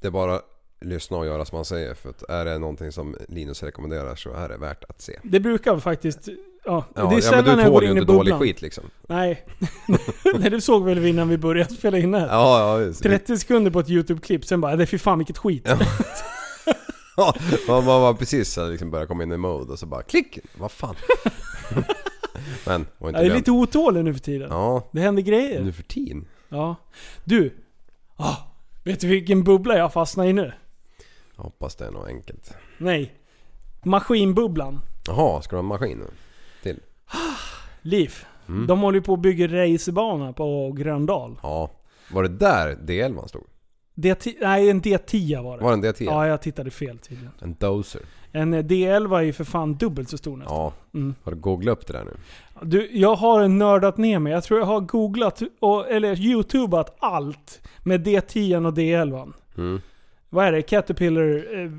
[SPEAKER 5] det är bara lyssna och göra som man säger. För att är det någonting som Linus rekommenderar så är det värt att se.
[SPEAKER 6] det brukar faktiskt, ja,
[SPEAKER 5] Ja,
[SPEAKER 6] det är
[SPEAKER 5] ja
[SPEAKER 6] sällan
[SPEAKER 5] men du
[SPEAKER 6] jag går
[SPEAKER 5] tål ju
[SPEAKER 6] in i
[SPEAKER 5] inte dålig
[SPEAKER 6] bubblan.
[SPEAKER 5] skit liksom.
[SPEAKER 6] Nej, Nej, det såg väl vi innan vi började spela in det här.
[SPEAKER 5] Ja, ja visst.
[SPEAKER 6] 30 sekunder på ett YouTube-klipp, sen bara det fy fan vilket skit.
[SPEAKER 5] Ja, man, man var precis så här, liksom började komma in i mode och så bara klick! Vad fan? men, var inte
[SPEAKER 6] Jag är
[SPEAKER 5] glömt.
[SPEAKER 6] lite otålig nu för tiden.
[SPEAKER 5] Ja,
[SPEAKER 6] Det händer grejer.
[SPEAKER 5] nu för tiden.
[SPEAKER 6] Ja. Du. Ah, vet du vilken bubbla jag fastnar i nu?
[SPEAKER 5] Jag hoppas det är något enkelt.
[SPEAKER 6] Nej. Maskinbubblan.
[SPEAKER 5] Jaha, ska du ha en maskin nu? Till?
[SPEAKER 6] Liv.
[SPEAKER 5] Mm.
[SPEAKER 6] De håller ju på att bygga racerbana på Gröndal.
[SPEAKER 5] Ja. Var det där D11 stod?
[SPEAKER 6] D10, nej, en D10 var det.
[SPEAKER 5] Var det en D10?
[SPEAKER 6] Ja, jag tittade fel tydligen.
[SPEAKER 5] En dozer?
[SPEAKER 6] En eh, D11 är ju för fan dubbelt så stor nästan.
[SPEAKER 5] Ja.
[SPEAKER 6] Mm.
[SPEAKER 5] Har du googlat upp det där nu?
[SPEAKER 6] Du, jag har nördat ner mig. Jag tror jag har googlat, och, eller youtubat allt med D10 och D11.
[SPEAKER 5] Mm.
[SPEAKER 6] Vad är det? Caterpillar eh,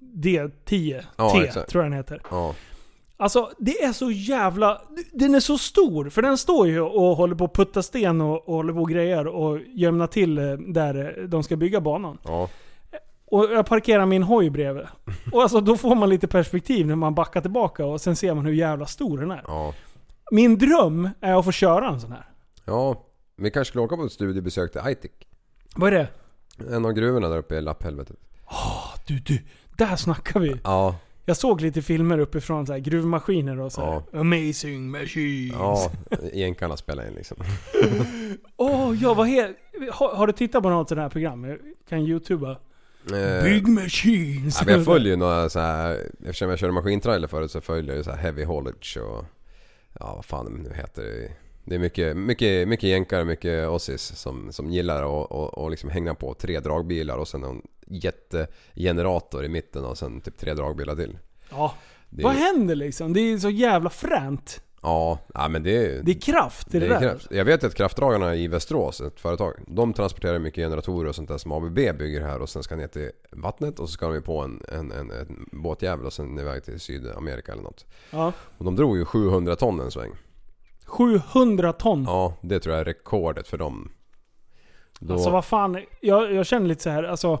[SPEAKER 6] D10?
[SPEAKER 5] Ja,
[SPEAKER 6] T
[SPEAKER 5] exakt.
[SPEAKER 6] tror jag den heter.
[SPEAKER 5] Ja.
[SPEAKER 6] Alltså det är så jävla... Den är så stor, för den står ju och håller på att putta sten och, och håller på och grejer och jämna till eh, där eh, de ska bygga banan.
[SPEAKER 5] Ja.
[SPEAKER 6] Och jag parkerar min hoj bredvid. Och alltså då får man lite perspektiv när man backar tillbaka och sen ser man hur jävla stor den är.
[SPEAKER 5] Ja.
[SPEAKER 6] Min dröm är att få köra en sån här.
[SPEAKER 5] Ja. Vi kanske skulle åka på ett studiebesök till Aitik.
[SPEAKER 6] Vad är det?
[SPEAKER 5] En av gruvorna där uppe i lapphelvetet.
[SPEAKER 6] Du, du. Där snackar vi.
[SPEAKER 5] Ja.
[SPEAKER 6] Jag såg lite filmer uppifrån så här, gruvmaskiner och så här. Amazing machines.
[SPEAKER 5] Ja.
[SPEAKER 6] Mm.
[SPEAKER 5] Jänkarna spelar in liksom.
[SPEAKER 6] Åh ja, vad he- har, har du tittat på något sånt här program? Jag kan youtuba.
[SPEAKER 5] Eh,
[SPEAKER 6] Big machines.
[SPEAKER 5] Ja, men jag följer ju några så här, eftersom jag körde maskintrailer förut så följer jag ju så här heavy haulage och ja vad fan det nu heter det. Det är mycket, mycket, mycket jänkare, mycket ossis som, som gillar att och, och liksom hänga på tre dragbilar och sen en jättegenerator i mitten och sen typ tre dragbilar till.
[SPEAKER 6] Ja.
[SPEAKER 5] Det är-
[SPEAKER 6] Vad händer liksom? Det är så jävla fränt.
[SPEAKER 5] Ja, ja men det är ju...
[SPEAKER 6] Det är kraft i det,
[SPEAKER 5] det är
[SPEAKER 6] där.
[SPEAKER 5] kraft. Jag vet att kraftdragarna i Västerås, ett företag, de transporterar mycket generatorer och sånt där som ABB bygger här och sen ska ner till vattnet och så ska de ju på en, en, en, en båtjävel och sen iväg till Sydamerika eller något.
[SPEAKER 6] Ja.
[SPEAKER 5] Och de drog ju 700 ton en sväng.
[SPEAKER 6] 700 ton.
[SPEAKER 5] Ja, det tror jag är rekordet för dem. Då,
[SPEAKER 6] Alltså vad fan. Jag, jag känner lite så här. alltså.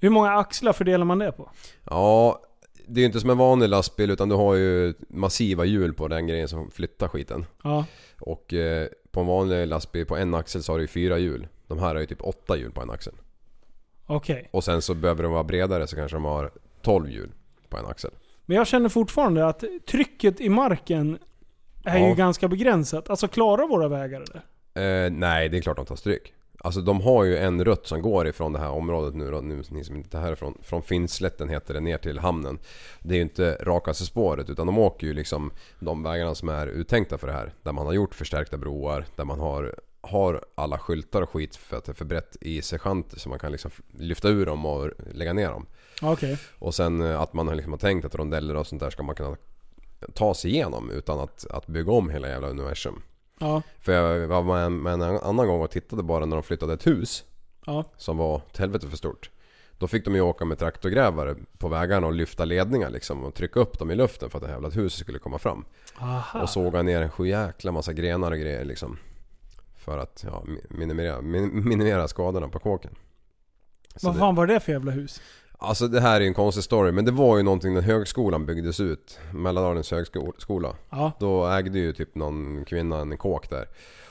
[SPEAKER 6] Hur många axlar fördelar man det på?
[SPEAKER 5] Ja, det är ju inte som en vanlig lastbil utan du har ju massiva hjul på den grejen som flyttar skiten.
[SPEAKER 6] Ja.
[SPEAKER 5] Och eh, på en vanlig lastbil på en axel så har du ju fyra hjul. De här har ju typ åtta hjul på en axel.
[SPEAKER 6] Okej.
[SPEAKER 5] Och sen så behöver de vara bredare så kanske de har 12 hjul på en axel.
[SPEAKER 6] Men jag känner fortfarande att trycket i marken är
[SPEAKER 5] Ja.
[SPEAKER 6] ju ganska begränsat. Alltså klarar våra vägar det?
[SPEAKER 5] Eh, nej, det är klart de tar stryk. Alltså de har ju en rutt som går ifrån det här området nu då, nu, ni som inte är härifrån. Från Finnslätten heter det ner till hamnen. Det är ju inte rakaste spåret utan de åker ju liksom de vägarna som är uttänkta för det här. Där man har gjort förstärkta broar, där man har, har alla skyltar och skit för att det är för brett i sergeanter så man kan liksom lyfta ur dem och lägga ner dem.
[SPEAKER 6] Okej.
[SPEAKER 5] Och sen eh, att man har liksom har tänkt att rondeller och sånt där ska man kunna ta sig igenom utan att, att bygga om hela jävla universum.
[SPEAKER 6] Ja.
[SPEAKER 5] För jag var med en, med en annan gång och tittade bara när de flyttade ett hus
[SPEAKER 6] Ja.
[SPEAKER 5] som var till helvete för stort. Då fick de ju åka med traktorgrävare på vägarna och lyfta ledningar liksom och trycka upp dem i luften för att det här jävla huset skulle komma fram.
[SPEAKER 6] Aha.
[SPEAKER 5] Och såga ner en sjujäkla massa grenar och grejer liksom. För att ja, mi- minimera, min- minimera skadorna på kåken. Så
[SPEAKER 6] Vad
[SPEAKER 5] det-
[SPEAKER 6] fan var det för jävla hus?
[SPEAKER 5] Alltså det här är ju en konstig story men det var ju någonting när högskolan byggdes ut. Mälardalens högskola.
[SPEAKER 6] Ja.
[SPEAKER 5] Då ägde ju typ någon kvinna en kåk där.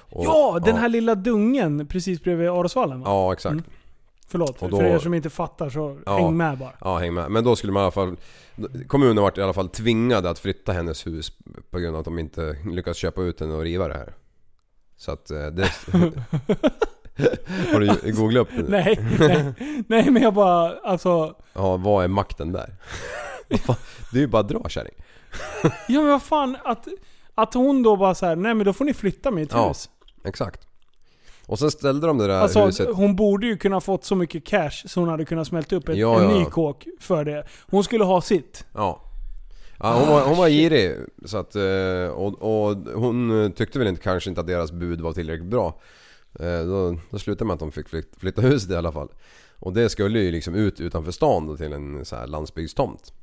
[SPEAKER 5] Och-
[SPEAKER 6] Ja, den här lilla dungen precis bredvid Arosvallen va?
[SPEAKER 5] Ja exakt.
[SPEAKER 6] Förlåt,
[SPEAKER 5] Och då-
[SPEAKER 6] för er som inte fattar så
[SPEAKER 5] Ja.
[SPEAKER 6] häng med bara.
[SPEAKER 5] Ja häng med. Men då skulle man i alla fall... Kommunen vart i alla fall tvingade att flytta hennes hus på grund av att de inte lyckats köpa ut den och riva det här. Så att eh, det... Har du googlat upp det? nu?
[SPEAKER 6] Nej, nej, nej men jag bara, alltså.
[SPEAKER 5] Ja, vad är makten där? Vad fan, Du är ju bara att dra kärring.
[SPEAKER 6] Ja men vad fan, att, att hon då bara så här, nej men då får ni flytta mitt
[SPEAKER 5] Ja.
[SPEAKER 6] hus.
[SPEAKER 5] Exakt. Och sen ställde de det där
[SPEAKER 6] Alltså
[SPEAKER 5] huset...
[SPEAKER 6] hon borde ju kunna fått så mycket cash så hon hade kunnat smälta upp ett,
[SPEAKER 5] Ja,
[SPEAKER 6] en
[SPEAKER 5] ja.
[SPEAKER 6] ny kåk för det. Hon skulle ha sitt.
[SPEAKER 5] Ja. ja hon, var, hon var girig. Så att, eh, och, och hon eh, tyckte väl inte, kanske inte att deras bud var tillräckligt bra. Eh, Då, då slutade med att de fick flyt- flytta huset i alla fall. Och det skulle ju liksom ut utanför stan då, till en så här landsbygdstomt.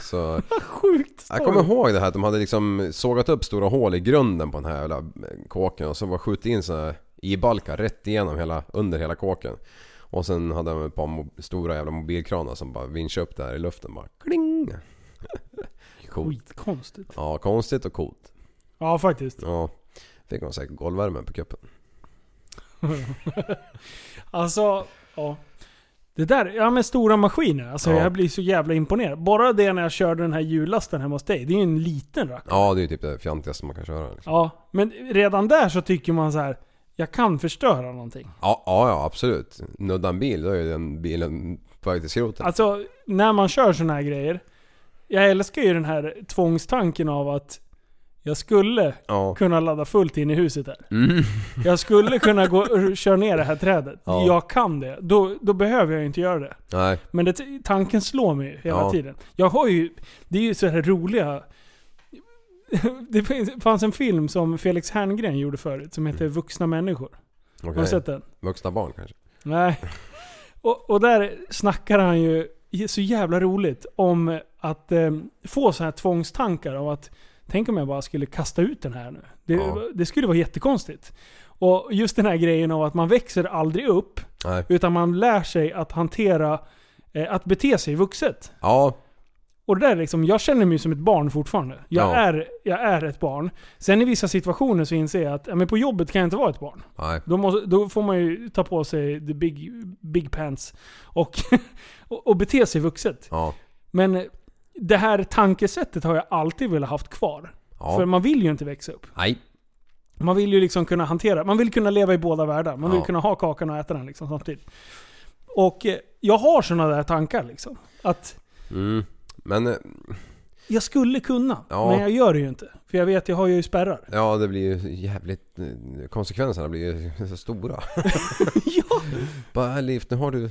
[SPEAKER 5] Så
[SPEAKER 6] Sjukt
[SPEAKER 5] jag kommer ihåg det här att de hade liksom sågat upp stora hål i grunden på den här jävla kåken och så var skjutit in såna här i-balkar rätt igenom hela, under hela kåken. Och sen hade de ett par mo- stora jävla mobilkranar som bara vinschade upp det här i luften bara kling. Coolt.
[SPEAKER 6] Skitkonstigt.
[SPEAKER 5] Ja, konstigt och coolt.
[SPEAKER 6] Ja faktiskt.
[SPEAKER 5] Ja. Fick hon säkert golvvärme på kuppen.
[SPEAKER 6] Alltså, ja. Det där, ja men stora maskiner. Alltså
[SPEAKER 5] Ja.
[SPEAKER 6] jag blir så jävla imponerad. Bara det när jag körde den här hjullasten hemma hos dig. Det är ju en liten rackare.
[SPEAKER 5] Ja, det är ju typ det fjantigaste man kan köra. Liksom.
[SPEAKER 6] Ja, men redan där så tycker man så här. jag kan förstöra någonting.
[SPEAKER 5] Ja, ja, ja absolut. Nudda en bil, då är ju den bilen på väg till skroten.
[SPEAKER 6] Alltså, när man kör såna här grejer. Jag älskar ju den här tvångstanken av att jag skulle
[SPEAKER 5] Ja. Mm.
[SPEAKER 6] kunna ladda fullt in i huset här. Jag skulle kunna gå och köra ner det här trädet.
[SPEAKER 5] Ja.
[SPEAKER 6] Jag kan det. Då, då behöver jag ju inte göra det.
[SPEAKER 5] Nej.
[SPEAKER 6] Men det, tanken slår mig hela
[SPEAKER 5] Ja.
[SPEAKER 6] tiden. Jag har ju, det är ju så här roliga... Det finns- fanns en film som Felix Herngren gjorde förut som
[SPEAKER 5] Mm.
[SPEAKER 6] heter Vuxna människor. Har
[SPEAKER 5] Okej.
[SPEAKER 6] du sett den?
[SPEAKER 5] Vuxna barn kanske.
[SPEAKER 6] Nej. Och, och där snackar han ju så jävla roligt om att eh, få så här tvångstankar om att tänk om jag bara skulle kasta ut den här nu. Det,
[SPEAKER 5] Ja.
[SPEAKER 6] det skulle vara jättekonstigt. Och just den här grejen av att man växer aldrig upp
[SPEAKER 5] Nej.
[SPEAKER 6] utan man lär sig att hantera, eh, att bete sig vuxet.
[SPEAKER 5] Ja,
[SPEAKER 6] Och det där är liksom, jag känner mig som ett barn fortfarande. Jag,
[SPEAKER 5] Ja.
[SPEAKER 6] är, jag är ett barn. Sen i vissa situationer så inser jag att ja, men på jobbet kan jag inte vara ett barn.
[SPEAKER 5] nej.
[SPEAKER 6] Då, måste, då får man ju ta på sig the big, big pants och, och, och bete sig vuxet.
[SPEAKER 5] Ja.
[SPEAKER 6] Men det här tankesättet har jag alltid velat haft kvar.
[SPEAKER 5] Ja.
[SPEAKER 6] För man vill ju inte växa upp.
[SPEAKER 5] Nej.
[SPEAKER 6] Man vill ju liksom kunna hantera, man vill kunna leva i båda världar. Man vill
[SPEAKER 5] Ja.
[SPEAKER 6] kunna ha kakan och äta den liksom samtidigt. Och eh, jag har sådana där tankar liksom. Att
[SPEAKER 5] Mm. Men eh,
[SPEAKER 6] jag skulle kunna,
[SPEAKER 5] Ja.
[SPEAKER 6] men jag gör det ju inte. För jag vet, jag har ju spärrar.
[SPEAKER 5] ja, det blir ju jävligt... eh, Konsekvenserna blir ju så stora.
[SPEAKER 6] ja!
[SPEAKER 5] Bara "Äh, Liv, nu har du...
[SPEAKER 6] Och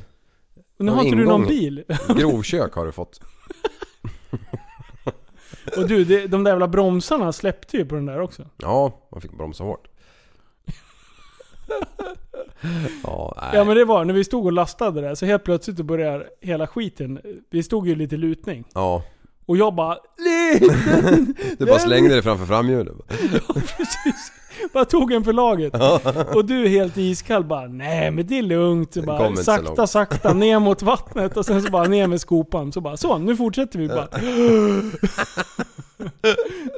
[SPEAKER 6] nu
[SPEAKER 5] Någon
[SPEAKER 6] har inte du någon
[SPEAKER 5] ingång.
[SPEAKER 6] bil.
[SPEAKER 5] Grovkök har du fått.
[SPEAKER 6] Och du, det, de där jävla bromsarna släppte ju på den där också.
[SPEAKER 5] Ja, man fick bromsa hårt. Ja, nej.
[SPEAKER 6] Ja men det var, när vi stod och lastade där så helt plötsligt då började hela skiten. Vi stod ju lite lutning.
[SPEAKER 5] ja.
[SPEAKER 6] Och jag bara "Lite!"
[SPEAKER 5] Du bara slängde det framför framhjulet.
[SPEAKER 6] Precis. Bara tog en för laget. Och du helt iskall bara nej men det är lugnt. Så
[SPEAKER 5] Det
[SPEAKER 6] Bara,
[SPEAKER 5] kommer inte så
[SPEAKER 6] sakta
[SPEAKER 5] långt.
[SPEAKER 6] sakta ner mot vattnet och sen så bara ner med skopan. Så bara så nu fortsätter vi bara.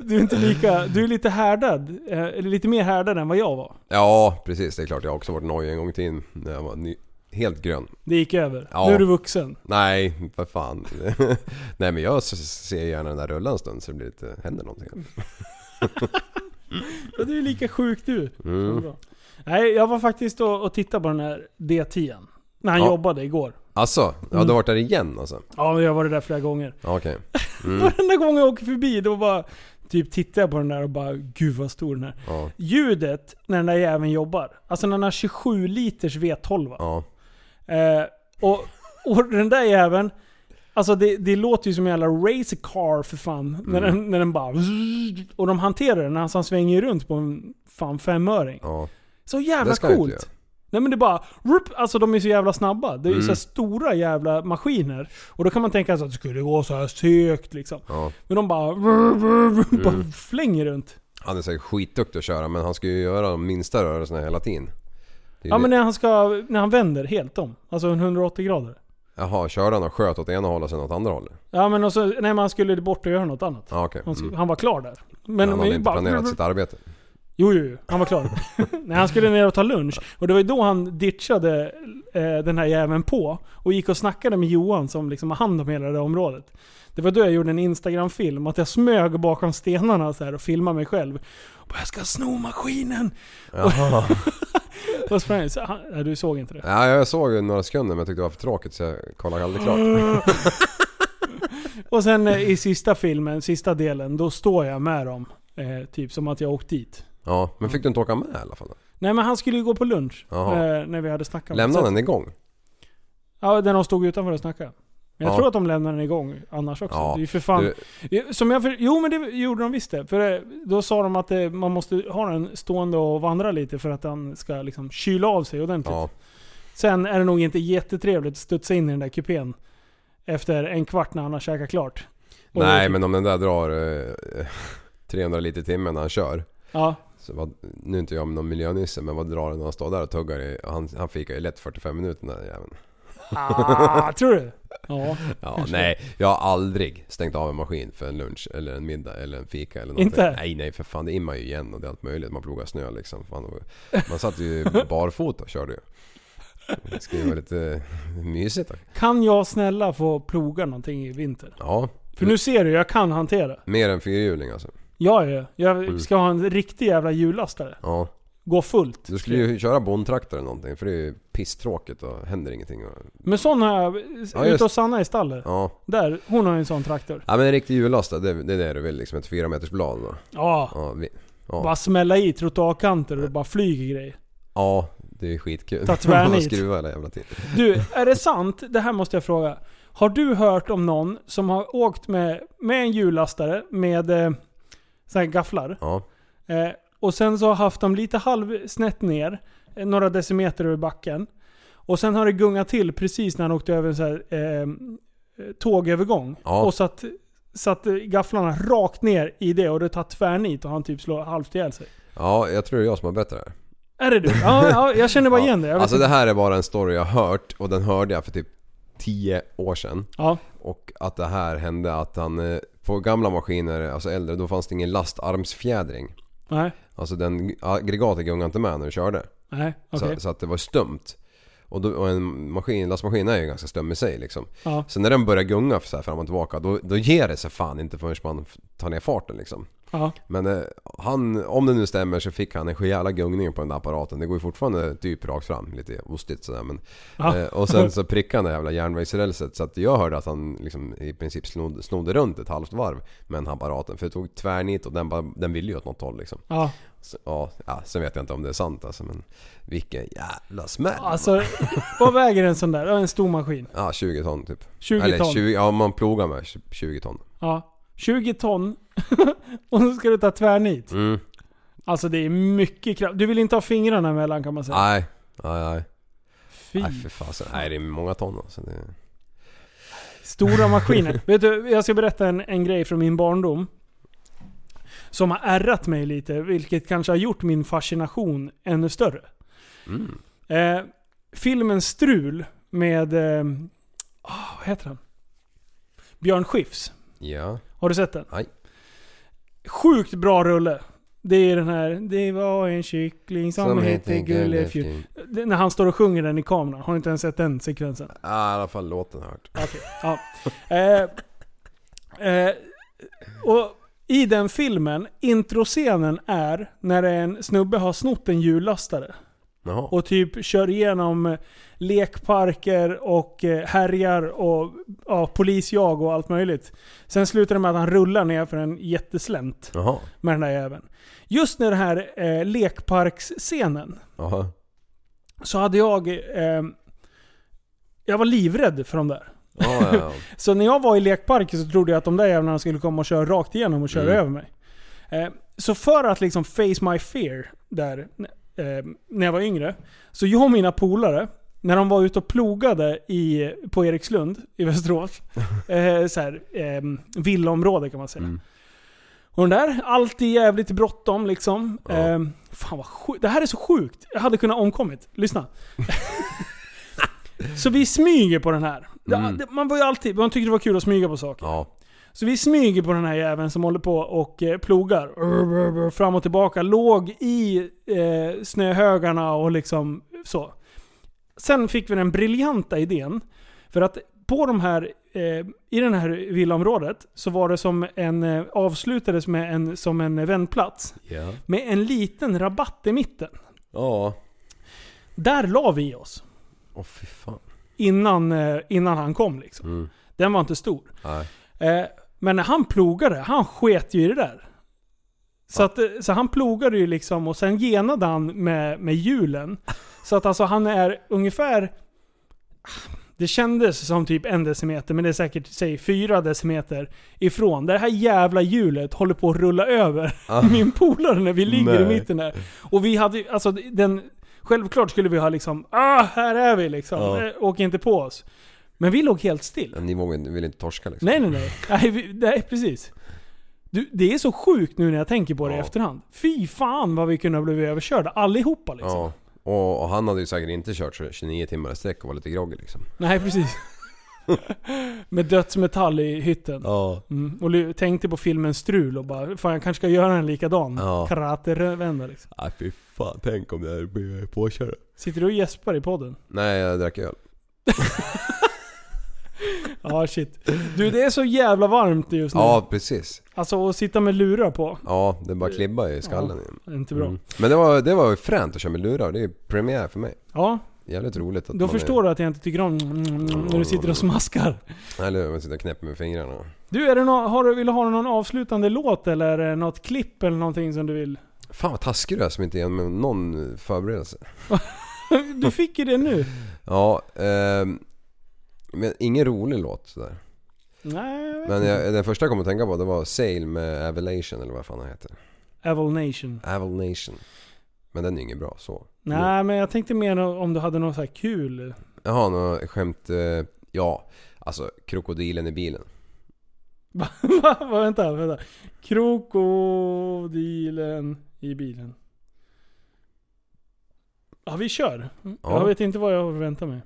[SPEAKER 6] Du är inte lika, du är lite härdad. eh, Eller lite mer härdad än vad jag var.
[SPEAKER 5] Ja, precis. Det är klart. Jag har också varit nojig en gång till när jag var ny, helt grön.
[SPEAKER 6] Det gick över.
[SPEAKER 5] Ja.
[SPEAKER 6] Nu är du vuxen.
[SPEAKER 5] Nej, för fan. Nej men jag s- ser gärna den där rulla en stund så det blir lite, händer någonting.
[SPEAKER 6] Ja, du är lika sjuk du.
[SPEAKER 5] Mm.
[SPEAKER 6] Så bra. Nej, jag var faktiskt och, och tittade på den här D10. När han
[SPEAKER 5] Ja.
[SPEAKER 6] jobbade igår.
[SPEAKER 5] Alltså, ja, du har varit där igen alltså?
[SPEAKER 6] Ja, jag var där flera gånger.
[SPEAKER 5] Ja, Okej.
[SPEAKER 6] Varenda gång jag åker förbi då bara typ tittar jag på den där och bara gud vad stor den är.
[SPEAKER 5] Ja,
[SPEAKER 6] Ljudet när den där jäveln jobbar. Alltså när den har 27 liters V12.
[SPEAKER 5] ja.
[SPEAKER 6] Eh, och, och den där jäveln. Alltså det, det låter ju som en jävla racercar för fan. När,
[SPEAKER 5] Mm.
[SPEAKER 6] den, när den bara... Och de hanterar den. Alltså han svänger ju runt på en fan femöring.
[SPEAKER 5] ja.
[SPEAKER 6] Så jävla
[SPEAKER 5] Det ska jag inte
[SPEAKER 6] coolt.
[SPEAKER 5] göra. Mm.
[SPEAKER 6] Nej men det är bara... Rup, alltså de är så jävla snabba. Det är ju så här stora jävla maskiner. Och då kan man tänka sig att det skulle gå så här sökt liksom.
[SPEAKER 5] Ja.
[SPEAKER 6] Men de bara... Rup, rup, rup, bara flänger runt.
[SPEAKER 5] Han är säkert skitduktig att köra men han ska ju göra de minsta rörelserna hela tiden. Det är
[SPEAKER 6] Ja
[SPEAKER 5] ju-
[SPEAKER 6] men när han ska... När han vänder helt om. Alltså en 180 grader.
[SPEAKER 5] Jaha, körde han och sköt åt ena hållet och sen åt andra hållet?
[SPEAKER 6] Ja men och så, nej men han skulle bort och göra något annat.
[SPEAKER 5] Ja okej.
[SPEAKER 6] Han,
[SPEAKER 5] Mm.
[SPEAKER 6] skulle, han var klar där. Men
[SPEAKER 5] Men han
[SPEAKER 6] de är
[SPEAKER 5] hade
[SPEAKER 6] ju
[SPEAKER 5] inte
[SPEAKER 6] bara-
[SPEAKER 5] planerat sitt arbete.
[SPEAKER 6] Jo, jo, jo. Han var klar. Nej, han skulle ner och ta lunch. Och det var ju då han ditchade eh, den här jäveln på. Och gick och snackade med Johan som liksom har hand om hela det här området. Det var då jag gjorde en Instagram-film. Att jag smög bakom stenarna så här och filmade mig själv. Och bara, jag ska sno maskinen!
[SPEAKER 5] Jaha.
[SPEAKER 6] Och sprang så han, nej, du såg inte det.
[SPEAKER 5] Ja, jag såg ju några sekunder men jag tyckte det var för tråkigt så jag kollade aldrig klart.
[SPEAKER 6] Och sen eh, i sista filmen, sista delen, då står jag med dem. Eh, typ som att jag åkt dit.
[SPEAKER 5] Ja, men fick du inte åka med i alla fall? då?
[SPEAKER 6] Nej men han skulle ju gå på lunch. Eh,
[SPEAKER 5] Jaha.
[SPEAKER 6] när vi hade snackat. om det.
[SPEAKER 5] Lämnade
[SPEAKER 6] Så-
[SPEAKER 5] den igång?
[SPEAKER 6] Ja, den de stod utanför och snackade. Men jag
[SPEAKER 5] Ja.
[SPEAKER 6] tror att de lämnade den igång annars också.
[SPEAKER 5] Ja,
[SPEAKER 6] Det är ju för fan...
[SPEAKER 5] du-
[SPEAKER 6] Jo, Som jag för... Jo men det gjorde de visst det. För eh, då sa de att eh, man måste ha den stående och vandra lite för att den ska liksom kyla av sig ordentligt.
[SPEAKER 5] Ja.
[SPEAKER 6] Sen är det nog inte jättetrevligt att studsa in i den där kupén efter en kvart när han har käkat klart. Och det är
[SPEAKER 5] Nej,
[SPEAKER 6] typ-
[SPEAKER 5] men om den där drar eh, 300 liter i timmen när han kör.
[SPEAKER 6] Ja,
[SPEAKER 5] Så vad, nu är inte jag någon miljönisse, men vad drar den när han står där och tuggar i? Han, han fikar ju lätt 45 minuter den där jäveln.
[SPEAKER 6] ah, tror du? Ja.
[SPEAKER 5] Ja, nej, jag har aldrig stängt av en maskin för en lunch eller en middag eller en fika eller någonting.
[SPEAKER 6] Inte?
[SPEAKER 5] Nej, nej för fan det immar ju igen och det är allt möjligt. Man plogar snö liksom. Fan, och- man satt ju barfota och körde ju. Det skulle ju vara lite mysigt. då.
[SPEAKER 6] Kan jag snälla få ploga någonting i vinter?
[SPEAKER 5] Ja,
[SPEAKER 6] För nu ser du, jag kan hantera.
[SPEAKER 5] mer än fyrhjuling alltså.
[SPEAKER 6] Jag är
[SPEAKER 5] Mm.
[SPEAKER 6] Jag ska ha en riktig jävla hjullastare.
[SPEAKER 5] Ja.
[SPEAKER 6] Gå fullt.
[SPEAKER 5] Du skulle ju köra bondtraktor eller någonting för det är ju pisstråkigt och händer ingenting. Och,
[SPEAKER 6] Men sån har jag.
[SPEAKER 5] Ja, just-
[SPEAKER 6] ute hos Sanna i stallet.
[SPEAKER 5] ja.
[SPEAKER 6] Där, hon har ju en sån traktor.
[SPEAKER 5] ja, men en riktig jullast då, det, det är det du vill liksom. Ett fyra meters blad då.
[SPEAKER 6] Ja.
[SPEAKER 5] Ja, vi, ja.
[SPEAKER 6] Bara smälla i trottoarkanter och det bara flyger grejer.
[SPEAKER 5] ja, det är skitkul.
[SPEAKER 6] Ta tvärnit.
[SPEAKER 5] Man skruvar hela jävla tiden.
[SPEAKER 6] Du, är det sant? Det här måste jag fråga. Har du hört om någon som har åkt med, med en hjullastare med eh, såna här gafflar?
[SPEAKER 5] Ja.
[SPEAKER 6] Eh, och sen så har haft dem lite halvsnett ner, eh, några decimeter över backen. Och sen har det gungat till precis när han åkte över en sån här, eh, tågövergång.
[SPEAKER 5] Ja.
[SPEAKER 6] Och satt, satt eh, gafflarna rakt ner i det och det tar tvärnit och han typ slår halvt ihjäl sig.
[SPEAKER 5] Ja, jag tror det är jag som har berättat det här.
[SPEAKER 6] Är det du? Ja, ja jag känner bara igen det. Jag vet
[SPEAKER 5] Alltså
[SPEAKER 6] inte.
[SPEAKER 5] det här är bara en story jag har hört och den hörde jag för typ 10 år sedan.
[SPEAKER 6] Ja.
[SPEAKER 5] Och att det här hände att han eh, på gamla maskiner, alltså äldre, då fanns det ingen lastarmsfjädring.
[SPEAKER 6] Nej.
[SPEAKER 5] Alltså den aggregatet gungade inte med när du körde.
[SPEAKER 6] Nej, okej.
[SPEAKER 5] Så, så att det var stumt. Och, då, och en maskin, lastmaskin är ju ganska stum i sig liksom.
[SPEAKER 6] Ja.
[SPEAKER 5] Så när den börjar gunga så här fram och tillbaka då, då ger det sig fan inte förrän man f- tar ner farten liksom.
[SPEAKER 6] Ja.
[SPEAKER 5] Men eh, han, om det nu stämmer så fick han en rejäla gungning på den där apparaten. Det går ju fortfarande typ rakt fram, lite ostigt sådär men.
[SPEAKER 6] Ja.
[SPEAKER 5] Eh, och sen så prickade han det jävla järnvägsrälset så att jag hörde att han liksom i princip snod, snodde runt ett halvt varv med den här apparaten. För det tog tvärnit och den, bara- den ville ju åt något håll liksom.
[SPEAKER 6] Ja.
[SPEAKER 5] Så, ja, ja, sen vet jag inte om det är sant alltså men vilken jävla smäll!
[SPEAKER 6] Alltså, vad väger en sån där? Ja, En stor maskin.
[SPEAKER 5] Ja, 20 ton typ.
[SPEAKER 6] 20 ton.
[SPEAKER 5] 20, ja man plogar med 20 ton.
[SPEAKER 6] Ja. 20 ton. och så ska du ta tvärnit.
[SPEAKER 5] Mm.
[SPEAKER 6] Alltså det är mycket kraft. Du vill inte ha fingrarna emellan kan man säga.
[SPEAKER 5] Nej, nej, nej.
[SPEAKER 6] Fy.
[SPEAKER 5] Ah, Nej för fasen. Nej det är många ton alltså. Det...
[SPEAKER 6] Stora maskiner. Vet du, jag ska berätta en, en grej från min barndom. Som har ärrat mig lite, vilket kanske har gjort min fascination ännu större.
[SPEAKER 5] Mm.
[SPEAKER 6] Eh, filmen Strul med... Eh, ah, vad heter han? Björn Skifs.
[SPEAKER 5] Ja.
[SPEAKER 6] Har du sett den?
[SPEAKER 5] Nej.
[SPEAKER 6] Sjukt bra rulle. Det är den här... Det var en kyckling som, hette Gullefjun. Det- När han står och sjunger den i kameran. Har du inte ens sett den sekvensen?
[SPEAKER 5] Ja i alla fall låten har jag hört.
[SPEAKER 6] Okej, ja. Eh, eh, och i den filmen, introscenen är när en snubbe har snott en hjullastare
[SPEAKER 5] Jaha.
[SPEAKER 6] och typ kör igenom eh, lekparker och eh, härjar och ja, polisjag och allt möjligt. Sen slutar det med att han rullar ner för en jätteslänt
[SPEAKER 5] Jaha.
[SPEAKER 6] med den där jäveln. Just när den här eh, lekparksscenen
[SPEAKER 5] Jaha.
[SPEAKER 6] så hade jag... Eh, jag var livrädd för de där.
[SPEAKER 5] Ja, ja, ja.
[SPEAKER 6] Så när jag var i lekparken så trodde jag att de där jävlarna skulle komma och köra rakt igenom och köra
[SPEAKER 5] Mm.
[SPEAKER 6] över mig. Eh, så för att liksom face my fear där, eh, när jag var yngre. Så jag och mina polare, när de var ute och plogade i, på Erikslund i Västerås. Eh, så här, eh, villaområde kan man säga.
[SPEAKER 5] Mm.
[SPEAKER 6] Och den där, alltid jävligt bråttom liksom.
[SPEAKER 5] Ja.
[SPEAKER 6] Eh, fan vad sjukt. Det här är så sjukt. Jag hade kunnat omkommit. Lyssna. så vi smyger på den här. Det-
[SPEAKER 5] Mm.
[SPEAKER 6] det- Man var ju alltid, man tyckte det var kul att smyga på saker.
[SPEAKER 5] ja.
[SPEAKER 6] Så vi smyger på den här jäveln som håller på och eh, plogar. Rr, rr, rr, Fram och tillbaka. Låg i eh, snöhögarna och liksom så. Sen fick vi den briljanta idén. För att på de här, eh, i det här villaområdet så var det som en, eh, avslutades med en, som en vändplats.
[SPEAKER 5] Ja.
[SPEAKER 6] Med en liten rabatt i mitten.
[SPEAKER 5] Ja.
[SPEAKER 6] Där la vi oss.
[SPEAKER 5] Åh fy fan.
[SPEAKER 6] Innan, eh, innan han kom liksom.
[SPEAKER 5] Mm.
[SPEAKER 6] Den var inte stor.
[SPEAKER 5] Nej.
[SPEAKER 6] Eh, men när han plogade, han sket ju i det där. Så, att, eh, så han plogade ju liksom och sen genade han med, med hjulen. Så att alltså han är ungefär... Det kändes som typ en decimeter, men det är säkert säg fyra decimeter ifrån. Det här jävla hjulet håller på att rulla över min polare när vi ligger i
[SPEAKER 5] Nej.
[SPEAKER 6] mitten där. Och vi hade ju- alltså den... Självklart skulle vi ha liksom ah, här är vi liksom.
[SPEAKER 5] Ja.
[SPEAKER 6] Eh, Åk inte på oss. Men vi låg helt still.
[SPEAKER 5] Ni vågar, ni vill inte torska liksom.
[SPEAKER 6] Nej, nej, nej. Nej, vi, nej precis. Du, det är så sjukt nu när jag tänker på det i
[SPEAKER 5] Ja.
[SPEAKER 6] efterhand. Fy fan vad vi kunde ha blivit överkörda allihopa liksom.
[SPEAKER 5] Ja. Och, och han hade ju säkert inte kört så 29 timmar i sträck och var lite groggy liksom.
[SPEAKER 6] Nej, precis. Med dödsmetall i hytten.
[SPEAKER 5] Ja.
[SPEAKER 6] Mm. Och lu- tänkte på filmen Strul och bara, fan jag kanske ska göra en likadan.
[SPEAKER 5] Ja.
[SPEAKER 6] Karaterövända liksom.
[SPEAKER 5] Nej fy fan, tänk om det här blir påkörd.
[SPEAKER 6] Sitter du och gäspar i podden?
[SPEAKER 5] Nej, jag drack öl.
[SPEAKER 6] Ja, shit. Du, det är så jävla varmt just nu.
[SPEAKER 5] Ja, precis.
[SPEAKER 6] Alltså att sitta med lurar på.
[SPEAKER 5] Ja, det bara klibbar i skallen.
[SPEAKER 6] Det är Inte bra.
[SPEAKER 5] Mm. Men det var, det var ju fränt att köra med lurar. Det är ju premiär för mig.
[SPEAKER 6] Ja,
[SPEAKER 5] Jävligt roligt att
[SPEAKER 6] då
[SPEAKER 5] man
[SPEAKER 6] förstår
[SPEAKER 5] är,
[SPEAKER 6] du att jag inte tycker om när du sitter och smaskar.
[SPEAKER 5] du. Eller hur, man sitter och knäpper med fingrarna.
[SPEAKER 6] Du, är det nå- har du, vill du ha någon avslutande låt eller eh, något klipp eller någonting som du vill?
[SPEAKER 5] Fan vad taskig du är som inte ger mig någon förberedelse.
[SPEAKER 6] Du fick ju det nu.
[SPEAKER 5] Ja, ehm, men ingen rolig låt sådär.
[SPEAKER 6] Nej, jag vet
[SPEAKER 5] Men
[SPEAKER 6] inte.
[SPEAKER 5] jag, den första jag kom att tänka på det var Sail med Avalation eller vad fan han heter.
[SPEAKER 6] Evil Nation.
[SPEAKER 5] Avalation. Men den är ju ingen bra så.
[SPEAKER 6] Nej, men jag tänkte mer om du hade något så här kul.
[SPEAKER 5] Jaha, något skämt. Eh, ja, alltså krokodilen i bilen.
[SPEAKER 6] Va? Va? Va? Vänta, vänta. Krokodilen i bilen. Ja, vi kör.
[SPEAKER 5] Ja.
[SPEAKER 6] Jag vet inte vad jag förväntar mig.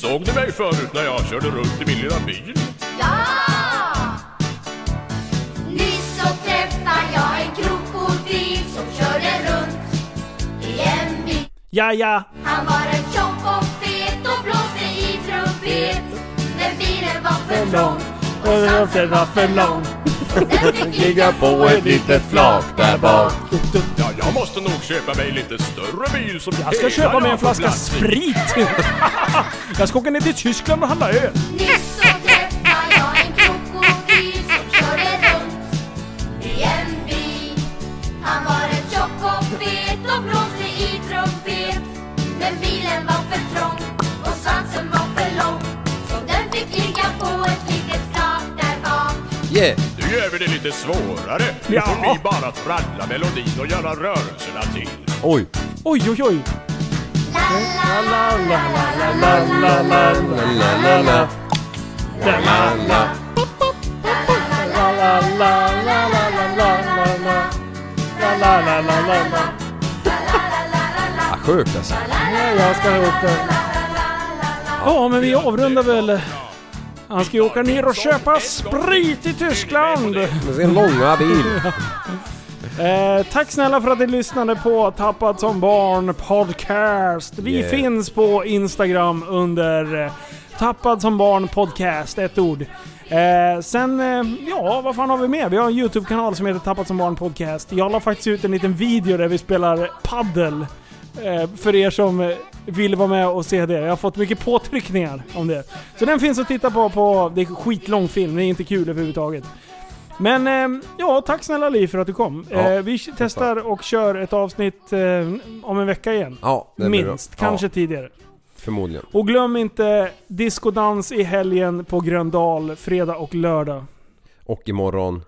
[SPEAKER 10] Såg ni mig förut när jag körde runt i min lilla bil?
[SPEAKER 11] Ja! Nyss så träffade jag en krokodil som körde runt i en bil.
[SPEAKER 6] Ja, ja!
[SPEAKER 11] Han var en tjock och fet och blåste i trumpet. Men bilen var för trång och svansen var för lång. Den fick ligga på ett litet flak där bak.
[SPEAKER 10] Ja, jag måste nog köpa mig lite större bil som
[SPEAKER 6] Jag ska köpa mig en flaska sprit! jag ska åka ner till Tyskland och handla öl.
[SPEAKER 11] Nyss så träffade jag en krokodil som körde runt i en bil. Han var en tjock och fet och blåste i trumpet. Men bilen var för trång och svansen var för lång. Så den fick ligga på ett litet flak där bak.
[SPEAKER 5] Yeah!
[SPEAKER 10] Nu gör vi det lite svårare. Nu
[SPEAKER 6] Ja.
[SPEAKER 10] får ni bara traggla melodin och göra rörelserna till.
[SPEAKER 5] Oj!
[SPEAKER 6] Oj, oj, oj!
[SPEAKER 11] La la la la la la
[SPEAKER 6] La, la, la,
[SPEAKER 5] La, la, la, la,
[SPEAKER 6] la, la.
[SPEAKER 5] la, la.
[SPEAKER 6] La, la, la, la, la, la, la, la. La, la, la, la, la, la.
[SPEAKER 5] Ah, sjukt alltså.
[SPEAKER 6] Nej, jag ska upp den. Ja, men vi avrundar väl. Han ska ju åka ner och köpa sprit i Tyskland.
[SPEAKER 5] Med sin långa bil.
[SPEAKER 6] Eh, tack snälla för att ni lyssnade på Tappat som barn podcast. Vi
[SPEAKER 5] Yeah.
[SPEAKER 6] finns på Instagram under eh, Tappad som barn podcast, ett ord. Eh, sen, eh, ja vad fan har vi med? Vi har en YouTube-kanal som heter Tappat som barn podcast. Jag la faktiskt ut en liten video där vi spelar paddel. Eh, för er som eh, vill vara med och se det. Jag har fått mycket påtryckningar om det. Så den finns att titta på. på det är en skitlång film, det är inte kul överhuvudtaget. Men eh, ja, tack snälla Li för att du kom.
[SPEAKER 5] Ja,
[SPEAKER 6] eh, vi testar och kör ett avsnitt eh, om en vecka igen.
[SPEAKER 5] Ja, det blir bra.
[SPEAKER 6] Minst, kanske
[SPEAKER 5] Ja,
[SPEAKER 6] tidigare.
[SPEAKER 5] förmodligen.
[SPEAKER 6] Och glöm inte diskodans i helgen på Gröndal, fredag och lördag.
[SPEAKER 5] Och imorgon,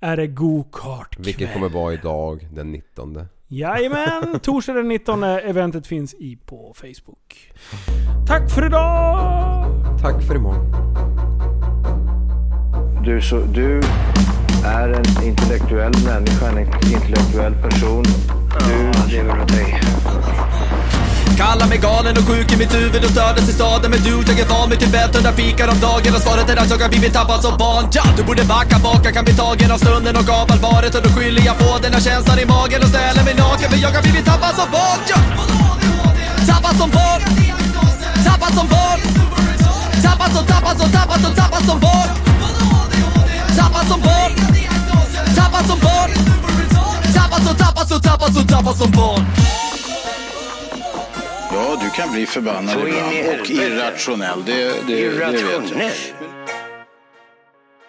[SPEAKER 6] Är det go-kart
[SPEAKER 5] vilket kommer vara idag den 19.
[SPEAKER 6] Jajamän! Torsdag den 19 eventet finns i på Facebook. Tack för idag!
[SPEAKER 5] Tack för imorgon.
[SPEAKER 3] Du, så, du är en intellektuell människa, en intellektuell person. Du lever av dig.
[SPEAKER 1] Kallar mig galen och sjuk i mitt huvud och stördes i staden Men du, jag är van vid Tibet och där fikar om dagen Och svaret är att jag har blivit tappad som barn ja! Du borde backa bak, jag kan bli tagen av stunden och av allvaret Och då skyller jag på den här känslan i magen och ställer mig naken För jag har blivit tappad som barn ja! Tappad som barn Tappad som barn Tappad som, tappad som, tappad som, tappad som barn Tappad som barn Tappad som barn Tappad som, tappad som, tappad som, tappad som barn
[SPEAKER 12] Ja, du kan bli förbannad
[SPEAKER 3] Så in i
[SPEAKER 12] ibland och
[SPEAKER 3] helvete.
[SPEAKER 12] irrationell. Det, det, det vet jag.
[SPEAKER 3] Irrationell?